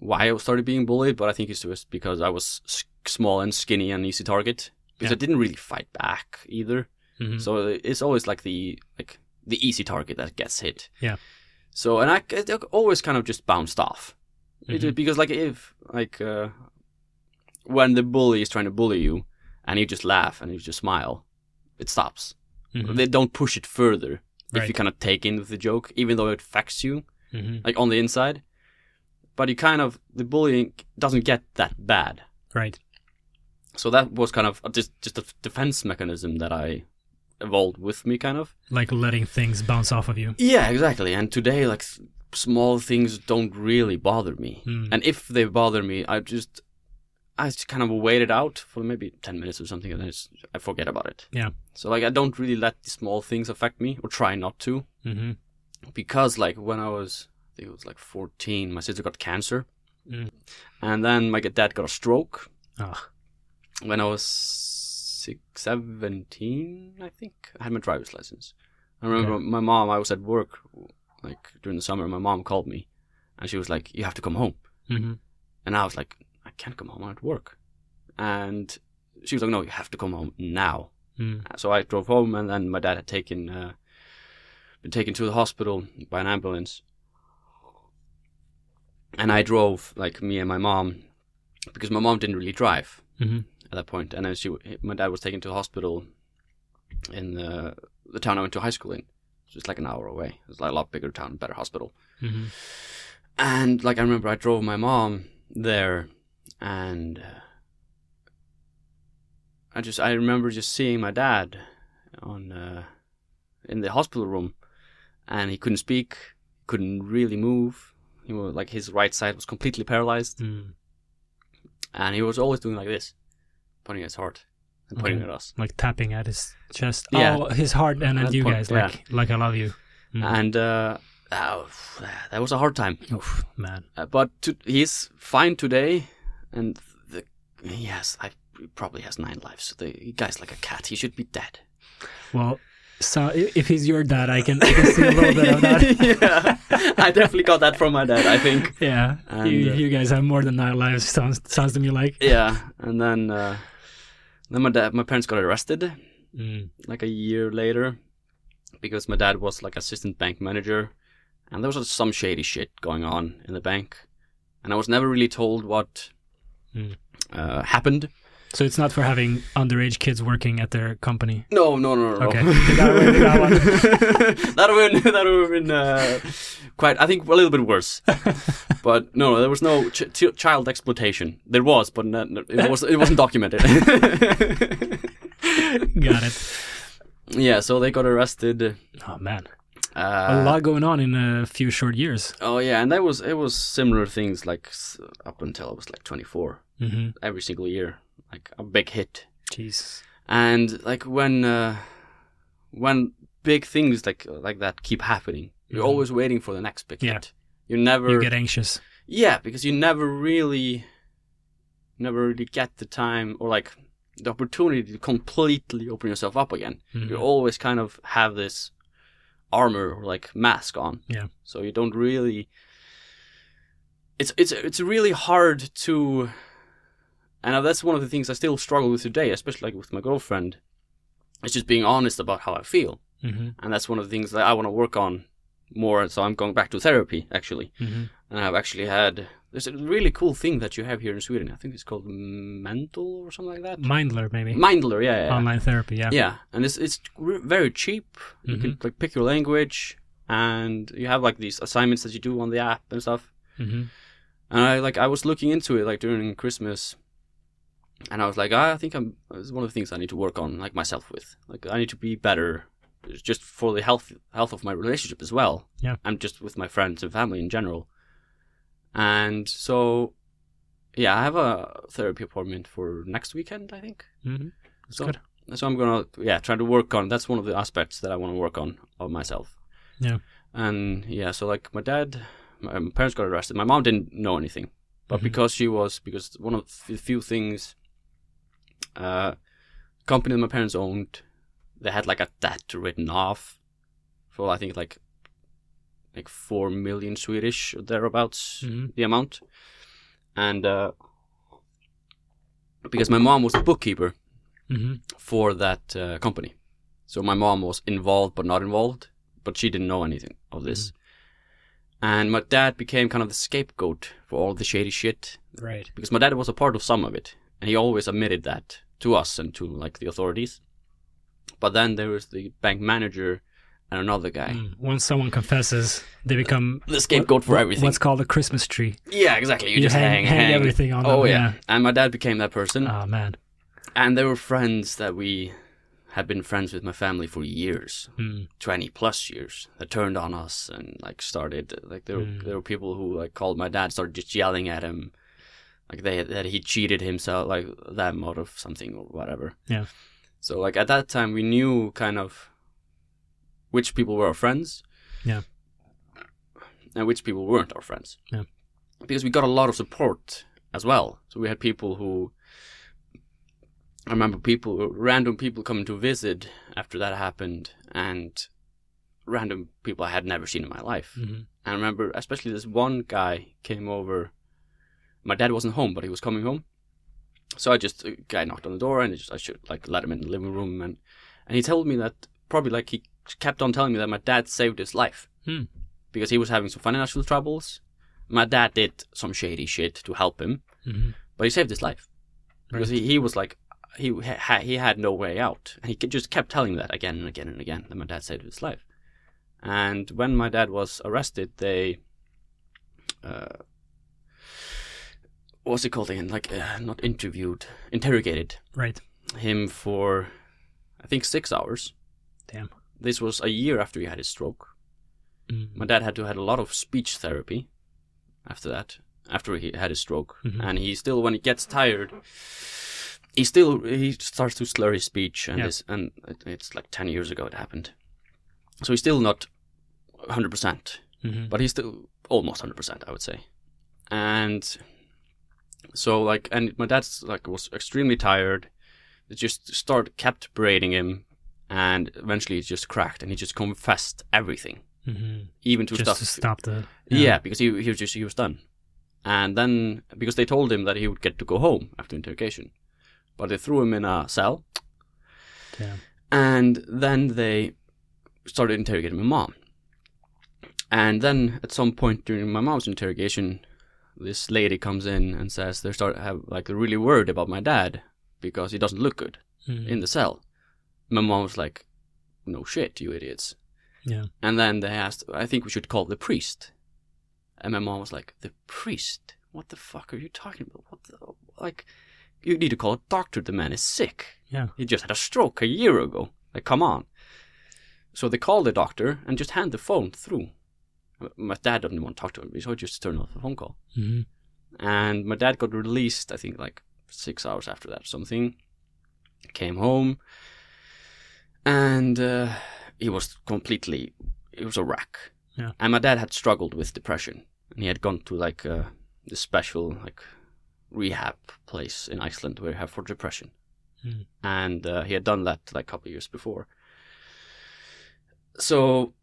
why I started being bullied, but I think it's just because I was s- small and skinny and easy target. Because Yeah. I didn't really fight back either. Mhm. So uh, it's always like the like the easy target that gets hit. Yeah. So and I it always kind of just bounced off. It- Mhm. because like if like uh, when the bully is trying to bully you and you just laugh and you just smile, it stops. Mhm. They don't push it further. If you Right. kind of take in with the joke, even though it affects you Mhm. like on the inside, but you kind of the bullying doesn't get that bad. Right. So that was kind of a- just just a defense mechanism that I evolved with me, kind of. Like letting things bounce off of you. Yeah, exactly. And today, like s- small things don't really bother me. Mm. And if they bother me, I just I just kind of wait it out for maybe ten minutes or something, and then it's, I forget about it. Yeah. So like I don't really let the small things affect me, or try not to, Mhm. because like when I was I think it was like fourteen, my sister got cancer, Mm. and then my dad got a stroke Ah. when I was six, 17, I think. I had my driver's license. I remember my mom, I was at work like during the summer. My mom called me and she was like, You have to come home. Mm-hmm. Mhm. And I was like, I can't come home. I'm at work. And she was like, No, you have to come home now. Mm. So I drove home and then my dad had taken, uh, been taken to the hospital by an ambulance. and I drove like me and my mom because my mom didn't really drive Mhm. at that point, and then she my dad was taken to the hospital in the, the town I went to high school in. So it's like an hour away. It's like a lot bigger town, better hospital. hmm Mm-hmm. And like I remember, I drove my mom there, and uh, I just I remember just seeing my dad on uh, in the hospital room, and he couldn't speak, couldn't really move. He was like his right side was completely paralyzed, and he was always doing like this, pointing at his heart and pointing Mhm. at us. Like tapping at his chest. Yeah. Oh, his heart and at That you point, guys. yeah. Like, like I love you. Mm. And uh, oh, that was a hard time. Oof, man. Uh, but to, he's fine today, and the he has I he probably has nine lives. The guy's like a cat. He should be dead. Well, so i- if he's your dad, I can, I can see a little bit of that. yeah, I definitely got that from my dad. I think. Yeah. And, you, uh, you guys have more than nine lives, sounds, sounds to me like. Yeah, and then uh, then my dad, my parents got arrested Mm. like a year later because my dad was like assistant bank manager, and there was some shady shit going on in the bank, and I was never really told what Mm. uh, happened. So it's not for having underage kids working at their company. No, no, no, no. no. Okay. That would- that one. that would have been, that would have been uh, quite, I think, a little bit worse. But no, there was no ch- t- child exploitation. There was, but not, not- it, was, it wasn't documented. Got it. yeah, so they got arrested. Oh, man. a Uh, lot going on in a few short years. Oh yeah, and that was it was similar things like s- up until I was like 24, Mm-hmm. every single year, like a big hit. Jeez. and like when uh, when big things like like that keep happening you're Mhm. always waiting for the next big Yeah. hit you never You get anxious. yeah because you never really never really get the time or like the opportunity to completely open yourself up again Mhm. you always kind of have this armor or like mask on Yeah. so you don't really it's it's it's really hard to and that's one of the things I still struggle with today, especially like with my girlfriend. It's just being honest about how I feel, Mhm. and that's one of the things that I want to work on more. So I'm going back to therapy actually, Mhm. and I've actually had there's a really cool thing that you have here in Sweden. I think it's called mental or something like that. Mindler, maybe. Mindler, yeah, yeah, yeah. Online therapy, yeah. Mm-hmm. Yeah, and it's it's re- very cheap. You can like pick your language, and you have like these assignments that you do on the app and stuff. hmm And I like I was looking into it like during Christmas, and I was like, "Ah, I think I'm. It's one of the things I need to work on, like myself with. Like I need to be better, just for the health health of my relationship as well. Yeah. and just with my friends and family in general. And so, yeah, I have a therapy appointment for next weekend. I think. hmm That's So- good. So I'm gonna yeah try to work on. That's one of the aspects that I want to work on of myself. Yeah. And yeah, so like my dad, my my parents got arrested. My mom didn't know anything, but Mhm. because she was because one of the few things, uh, company that my parents owned, they had like a debt written off, for I think like like four million Swedish or thereabouts hmm the amount, and uh, because my mom was a bookkeeper hmm for that uh, company. So my mom was involved but not involved, but she didn't know anything of this. Mm-hmm. And my dad became kind of the scapegoat for all the shady shit Right. because my dad was a part of some of it, and he always admitted that to us and to like the authorities. But then there was the bank manager and another guy, Mm. Once someone confesses, they become the scapegoat for what- everything. What's called a Christmas tree. yeah, exactly. You, You just hang- hang, hang everything on Oh them, yeah. and my dad became that person, Oh man. and they were friends that we had been friends with my family for years. Mm. 20 plus years that turned on us and like started like there, Mm. there were people who like called my dad started just yelling at him like they that he cheated himself like them out of something or whatever Yeah. so like at that time we knew kind of which people were our friends Yeah. and uh, which people weren't our friends Yeah. because we got a lot of support as well so we had people who I remember people, random people coming to visit after that happened, and random people I had never seen in my life. Mhm. And I remember, especially this one guy came over. My dad wasn't home, but he was coming home, so I just a guy knocked on the door, and I just I should like let him in the living room, and and he told me that probably like he kept on telling me that my dad saved his life Hmm. because he was having some financial troubles. My dad did some shady shit to help him, Mhm. but he saved his life because he, he was like he ha- he had no way out. And he ke- just kept telling that again and again and again that my dad saved his life. And when my dad was arrested, they uh, what's it called again? Like uh, not interviewed, interrogated Right. him for I think six hours. Damn. This was a year after he had his stroke. Mm. My dad had to had a lot of speech therapy after that, after he had his stroke, Mhm. and he still, when he gets tired, he still he starts to slur his speech, and Yeah. his, and it, it's like ten years ago it happened, so he's still not hundred percent, Mhm. but he's still almost hundred percent, I would say, and so like, and my dad's like was extremely tired, it just start kept berating him, and eventually it just cracked, and he just confessed everything Mhm. even to Just stuff. to stop the. yeah. because he he was just he was done, and then because they told him that he would get to go home after interrogation, but they threw him in a cell, Damn. and then they started interrogating my mom, and then at some point during my mom's interrogation, this lady comes in and says they start have like they're really worried about my dad because he doesn't look good Mm. in the cell. My mom was like, "No shit, you idiots." Yeah. And then they asked, I think we should call the priest. And my mom was like, The priest? What the fuck are you talking about? What the, like, you need to call a doctor. The man is sick. Yeah. He just had a stroke a year ago. Like, come on. So they call the doctor and just hand the phone through. My dad doesn't want to talk to him, so he just turned off the phone call. Mhm. And my dad got released, I think, like six hours after that or something. Came home. And uh, he was completely, it was a wreck. Yeah. And my dad had struggled with depression. And he had gone to like uh, this special like rehab place in Iceland where you have for depression. Mm. And uh, he had done that like a couple of years before. So,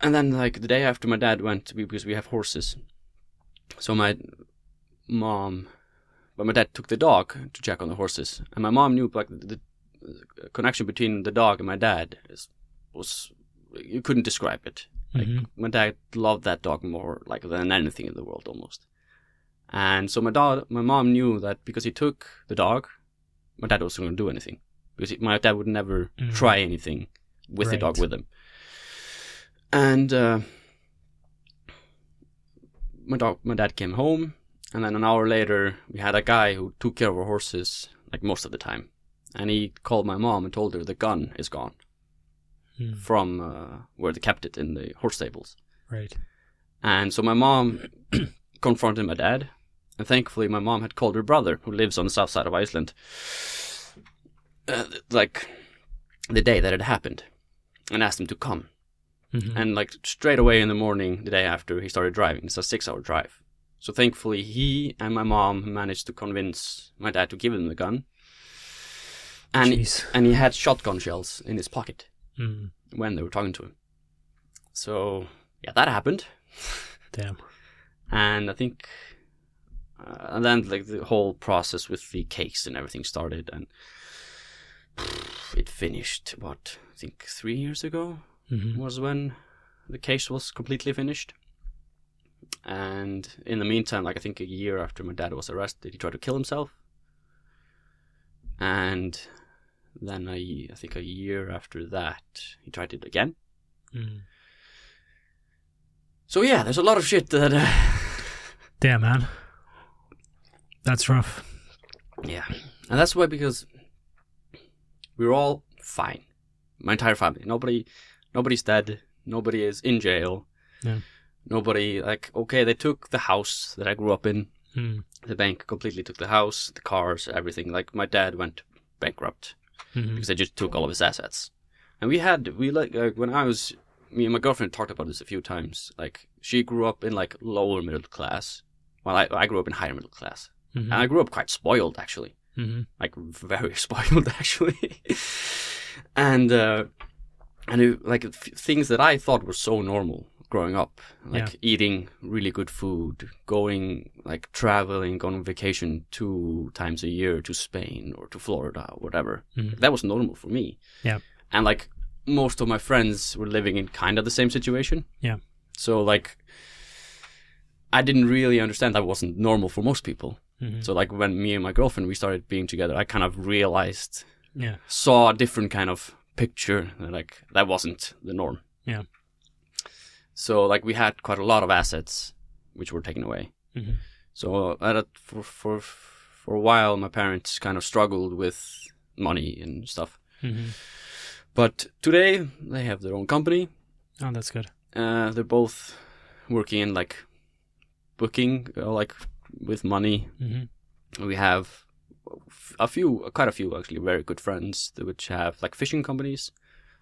and then like the day after my dad went, we- because we have horses. So my mom, but my dad took the dog to check on the horses, and my mom knew like the the connection between the dog and my dad is, was you couldn't describe it. Like Mhm. my dad loved that dog more like than anything in the world almost, and so my dad, my mom knew that because he took the dog, my dad wasn't going to do anything because he, my dad would never Mm. try anything with the dog Right. with him, and. Uh, my dog, my dad came home, and then an hour later, we had a guy who took care of our horses like most of the time, and he called my mom and told her the gun is gone Mm. from uh, where they kept it in the horse stables. Right. And so my mom confronted my dad, and thankfully my mom had called her brother, who lives on the south side of Iceland, uh, like the day that it happened, and asked him to come. Mhm. And like straight away in the morning, the day after, he started driving. It's a six hour drive. So thankfully, he and my mom managed to convince my dad to give him the gun. And, Jeez. and he had shotgun shells in his pocket Mm. when they were talking to him. So, yeah, that happened. Damn. And I think. Uh, and then, like, the whole process with the cakes and everything started. And it finished, what, I think three years ago? Mhm. was when the case was completely finished. And in the meantime, like I think a year after my dad was arrested, he tried to kill himself. And then a y- I think a year after that, he tried it again. Mm. So yeah, there's a lot of shit that. Uh, Damn, man. That's rough. yeah, and that's why because we we're all fine, my entire family. Nobody, nobody's dead. Nobody is in jail. Yeah. Nobody like okay, they took the house that I grew up in. Mm. the bank completely took the house, the cars, everything. Like my dad went bankrupt Mhm. because they just took all of his assets. And we had we like uh, when I was me and my girlfriend talked about this a few times. Like she grew up in like lower middle class, while I I grew up in higher middle class. Mhm. And I grew up quite spoiled actually, Mhm. like very spoiled actually. and uh, and it, like f- things that I thought were so normal growing up, like eating really good food, going like traveling, going on vacation two times a year to Spain or to Florida, or whatever. Mhm. That was normal for me. Yeah. and like most of my friends were living in kind of the same situation. Yeah. so like I didn't really understand that wasn't normal for most people. Mhm. So like when me and my girlfriend we started being together, I kind of realized yeah. saw a different kind of picture. and, Like that wasn't the norm. Yeah. So like we had quite a lot of assets which were taken away. Mhm. So at a, for for for a while, my parents kind of struggled with money and stuff. hmm But today they have their own company. Oh, that's good. Uh, they're both working in like booking, uh, like with money hmm we have a few, quite a few actually, very good friends that which have like fishing companies.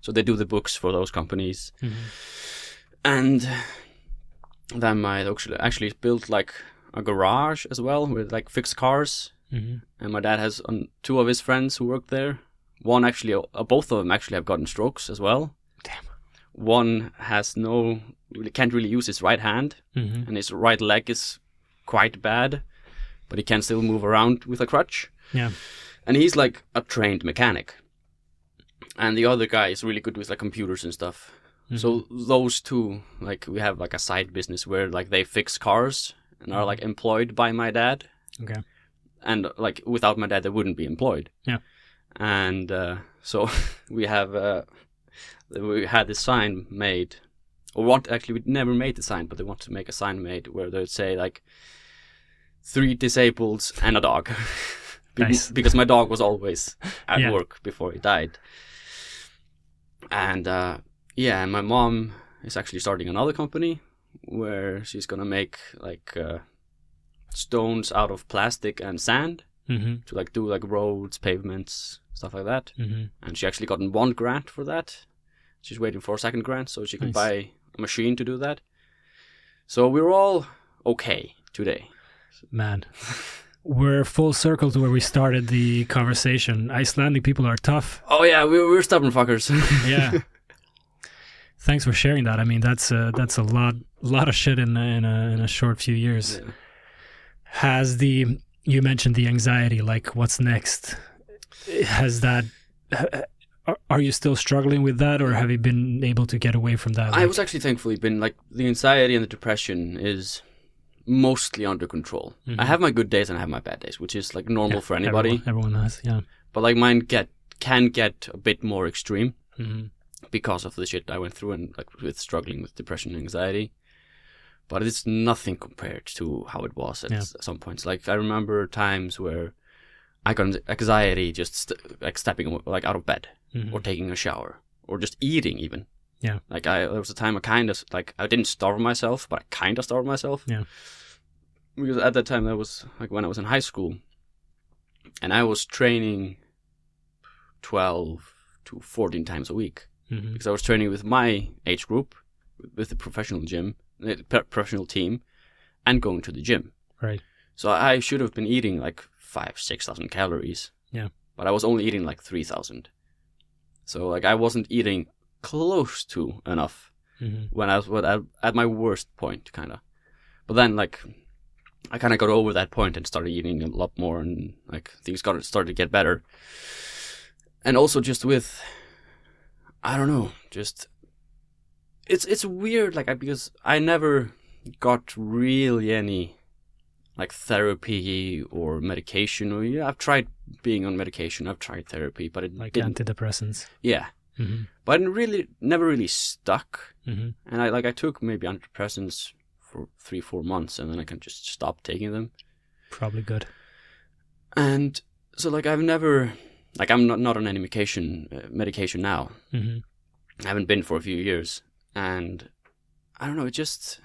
So they do the books for those companies, hmm and then my actually actually built like a garage as well with like fixed cars. hmm And my dad has um, two of his friends who work there. One actually, uh, both of them actually have gotten strokes as well. Damn. One has no, really can't really use his right hand hmm and his right leg is quite bad, but he can still move around with a crutch. Yeah. And he's like a trained mechanic. And the other guy is really good with like computers and stuff. So Mm-hmm. those two, like we have like a side business where like they fix cars and are like employed by my dad. Mm-hmm. Okay. And like without my dad, they wouldn't be employed. Yeah. And uh, so we have uh, we had this sign made, or what? Actually, we never made the sign, but they want to make a sign made where they would say like three disabled and a dog. Be- Nice. Because my dog was always at Yeah. work before he died. And uh, yeah, and my mom is actually starting another company where she's gonna make like uh, stones out of plastic and sand hmm to like do like roads, pavements, stuff like that. hmm And she actually gotten one grant for that. She's waiting for a second grant so she can Nice. buy a machine to do that. So we're all okay today. Man. We're full circle to where we started the conversation. Icelandic people are tough. Oh yeah, we're, we're stubborn fuckers. Yeah. Thanks for sharing that. I mean, that's a, that's a lot lot of shit in a, in a in a short few years. Yeah. Has the you mentioned the anxiety, like what's next? Has that? are- Are you still struggling with that, or have you been able to get away from that? I was actually thankfully been like the anxiety and the depression is mostly under control. I have my good days and I have my bad days, which is like normal for anybody. Mm-hmm. Everyone, everyone has, yeah. But like mine get can get a bit more extreme Mhm. because of the shit I went through and like with struggling with depression and anxiety. But it's nothing compared to how it was at Yeah. s- some points. Like I remember times where I got anxiety just st- like stepping aw- like out of bed Mhm. or taking a shower or just eating even. Yeah. Like I there was a time I kind of like I didn't starve myself, but I kind of starved myself. Yeah. Because at that time that was like when I was in high school, and I was training twelve to fourteen times a week Mhm. because I was training with my age group, with the professional gym, the pro- professional team, and going to the gym. Right. So I should have been eating like five, six thousand calories. Yeah. But I was only eating like three thousand. So like I wasn't eating close to enough Mhm. when I was what I, at my worst point, kind of. But then like I kind of got over that point and started eating a lot more, and like things got started to get better. And also just with, I don't know, just it's it's weird like I, because I never got really any like therapy or medication or yeah I've tried being on medication I've tried therapy but it Like didn't Mm-hmm. antidepressants. yeah hmm but I didn't really never really stuck hmm and I like I took maybe antidepressants for three four months and then I can just stop taking them Probably good. and so like I've never like I'm not not on any medication uh, medication now hmm I haven't been for a few years, and I don't know. It just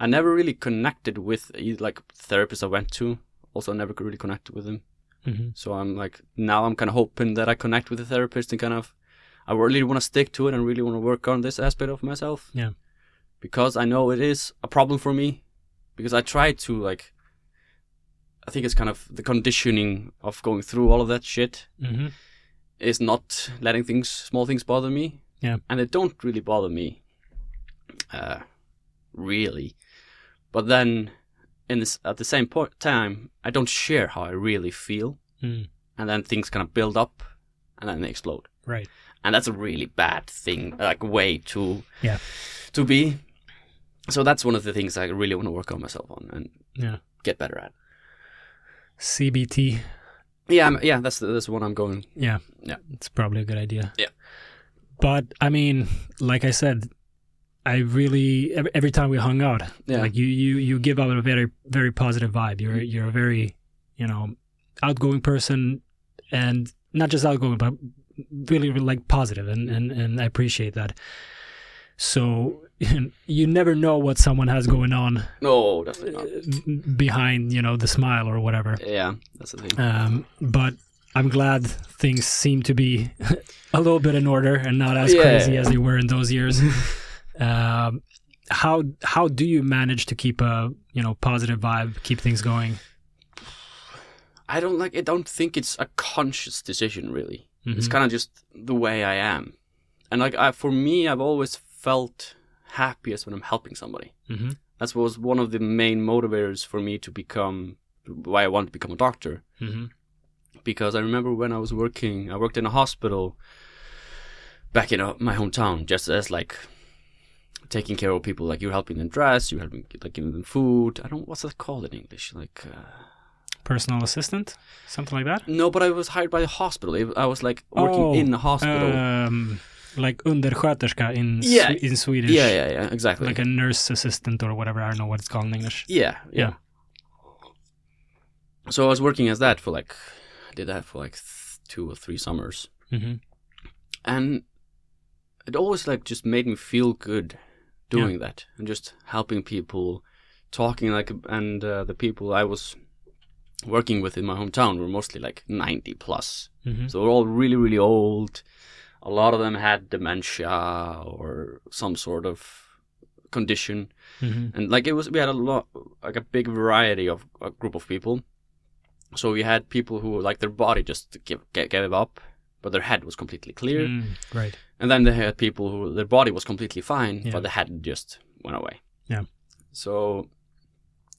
I never really connected with eh, like therapists I went to. Also, I never could really connect with them. hmm So I'm like now I'm kind of hoping that I connect with a therapist and kind of I really want to stick to it and really want to work on this aspect of myself. Yeah. Because I know it is a problem for me. Because I try to like. I think it's kind of the conditioning of going through all of that shit hmm is not letting things, small things, bother me. Yeah. And they don't really bother me, uh, really. But then, in this, at the same po- time, I don't share how I really feel, Mm. and then things kind of build up, and then they explode. Right. And that's a really bad thing, like way to Yeah. to be. So that's one of the things I really want to work on myself on and Yeah. get better at. CBT. Yeah, I'm, yeah, that's the, that's the one I'm going. Yeah. Yeah. It's probably a good idea. Yeah. But I mean, like I said, I really every, every time we hung out, Yeah, like you you you give out a very very positive vibe. You're you're a very, you know, outgoing person and not just outgoing but really, really like positive and and and I appreciate that. So you never know what someone has going on no, definitely uh, not. behind, you know, the smile or whatever. Yeah, that's the thing. Um, but I'm glad things seem to be a little bit in order and not as Yeah. crazy as they were in those years. um, how how do you manage to keep a you know positive vibe, keep things going? I don't like. I don't think it's a conscious decision, really. It's Mhm. kind of just the way I am, and like I, for me, I've always felt happiest when I'm helping somebody. Mhm. That was one of the main motivators for me to become why I wanted to become a doctor. Mhm. because I remember when I was working, I worked in a hospital back in uh, my hometown, just as like taking care of people, like you're helping them dress, you're helping like giving them food. I don't what's that called in English, like uh, Personal assistant, something like that. no, but I was hired by the hospital. It- I was like working Oh, in the hospital. Um, like undersköterska in Yeah. Swe- in Swedish. yeah, yeah, yeah, exactly. Like a nurse assistant or whatever. I don't know what it's called in English. Yeah, yeah. So I was working as that for like, I did that for like th- two or three summers, Mhm. and it always like just made me feel good doing that and just helping people, talking like, and uh, the people I was working with in my hometown were mostly like ninety plus, Mhm. so they're all really really old. A lot of them had dementia or some sort of condition Mhm. and like it was we had a lot like a big variety of a group of people so we had people who like their body just give, get, gave up but their head was completely clear Mm, right. and then they had people who their body was completely fine Yeah. but the head just went away Yeah. so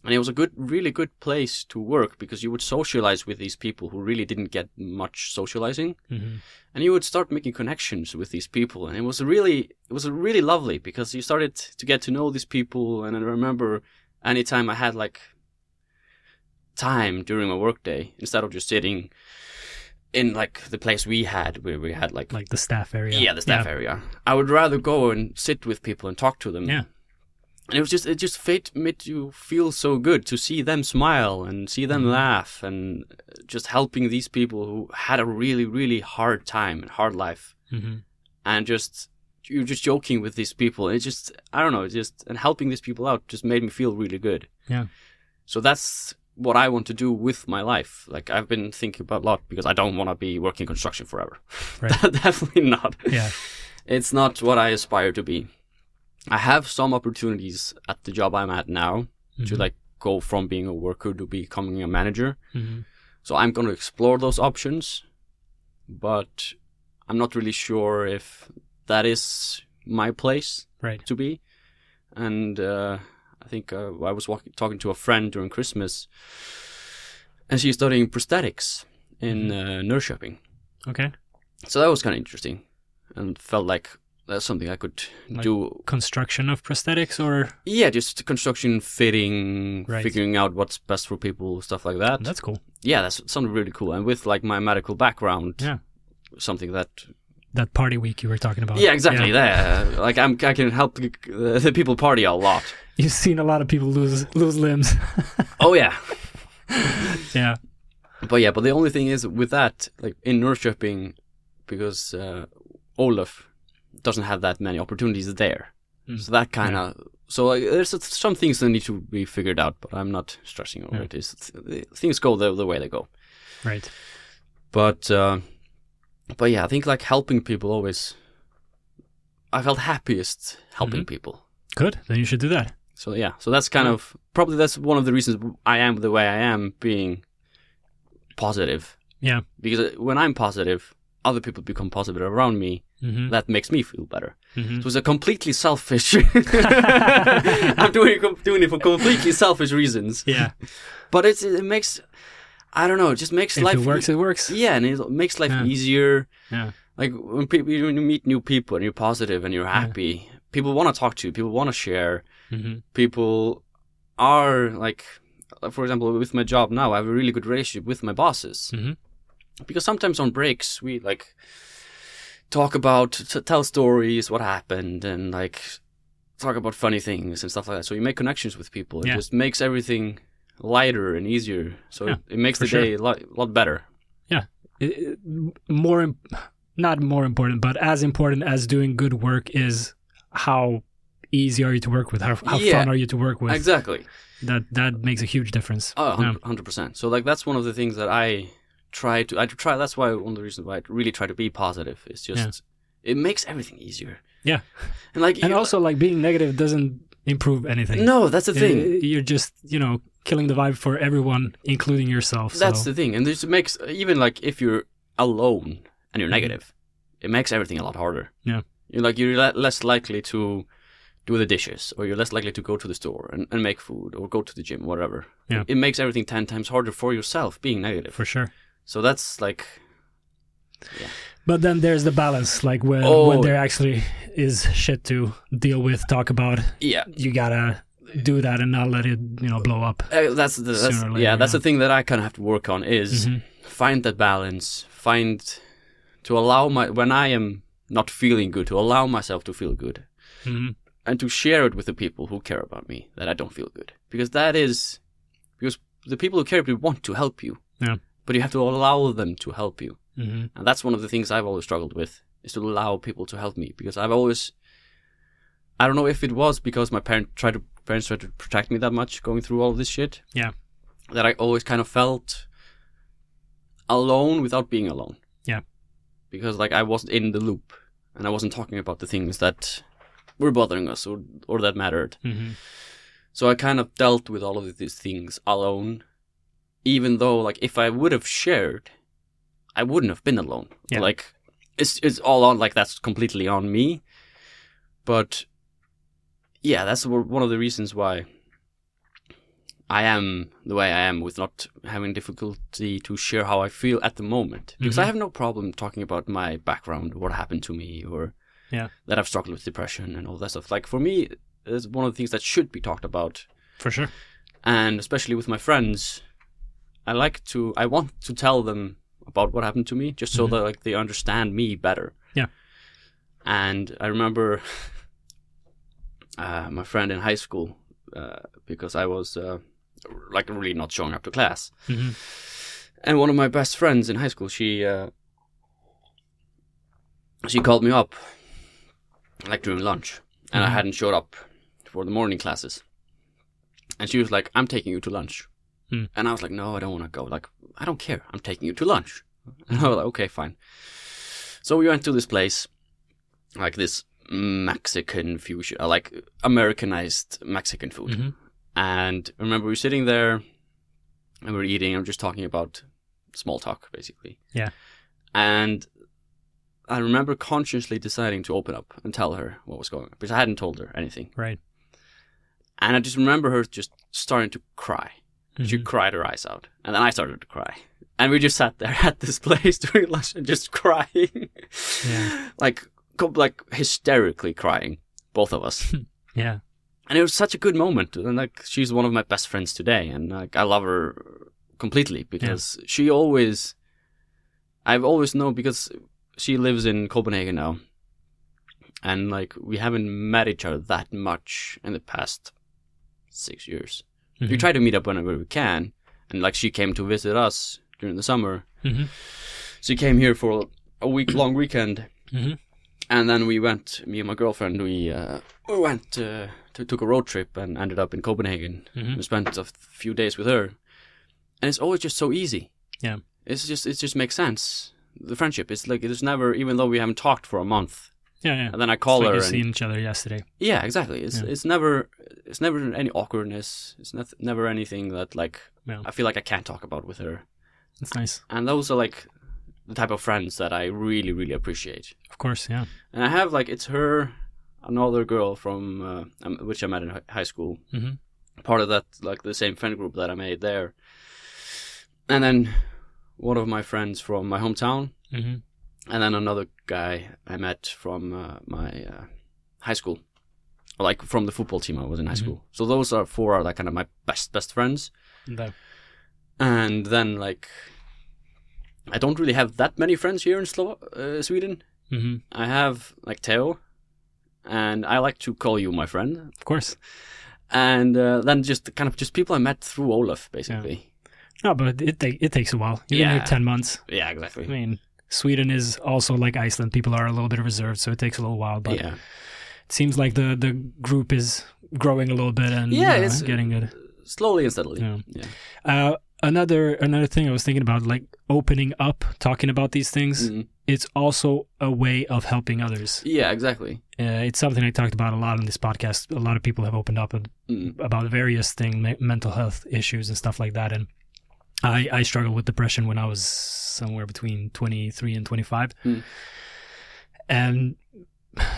and it was a good really good place to work because you would socialize with these people who really didn't get much socializing Mhm. and you would start making connections with these people and it was really it was really lovely because you started to get to know these people and i remember anytime i had like time during my workday instead of just sitting in like the place we had where we had like, Like the staff area. yeah. the staff area i would rather go and sit with people and talk to them Yeah. and it was just it just fit, made you feel so good to see them smile and see them Mm-hmm. laugh and just helping these people who had a really really hard time and hard life Mhm. and just you're just joking with these people. It just I don't know, it just and helping these people out just made me feel really good. Yeah. So that's what I want to do with my life. Like I've been thinking about a lot because I don't want to be working construction forever. Right. Definitely not. Yeah. It's not what I aspire to be. I have some opportunities at the job I'm at now to Mhm. like go from being a worker to becoming a manager. Mhm. So I'm going to explore those options, but I'm not really sure if that is my place Right. to be. And uh, I think uh, I was walking, talking to a friend during Christmas, and she's studying prosthetics in Mm-hmm. uh, nurse shopping. Okay. So that was kind of interesting, and felt like that's something I could Like- do Construction of prosthetics or yeah, just construction, fitting, Right. figuring out what's best for people, stuff like that. that's cool. yeah, that's something really cool. And with like my medical background, Yeah. Oh, something that That party week you were talking about. yeah, exactly. There, like I'm, I can help the, the people party a lot. You've seen a lot of people lose lose limbs. Oh yeah, yeah. but yeah, but the only thing is with that, like in nurse shopping, because uh, Olaf doesn't have that many opportunities there. Mm. So that kind of so like, there's some things that need to be figured out, but I'm not stressing over Yeah. it. It's, things go the, the way they go. Right. but uh, but yeah, I think like helping people always. I felt happiest helping Mm-hmm. people. Good. Then you should do that. So yeah, so that's kind of probably that's one of the reasons I am the way I am, being positive. Yeah. Because uh, when I'm positive, other people become positive around me. hmm That makes me feel better. hmm It was a completely selfish. I'm doing it, doing it for completely selfish reasons, Yeah. but it's it makes. I don't know. It just makes if life e-, it works, it works. yeah, and it makes life Yeah. easier. Yeah. Like when people you meet new people and you're positive and you're happy, people want to talk to, people want to share, hmm people are like, uh, for example, with my job now, I have a really good relationship with my bosses Mhm. because sometimes on breaks we like talk about, t- tell stories, what happened, and like talk about funny things and stuff like that. So you make connections with people. It Yeah. just makes everything lighter and easier. So Yeah, it, it makes for the sure. day a lot, lot better. It- it- more im- not more important but as important as doing good work is how easy are you to work with how, how Yeah. fun are you to work with Exactly. that that makes a huge difference Oh, Yeah. 100 percent. So like that's one of the things that I try to. I try. That's why one of the reasons why I really try to be positive is just it makes everything easier. Yeah. and like and you- also like being negative doesn't improve anything no, that's the thing. Uh, you're just you know killing the vibe for everyone including yourself so That's the thing, and this makes even like if you're alone and you're Mhm. negative, it makes everything a lot harder. Yeah. you're like you're le- less likely to do the dishes, or you're less likely to go to the store and, and make food, or go to the gym, whatever. Yeah. it makes everything ten times harder for yourself being negative. for sure So that's like but then there's the balance like when when Oh. there actually is shit to deal with talk about yeah, you gotta do that and not let it you know blow up Uh, that's the that's, Sooner or yeah, later, that's yeah. the thing that I kind of have to work on is Mhm. find that balance, find to allow my when I am not feeling good, to allow myself to feel good, Mhm. and to share it with the people who care about me that I don't feel good because that is because the people who care about you want to help you, Yeah. but you have to allow them to help you, Mhm. and that's one of the things I've always struggled with is to allow people to help me because I've always I don't know if it was because my parent tried to parents tried to protect me that much going through all of this shit yeah that I always kind of felt alone without being alone. Yeah. Because like I wasn't in the loop and I wasn't talking about the things that were bothering us or or that mattered. hmm So I kind of dealt with all of these things alone. Even though like if I would have shared, I wouldn't have been alone. Yeah. Like it's it's all on like that's completely on me. But yeah, that's wh- one of the reasons why I am the way I am with not having difficulty to share how I feel at the moment. Because I Mhm. have no problem talking about my background, what happened to me, or Yeah. that I've struggled with depression and all that stuff. Like for me, it's one of the things that should be talked about. for sure And especially with my friends, I like to, I want to tell them about what happened to me just so Mhm. that like they understand me better. Yeah. And I remember uh, my friend in high school, uh, because I was uh, like really not showing up to class. hmm And one of my best friends in high school, she uh, she called me up like during lunch, and I Mhm. hadn't showed up for the morning classes. And she was like, "I'm taking you to lunch," Mm. and I was like, "No, I don't want to go. Like, I don't care. I'm taking you to lunch." And I was like, "Okay, fine." So we went to this place, like this Mexican fusion, uh, like Americanized Mexican food. Mhm. And I remember we were sitting there and we were eating. I'm just talking about small talk, basically. Yeah. And I remember consciously deciding to open up and tell her what was going on because I hadn't told her anything. right And I just remember her just starting to cry. She Mhm. cried her eyes out. And then I started to cry. And we just sat there at this place during lunch and just crying. Yeah. like, co- like hysterically crying, both of us Mm-hmm. yeah and it was such a good moment and like she's one of my best friends today and like i love her completely because she always i've always known because she lives in copenhagen now and like we haven't met each other that much in the past six years we Mhm. try to meet up whenever we can and like she came to visit us during the summer Mhm. she came here for a week long weekend Mhm. and then we went me and my girlfriend we uh, we went uh, to, took a road trip and ended up in copenhagen Mhm. we spent a few days with her and it's always just so easy Yeah. it's just it just makes sense the friendship it's like it's never even though we haven't talked for a month yeah yeah and then i It's call like her you've and seen each other yesterday yeah exactly it's Yeah. it's never it's never any awkwardness it's not, never anything that like Yeah. i feel like i can't talk about with her it's nice and those are like the type of friends that i really really appreciate of course yeah and I have like it's her, another girl from uh, um, which I met in hi- high school, Mhm. part of that like the same friend group that I made there, and then one of my friends from my hometown, hmm and then another guy I met from uh, my uh, high school, like from the football team I was in high Mhm. school. So those are four are like kind of my best best friends. No. And then like I don't really have that many friends here in Slo- uh, Sweden. Mhm. I have like Teo, and I like to call you my friend. Of course. And uh, then just the kind of just people I met through Olaf, basically. No, but it ta- it takes a while. You've been Yeah. here ten months. Yeah, exactly. I mean, Sweden is also like Iceland. People are a little bit reserved, so it takes a little while. But yeah, it seems like the the group is growing a little bit and Yeah, uh, it's- getting good. slowly and steadily. Yeah. Yeah. Uh, another another thing I was thinking about, like opening up, talking about these things. Mhm. It's also a way of helping others. Yeah, exactly. Uh, it's something I talked about a lot on this podcast. A lot of people have opened up and Mm. about various things, me- mental health issues and stuff like that. And I, I struggled with depression when I was somewhere between 23 and 25. Mm. And,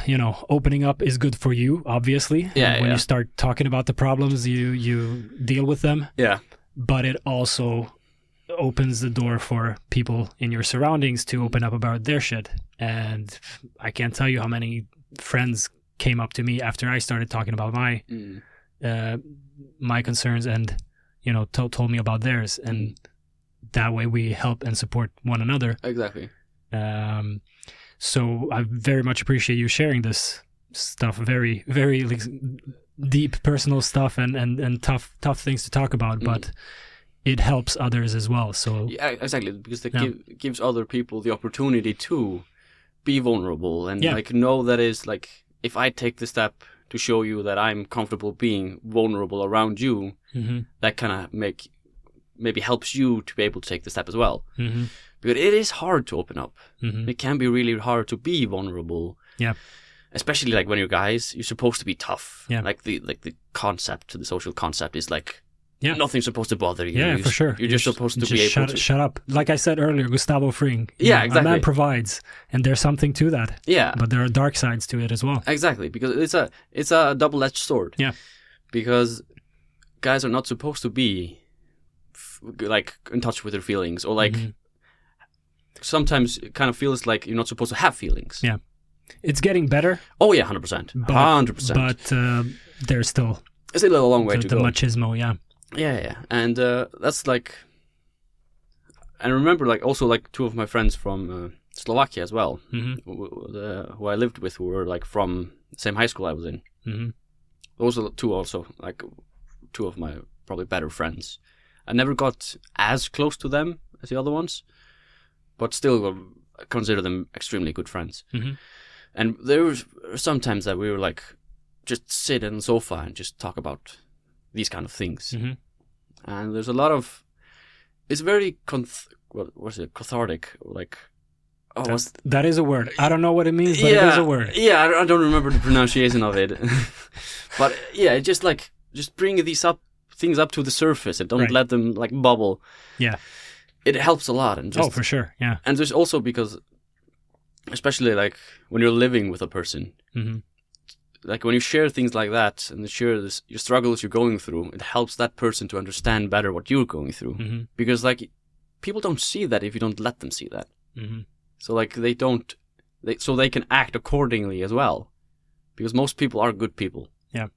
you know, opening up is good for you, obviously. Yeah, And when yeah. you start talking about the problems, you, you deal with them, Yeah, but it also opens the door for people in your surroundings to open up about their shit. And I can't tell you how many friends came up to me after I started talking about my Mm. uh, my concerns and you know to- told me about theirs and Mm-hmm. that way we help and support one another exactly. um, so i very much appreciate you sharing this stuff very very like, deep personal stuff and, and and tough tough things to talk about Mm. but it helps others as well so Yeah, e-, exactly. Because it Yeah. give, gives other people the opportunity to be vulnerable and Yeah. like know that is like if I take the step to show you that I'm comfortable being vulnerable around you, Mhm, that kind of make maybe helps you to be able to take the step as well. mhm, But it is hard to open up. mhm. It can be really hard to be vulnerable. Yeah. Especially like when you're guys, you're supposed to be tough. Yeah. Like the like the concept, the social concept is like Yeah. nothing's supposed to bother you. yeah You're for s- sure You're just supposed to just be able shut, to shut up like i said earlier gustavo fring you Yeah, know, a exactly. man provides and there's something to that Yeah. but there are dark sides to it as well Exactly. Because it's a it's a double edged sword. Yeah. Because guys are not supposed to be f- like in touch with their feelings or like Mhm. sometimes it kind of feels like you're not supposed to have feelings. Yeah. it's getting better Oh yeah, hundred percent, But- hundred percent. but uh, there's still It's still a long way the, to the go. machismo. Yeah, Yeah, yeah, and uh, that's like, and I remember like also like two of my friends from uh, Slovakia as well, hmm who, who I lived with, who were like from the same high school I was in. hmm Those are the two also like two of my probably better friends. I never got as close to them as the other ones, but still um, I consider them extremely good friends. Mhm. And there was sometimes that we were like just sit on the sofa and just talk about these kind of things hmm and there's a lot of it's very conth- what was it cathartic like oh what's that is a word. I don't know what it means, but it is a word. yeah I, I don't remember the pronunciation of it but yeah it just like just bring these up things up to the surface and don't Right. let them like bubble Yeah. it helps a lot and oh, just for sure. Yeah. and there's also because especially like when you're living with a person hmm like when you share things like that and share this, your struggles you're going through it helps that person to understand better what you're going through hmm because like people don't see that if you don't let them see that hmm so like they don't they so they can act accordingly as well because most people are good people Yeah.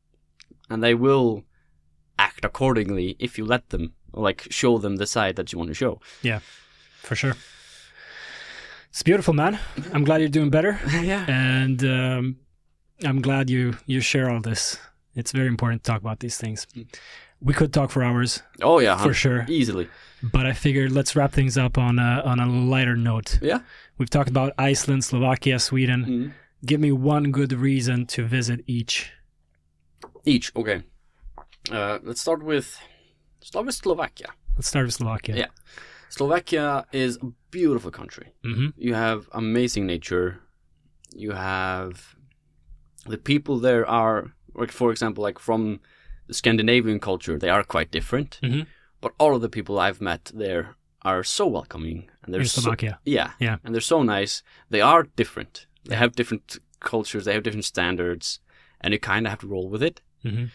and they will act accordingly if you let them or like show them the side that you want to show For sure. It's beautiful, man. I'm glad you're doing better, yeah and um, I'm glad you you share all this. It's very important to talk about these things. We could talk for hours oh yeah for hun- sure, easily but I figured let's wrap things up on a, on a lighter note. yeah We've talked about Iceland, Slovakia, Sweden. Mhm. Give me one good reason to visit each. each okay uh, let's start with start with Slovakia Let's start with Slovakia. Yeah. Slovakia is a beautiful country hmm you have amazing nature you have the people there are like for example like from the scandinavian culture they are quite different Mhm. but all of the people i've met there are so welcoming and they're In so, Slovakia. yeah Yeah. and they're so nice they are different they have different cultures they have different standards and you kind of have to roll with it hmm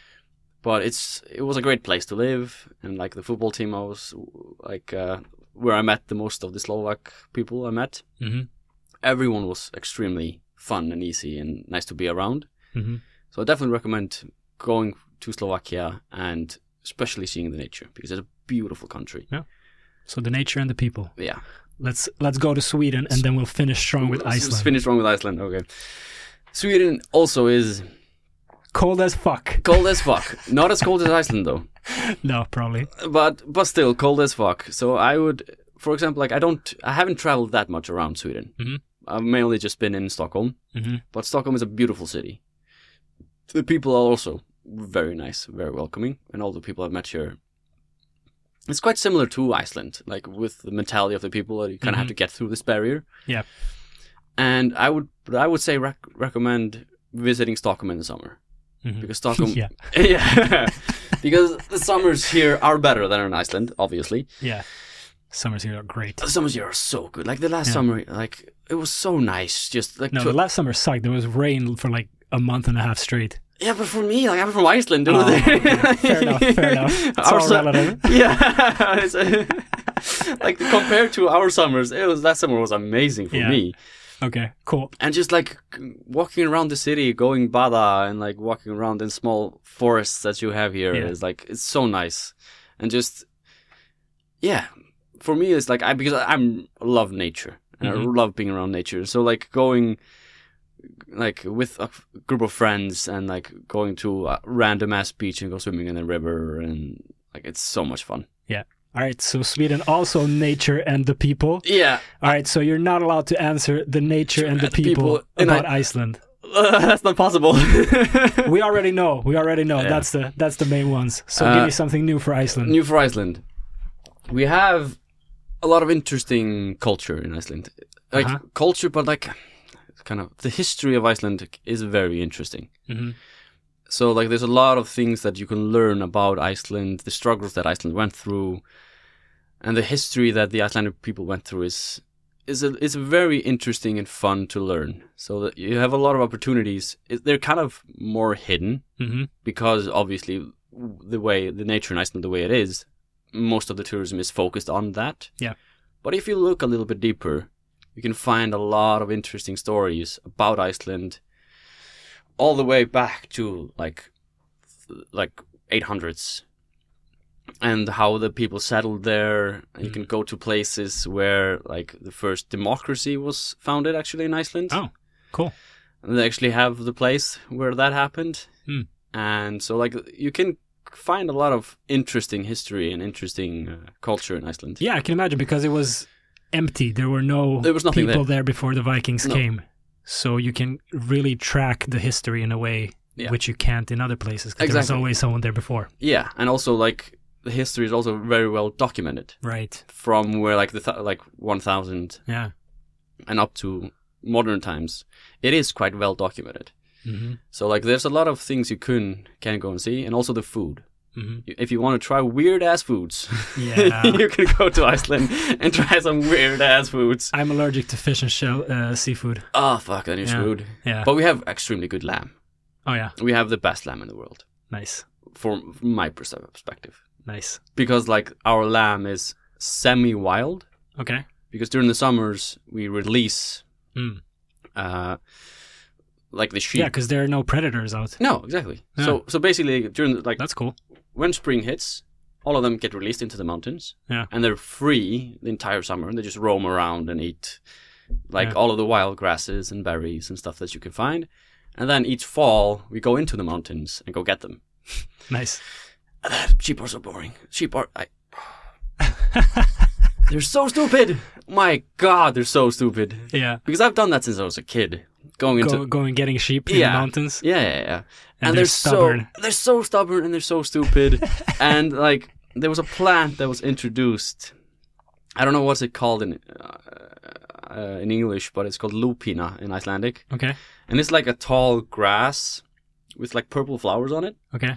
but it's it was a great place to live and like the football team i was like uh, where i met the most of the slovak people i met hmm everyone was extremely fun and easy and nice to be around. hmm So I definitely recommend going to Slovakia and especially seeing the nature because it's a beautiful country. So the nature and the people. Yeah. Let's let's go to Sweden and then we'll finish strong with Let's- let's Iceland. finish wrong with Iceland. Okay. Sweden also is Cold as fuck. cold as fuck. Not as cold as Iceland though. No, probably. but but still cold as fuck. So I would, for example, like I don't, I haven't traveled that much around Sweden. Mhm. I've mainly just been in Stockholm, Mhm. but Stockholm is a beautiful city. The people are also very nice, very welcoming, and all the people I've met here. It's quite similar to Iceland, like with the mentality of the people that you kind of have Mhm. to get through this barrier. Yeah. and I would, but I would say rec- recommend visiting Stockholm in the summer Mhm. because Stockholm yeah, yeah. because the summers here are better than in Iceland, obviously. yeah. Summers here are great. The summers here are so good. Like the last Yeah. summer, like it was so nice. Just like No, to- the last summer sucked. There was rain for like a month and a half straight. yeah, but for me, like I'm from Iceland, dude. Oh, okay. Fair enough, fair enough. It's all su- relative. Yeah, It's- like compared to our summers, it was that summer was amazing for Yeah. me. Okay, cool. And just like walking around the city, going bada, and like walking around in small forests that you have here is Yeah. like it's so nice. And just yeah, for me it's like I because I'm I love nature and Mhm. I love being around nature. So like going like with a f- group of friends and like going to a random ass beach and go swimming in the river and like it's so much fun. All right, so Sweden also nature and the people. Yeah, All right, so you're not allowed to answer the nature and the And the people people, in about Iceland. that's not possible. We already know. We already know. Yeah. That's the that's the main ones. So Uh, give me something new for Iceland. New for Iceland. We have a lot of interesting culture in Iceland. Like Uh-huh. culture, but like kind of the history of Iceland is very interesting. Mhm. So like there's a lot of things that you can learn about Iceland, the struggles that Iceland went through, and the history that the Icelandic people went through is is a, is very interesting and fun to learn. So that you have a lot of opportunities. It, they're kind of more hidden Mhm. because obviously the way the nature in Iceland the way it is, most of the tourism is focused on that. Yeah. But if you look a little bit deeper, you can find a lot of interesting stories about Iceland, all the way back to like like 800s, and how the people settled there. Mm. And you can go to places where like the first democracy was founded actually in Iceland. Oh, cool. And they actually have the place where that happened. Hmm. And so, like, you can find a lot of interesting history and interesting uh, culture in Iceland. Yeah, I can imagine because it was empty. There were no There was nothing people there. before the Vikings No. came. So you can really track the history in a way Yeah. which you can't in other places because there was Exactly. always someone there before. Yeah, and also like the history is also very well documented Right. from where like the th- like 1000 Yeah. and up to modern times. It is quite well documented. hmm So like, there's a lot of things you can can go and see, and also the food. hmm You- If you want to try weird ass foods, Yeah. you can go to Iceland and try some weird ass foods. I'm allergic to fish and shell uh, seafood. Oh fuck, then you're Yeah. screwed. Yeah. But we have extremely good lamb. oh yeah. We have the best lamb in the world, Nice. from, from my pers- perspective. Nice. Because like our lamb is semi-wild. Okay. Because during the summers we release, Mm. uh, like the sheep. Yeah, because there are no predators out. No, exactly. Yeah. So so basically during the, like That's cool. when spring hits, all of them get released into the mountains. Yeah. And they're free the entire summer. They just roam around and eat like Yeah. all of the wild grasses and berries and stuff that you can find. And then each fall, we go into the mountains and go get them. Nice. Sheep are so boring. Sheep are. I... they're so stupid. My God, they're so stupid. Yeah. Because I've done that since I was a kid. Going into. Go, going getting sheep in Yeah. the mountains. Yeah, yeah, yeah. And they're stubborn. so they're so stubborn and they're so stupid. and like there was a plant that was introduced. I don't know what's it called in uh, uh, in English, but it's called lupina in Icelandic, Okay. and it's like a tall grass with like purple flowers on it. Okay.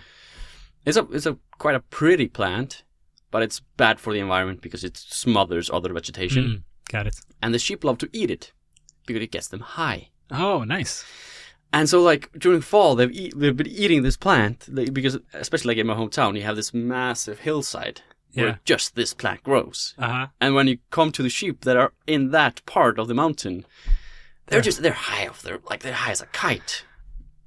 It's a it's a quite a pretty plant, but it's bad for the environment because it smothers other vegetation, Mm. Got it. and the sheep love to eat it because it gets them high. Oh, nice. And so, like during fall, they've eat, they've been eating this plant like, because, especially like in my hometown, you have this massive hillside Yeah. where just this plant grows. Uh huh. And when you come to the sheep that are in that part of the mountain, they're just they're high off. They're like they're high as a kite.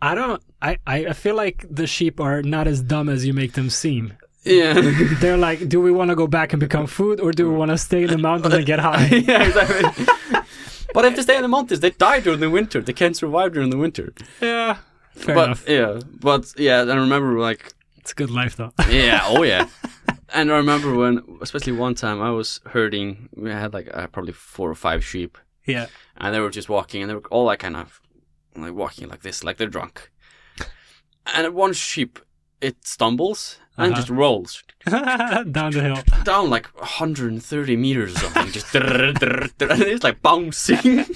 I don't. I, I I feel like the sheep are not as dumb as you make them seem. Yeah. They're like, do we want to go back and become food, or do we want to stay in the mountain and get high? yeah, exactly. but if they stay in the mountains, they die during the winter. They can't survive during the winter. yeah, fair but enough. yeah, but yeah, I remember like It's a good life though. yeah, oh yeah. and I remember when, especially one time, I was herding. We had like uh, probably four or five sheep, yeah, and they were just walking, and they were all like kind of like walking like this, like they're drunk. And one sheep, it stumbles and Uh-huh. just rolls down the hill. down like 130 meters or something, just drrr, drrr, drrr, and it's like bouncing. and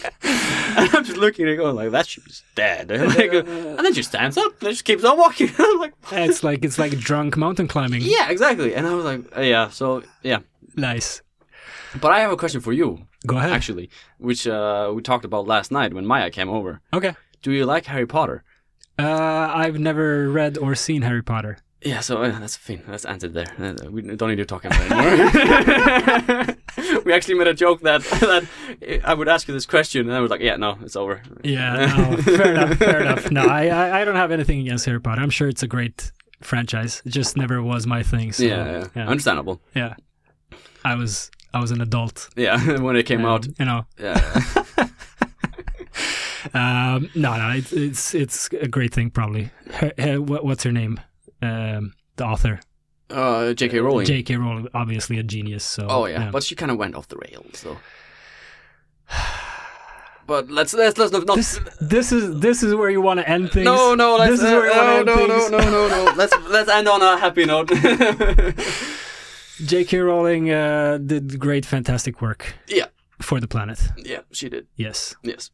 I'm just looking at it going like, that sheep's dead. Like, uh, and then she stands up and just keeps on walking. I'm like, It's like it's like drunk mountain climbing. yeah, exactly. And I was like, uh, yeah, so yeah. Nice. But I have a question for you, Go ahead. actually, which uh, we talked about last night when Maya came over. Okay. Do you like Harry Potter? Uh, I've never read or seen Harry Potter. Yeah, so uh, that's fine. That's answered there. Uh, We don't need to talk about it anymore. we actually made a joke that that I would ask you this question, and I was like, "Yeah, no, it's over." Yeah, no, fair enough. Fair enough. No, I, I I don't have anything against Harry Potter. I'm sure it's a great franchise. It just never was my thing. So, yeah, yeah. yeah, understandable. yeah. I was I was an adult. Yeah, when it came and, out. you know. Yeah, Um, no, no, it's it's it's a great thing probably. Her, her, what, what's her name? Um, the author, uh, J.K. Rowling. J.K. Rowling, obviously a genius. So oh yeah, but she kind of went off the rails. So, but let's let's let's not. this this is this is where you want to end things. no, no, let's this is where you no, want to no, end no, things. no, no, no. Let's let's end on a happy note. J.K. Rowling uh, did great, fantastic work. Yeah. For the planet, yeah, she did. yes. Yes.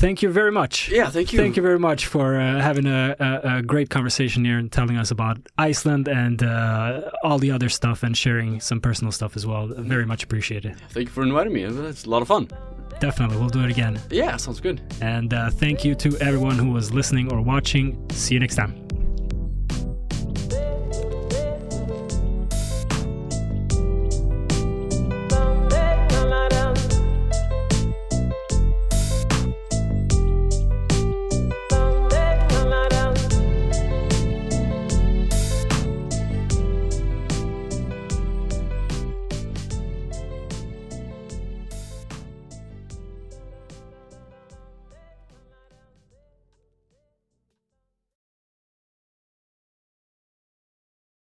Thank you very much. Yeah, thank you. Thank you very much for uh, having a, a, a great conversation here and telling us about Iceland and uh, all the other stuff and sharing some personal stuff as well. Very much appreciated. Thank you for inviting me. It's a lot of fun. Definitely, we'll do it again. Yeah, sounds good. And uh, thank you to everyone who was listening or watching. See you next time.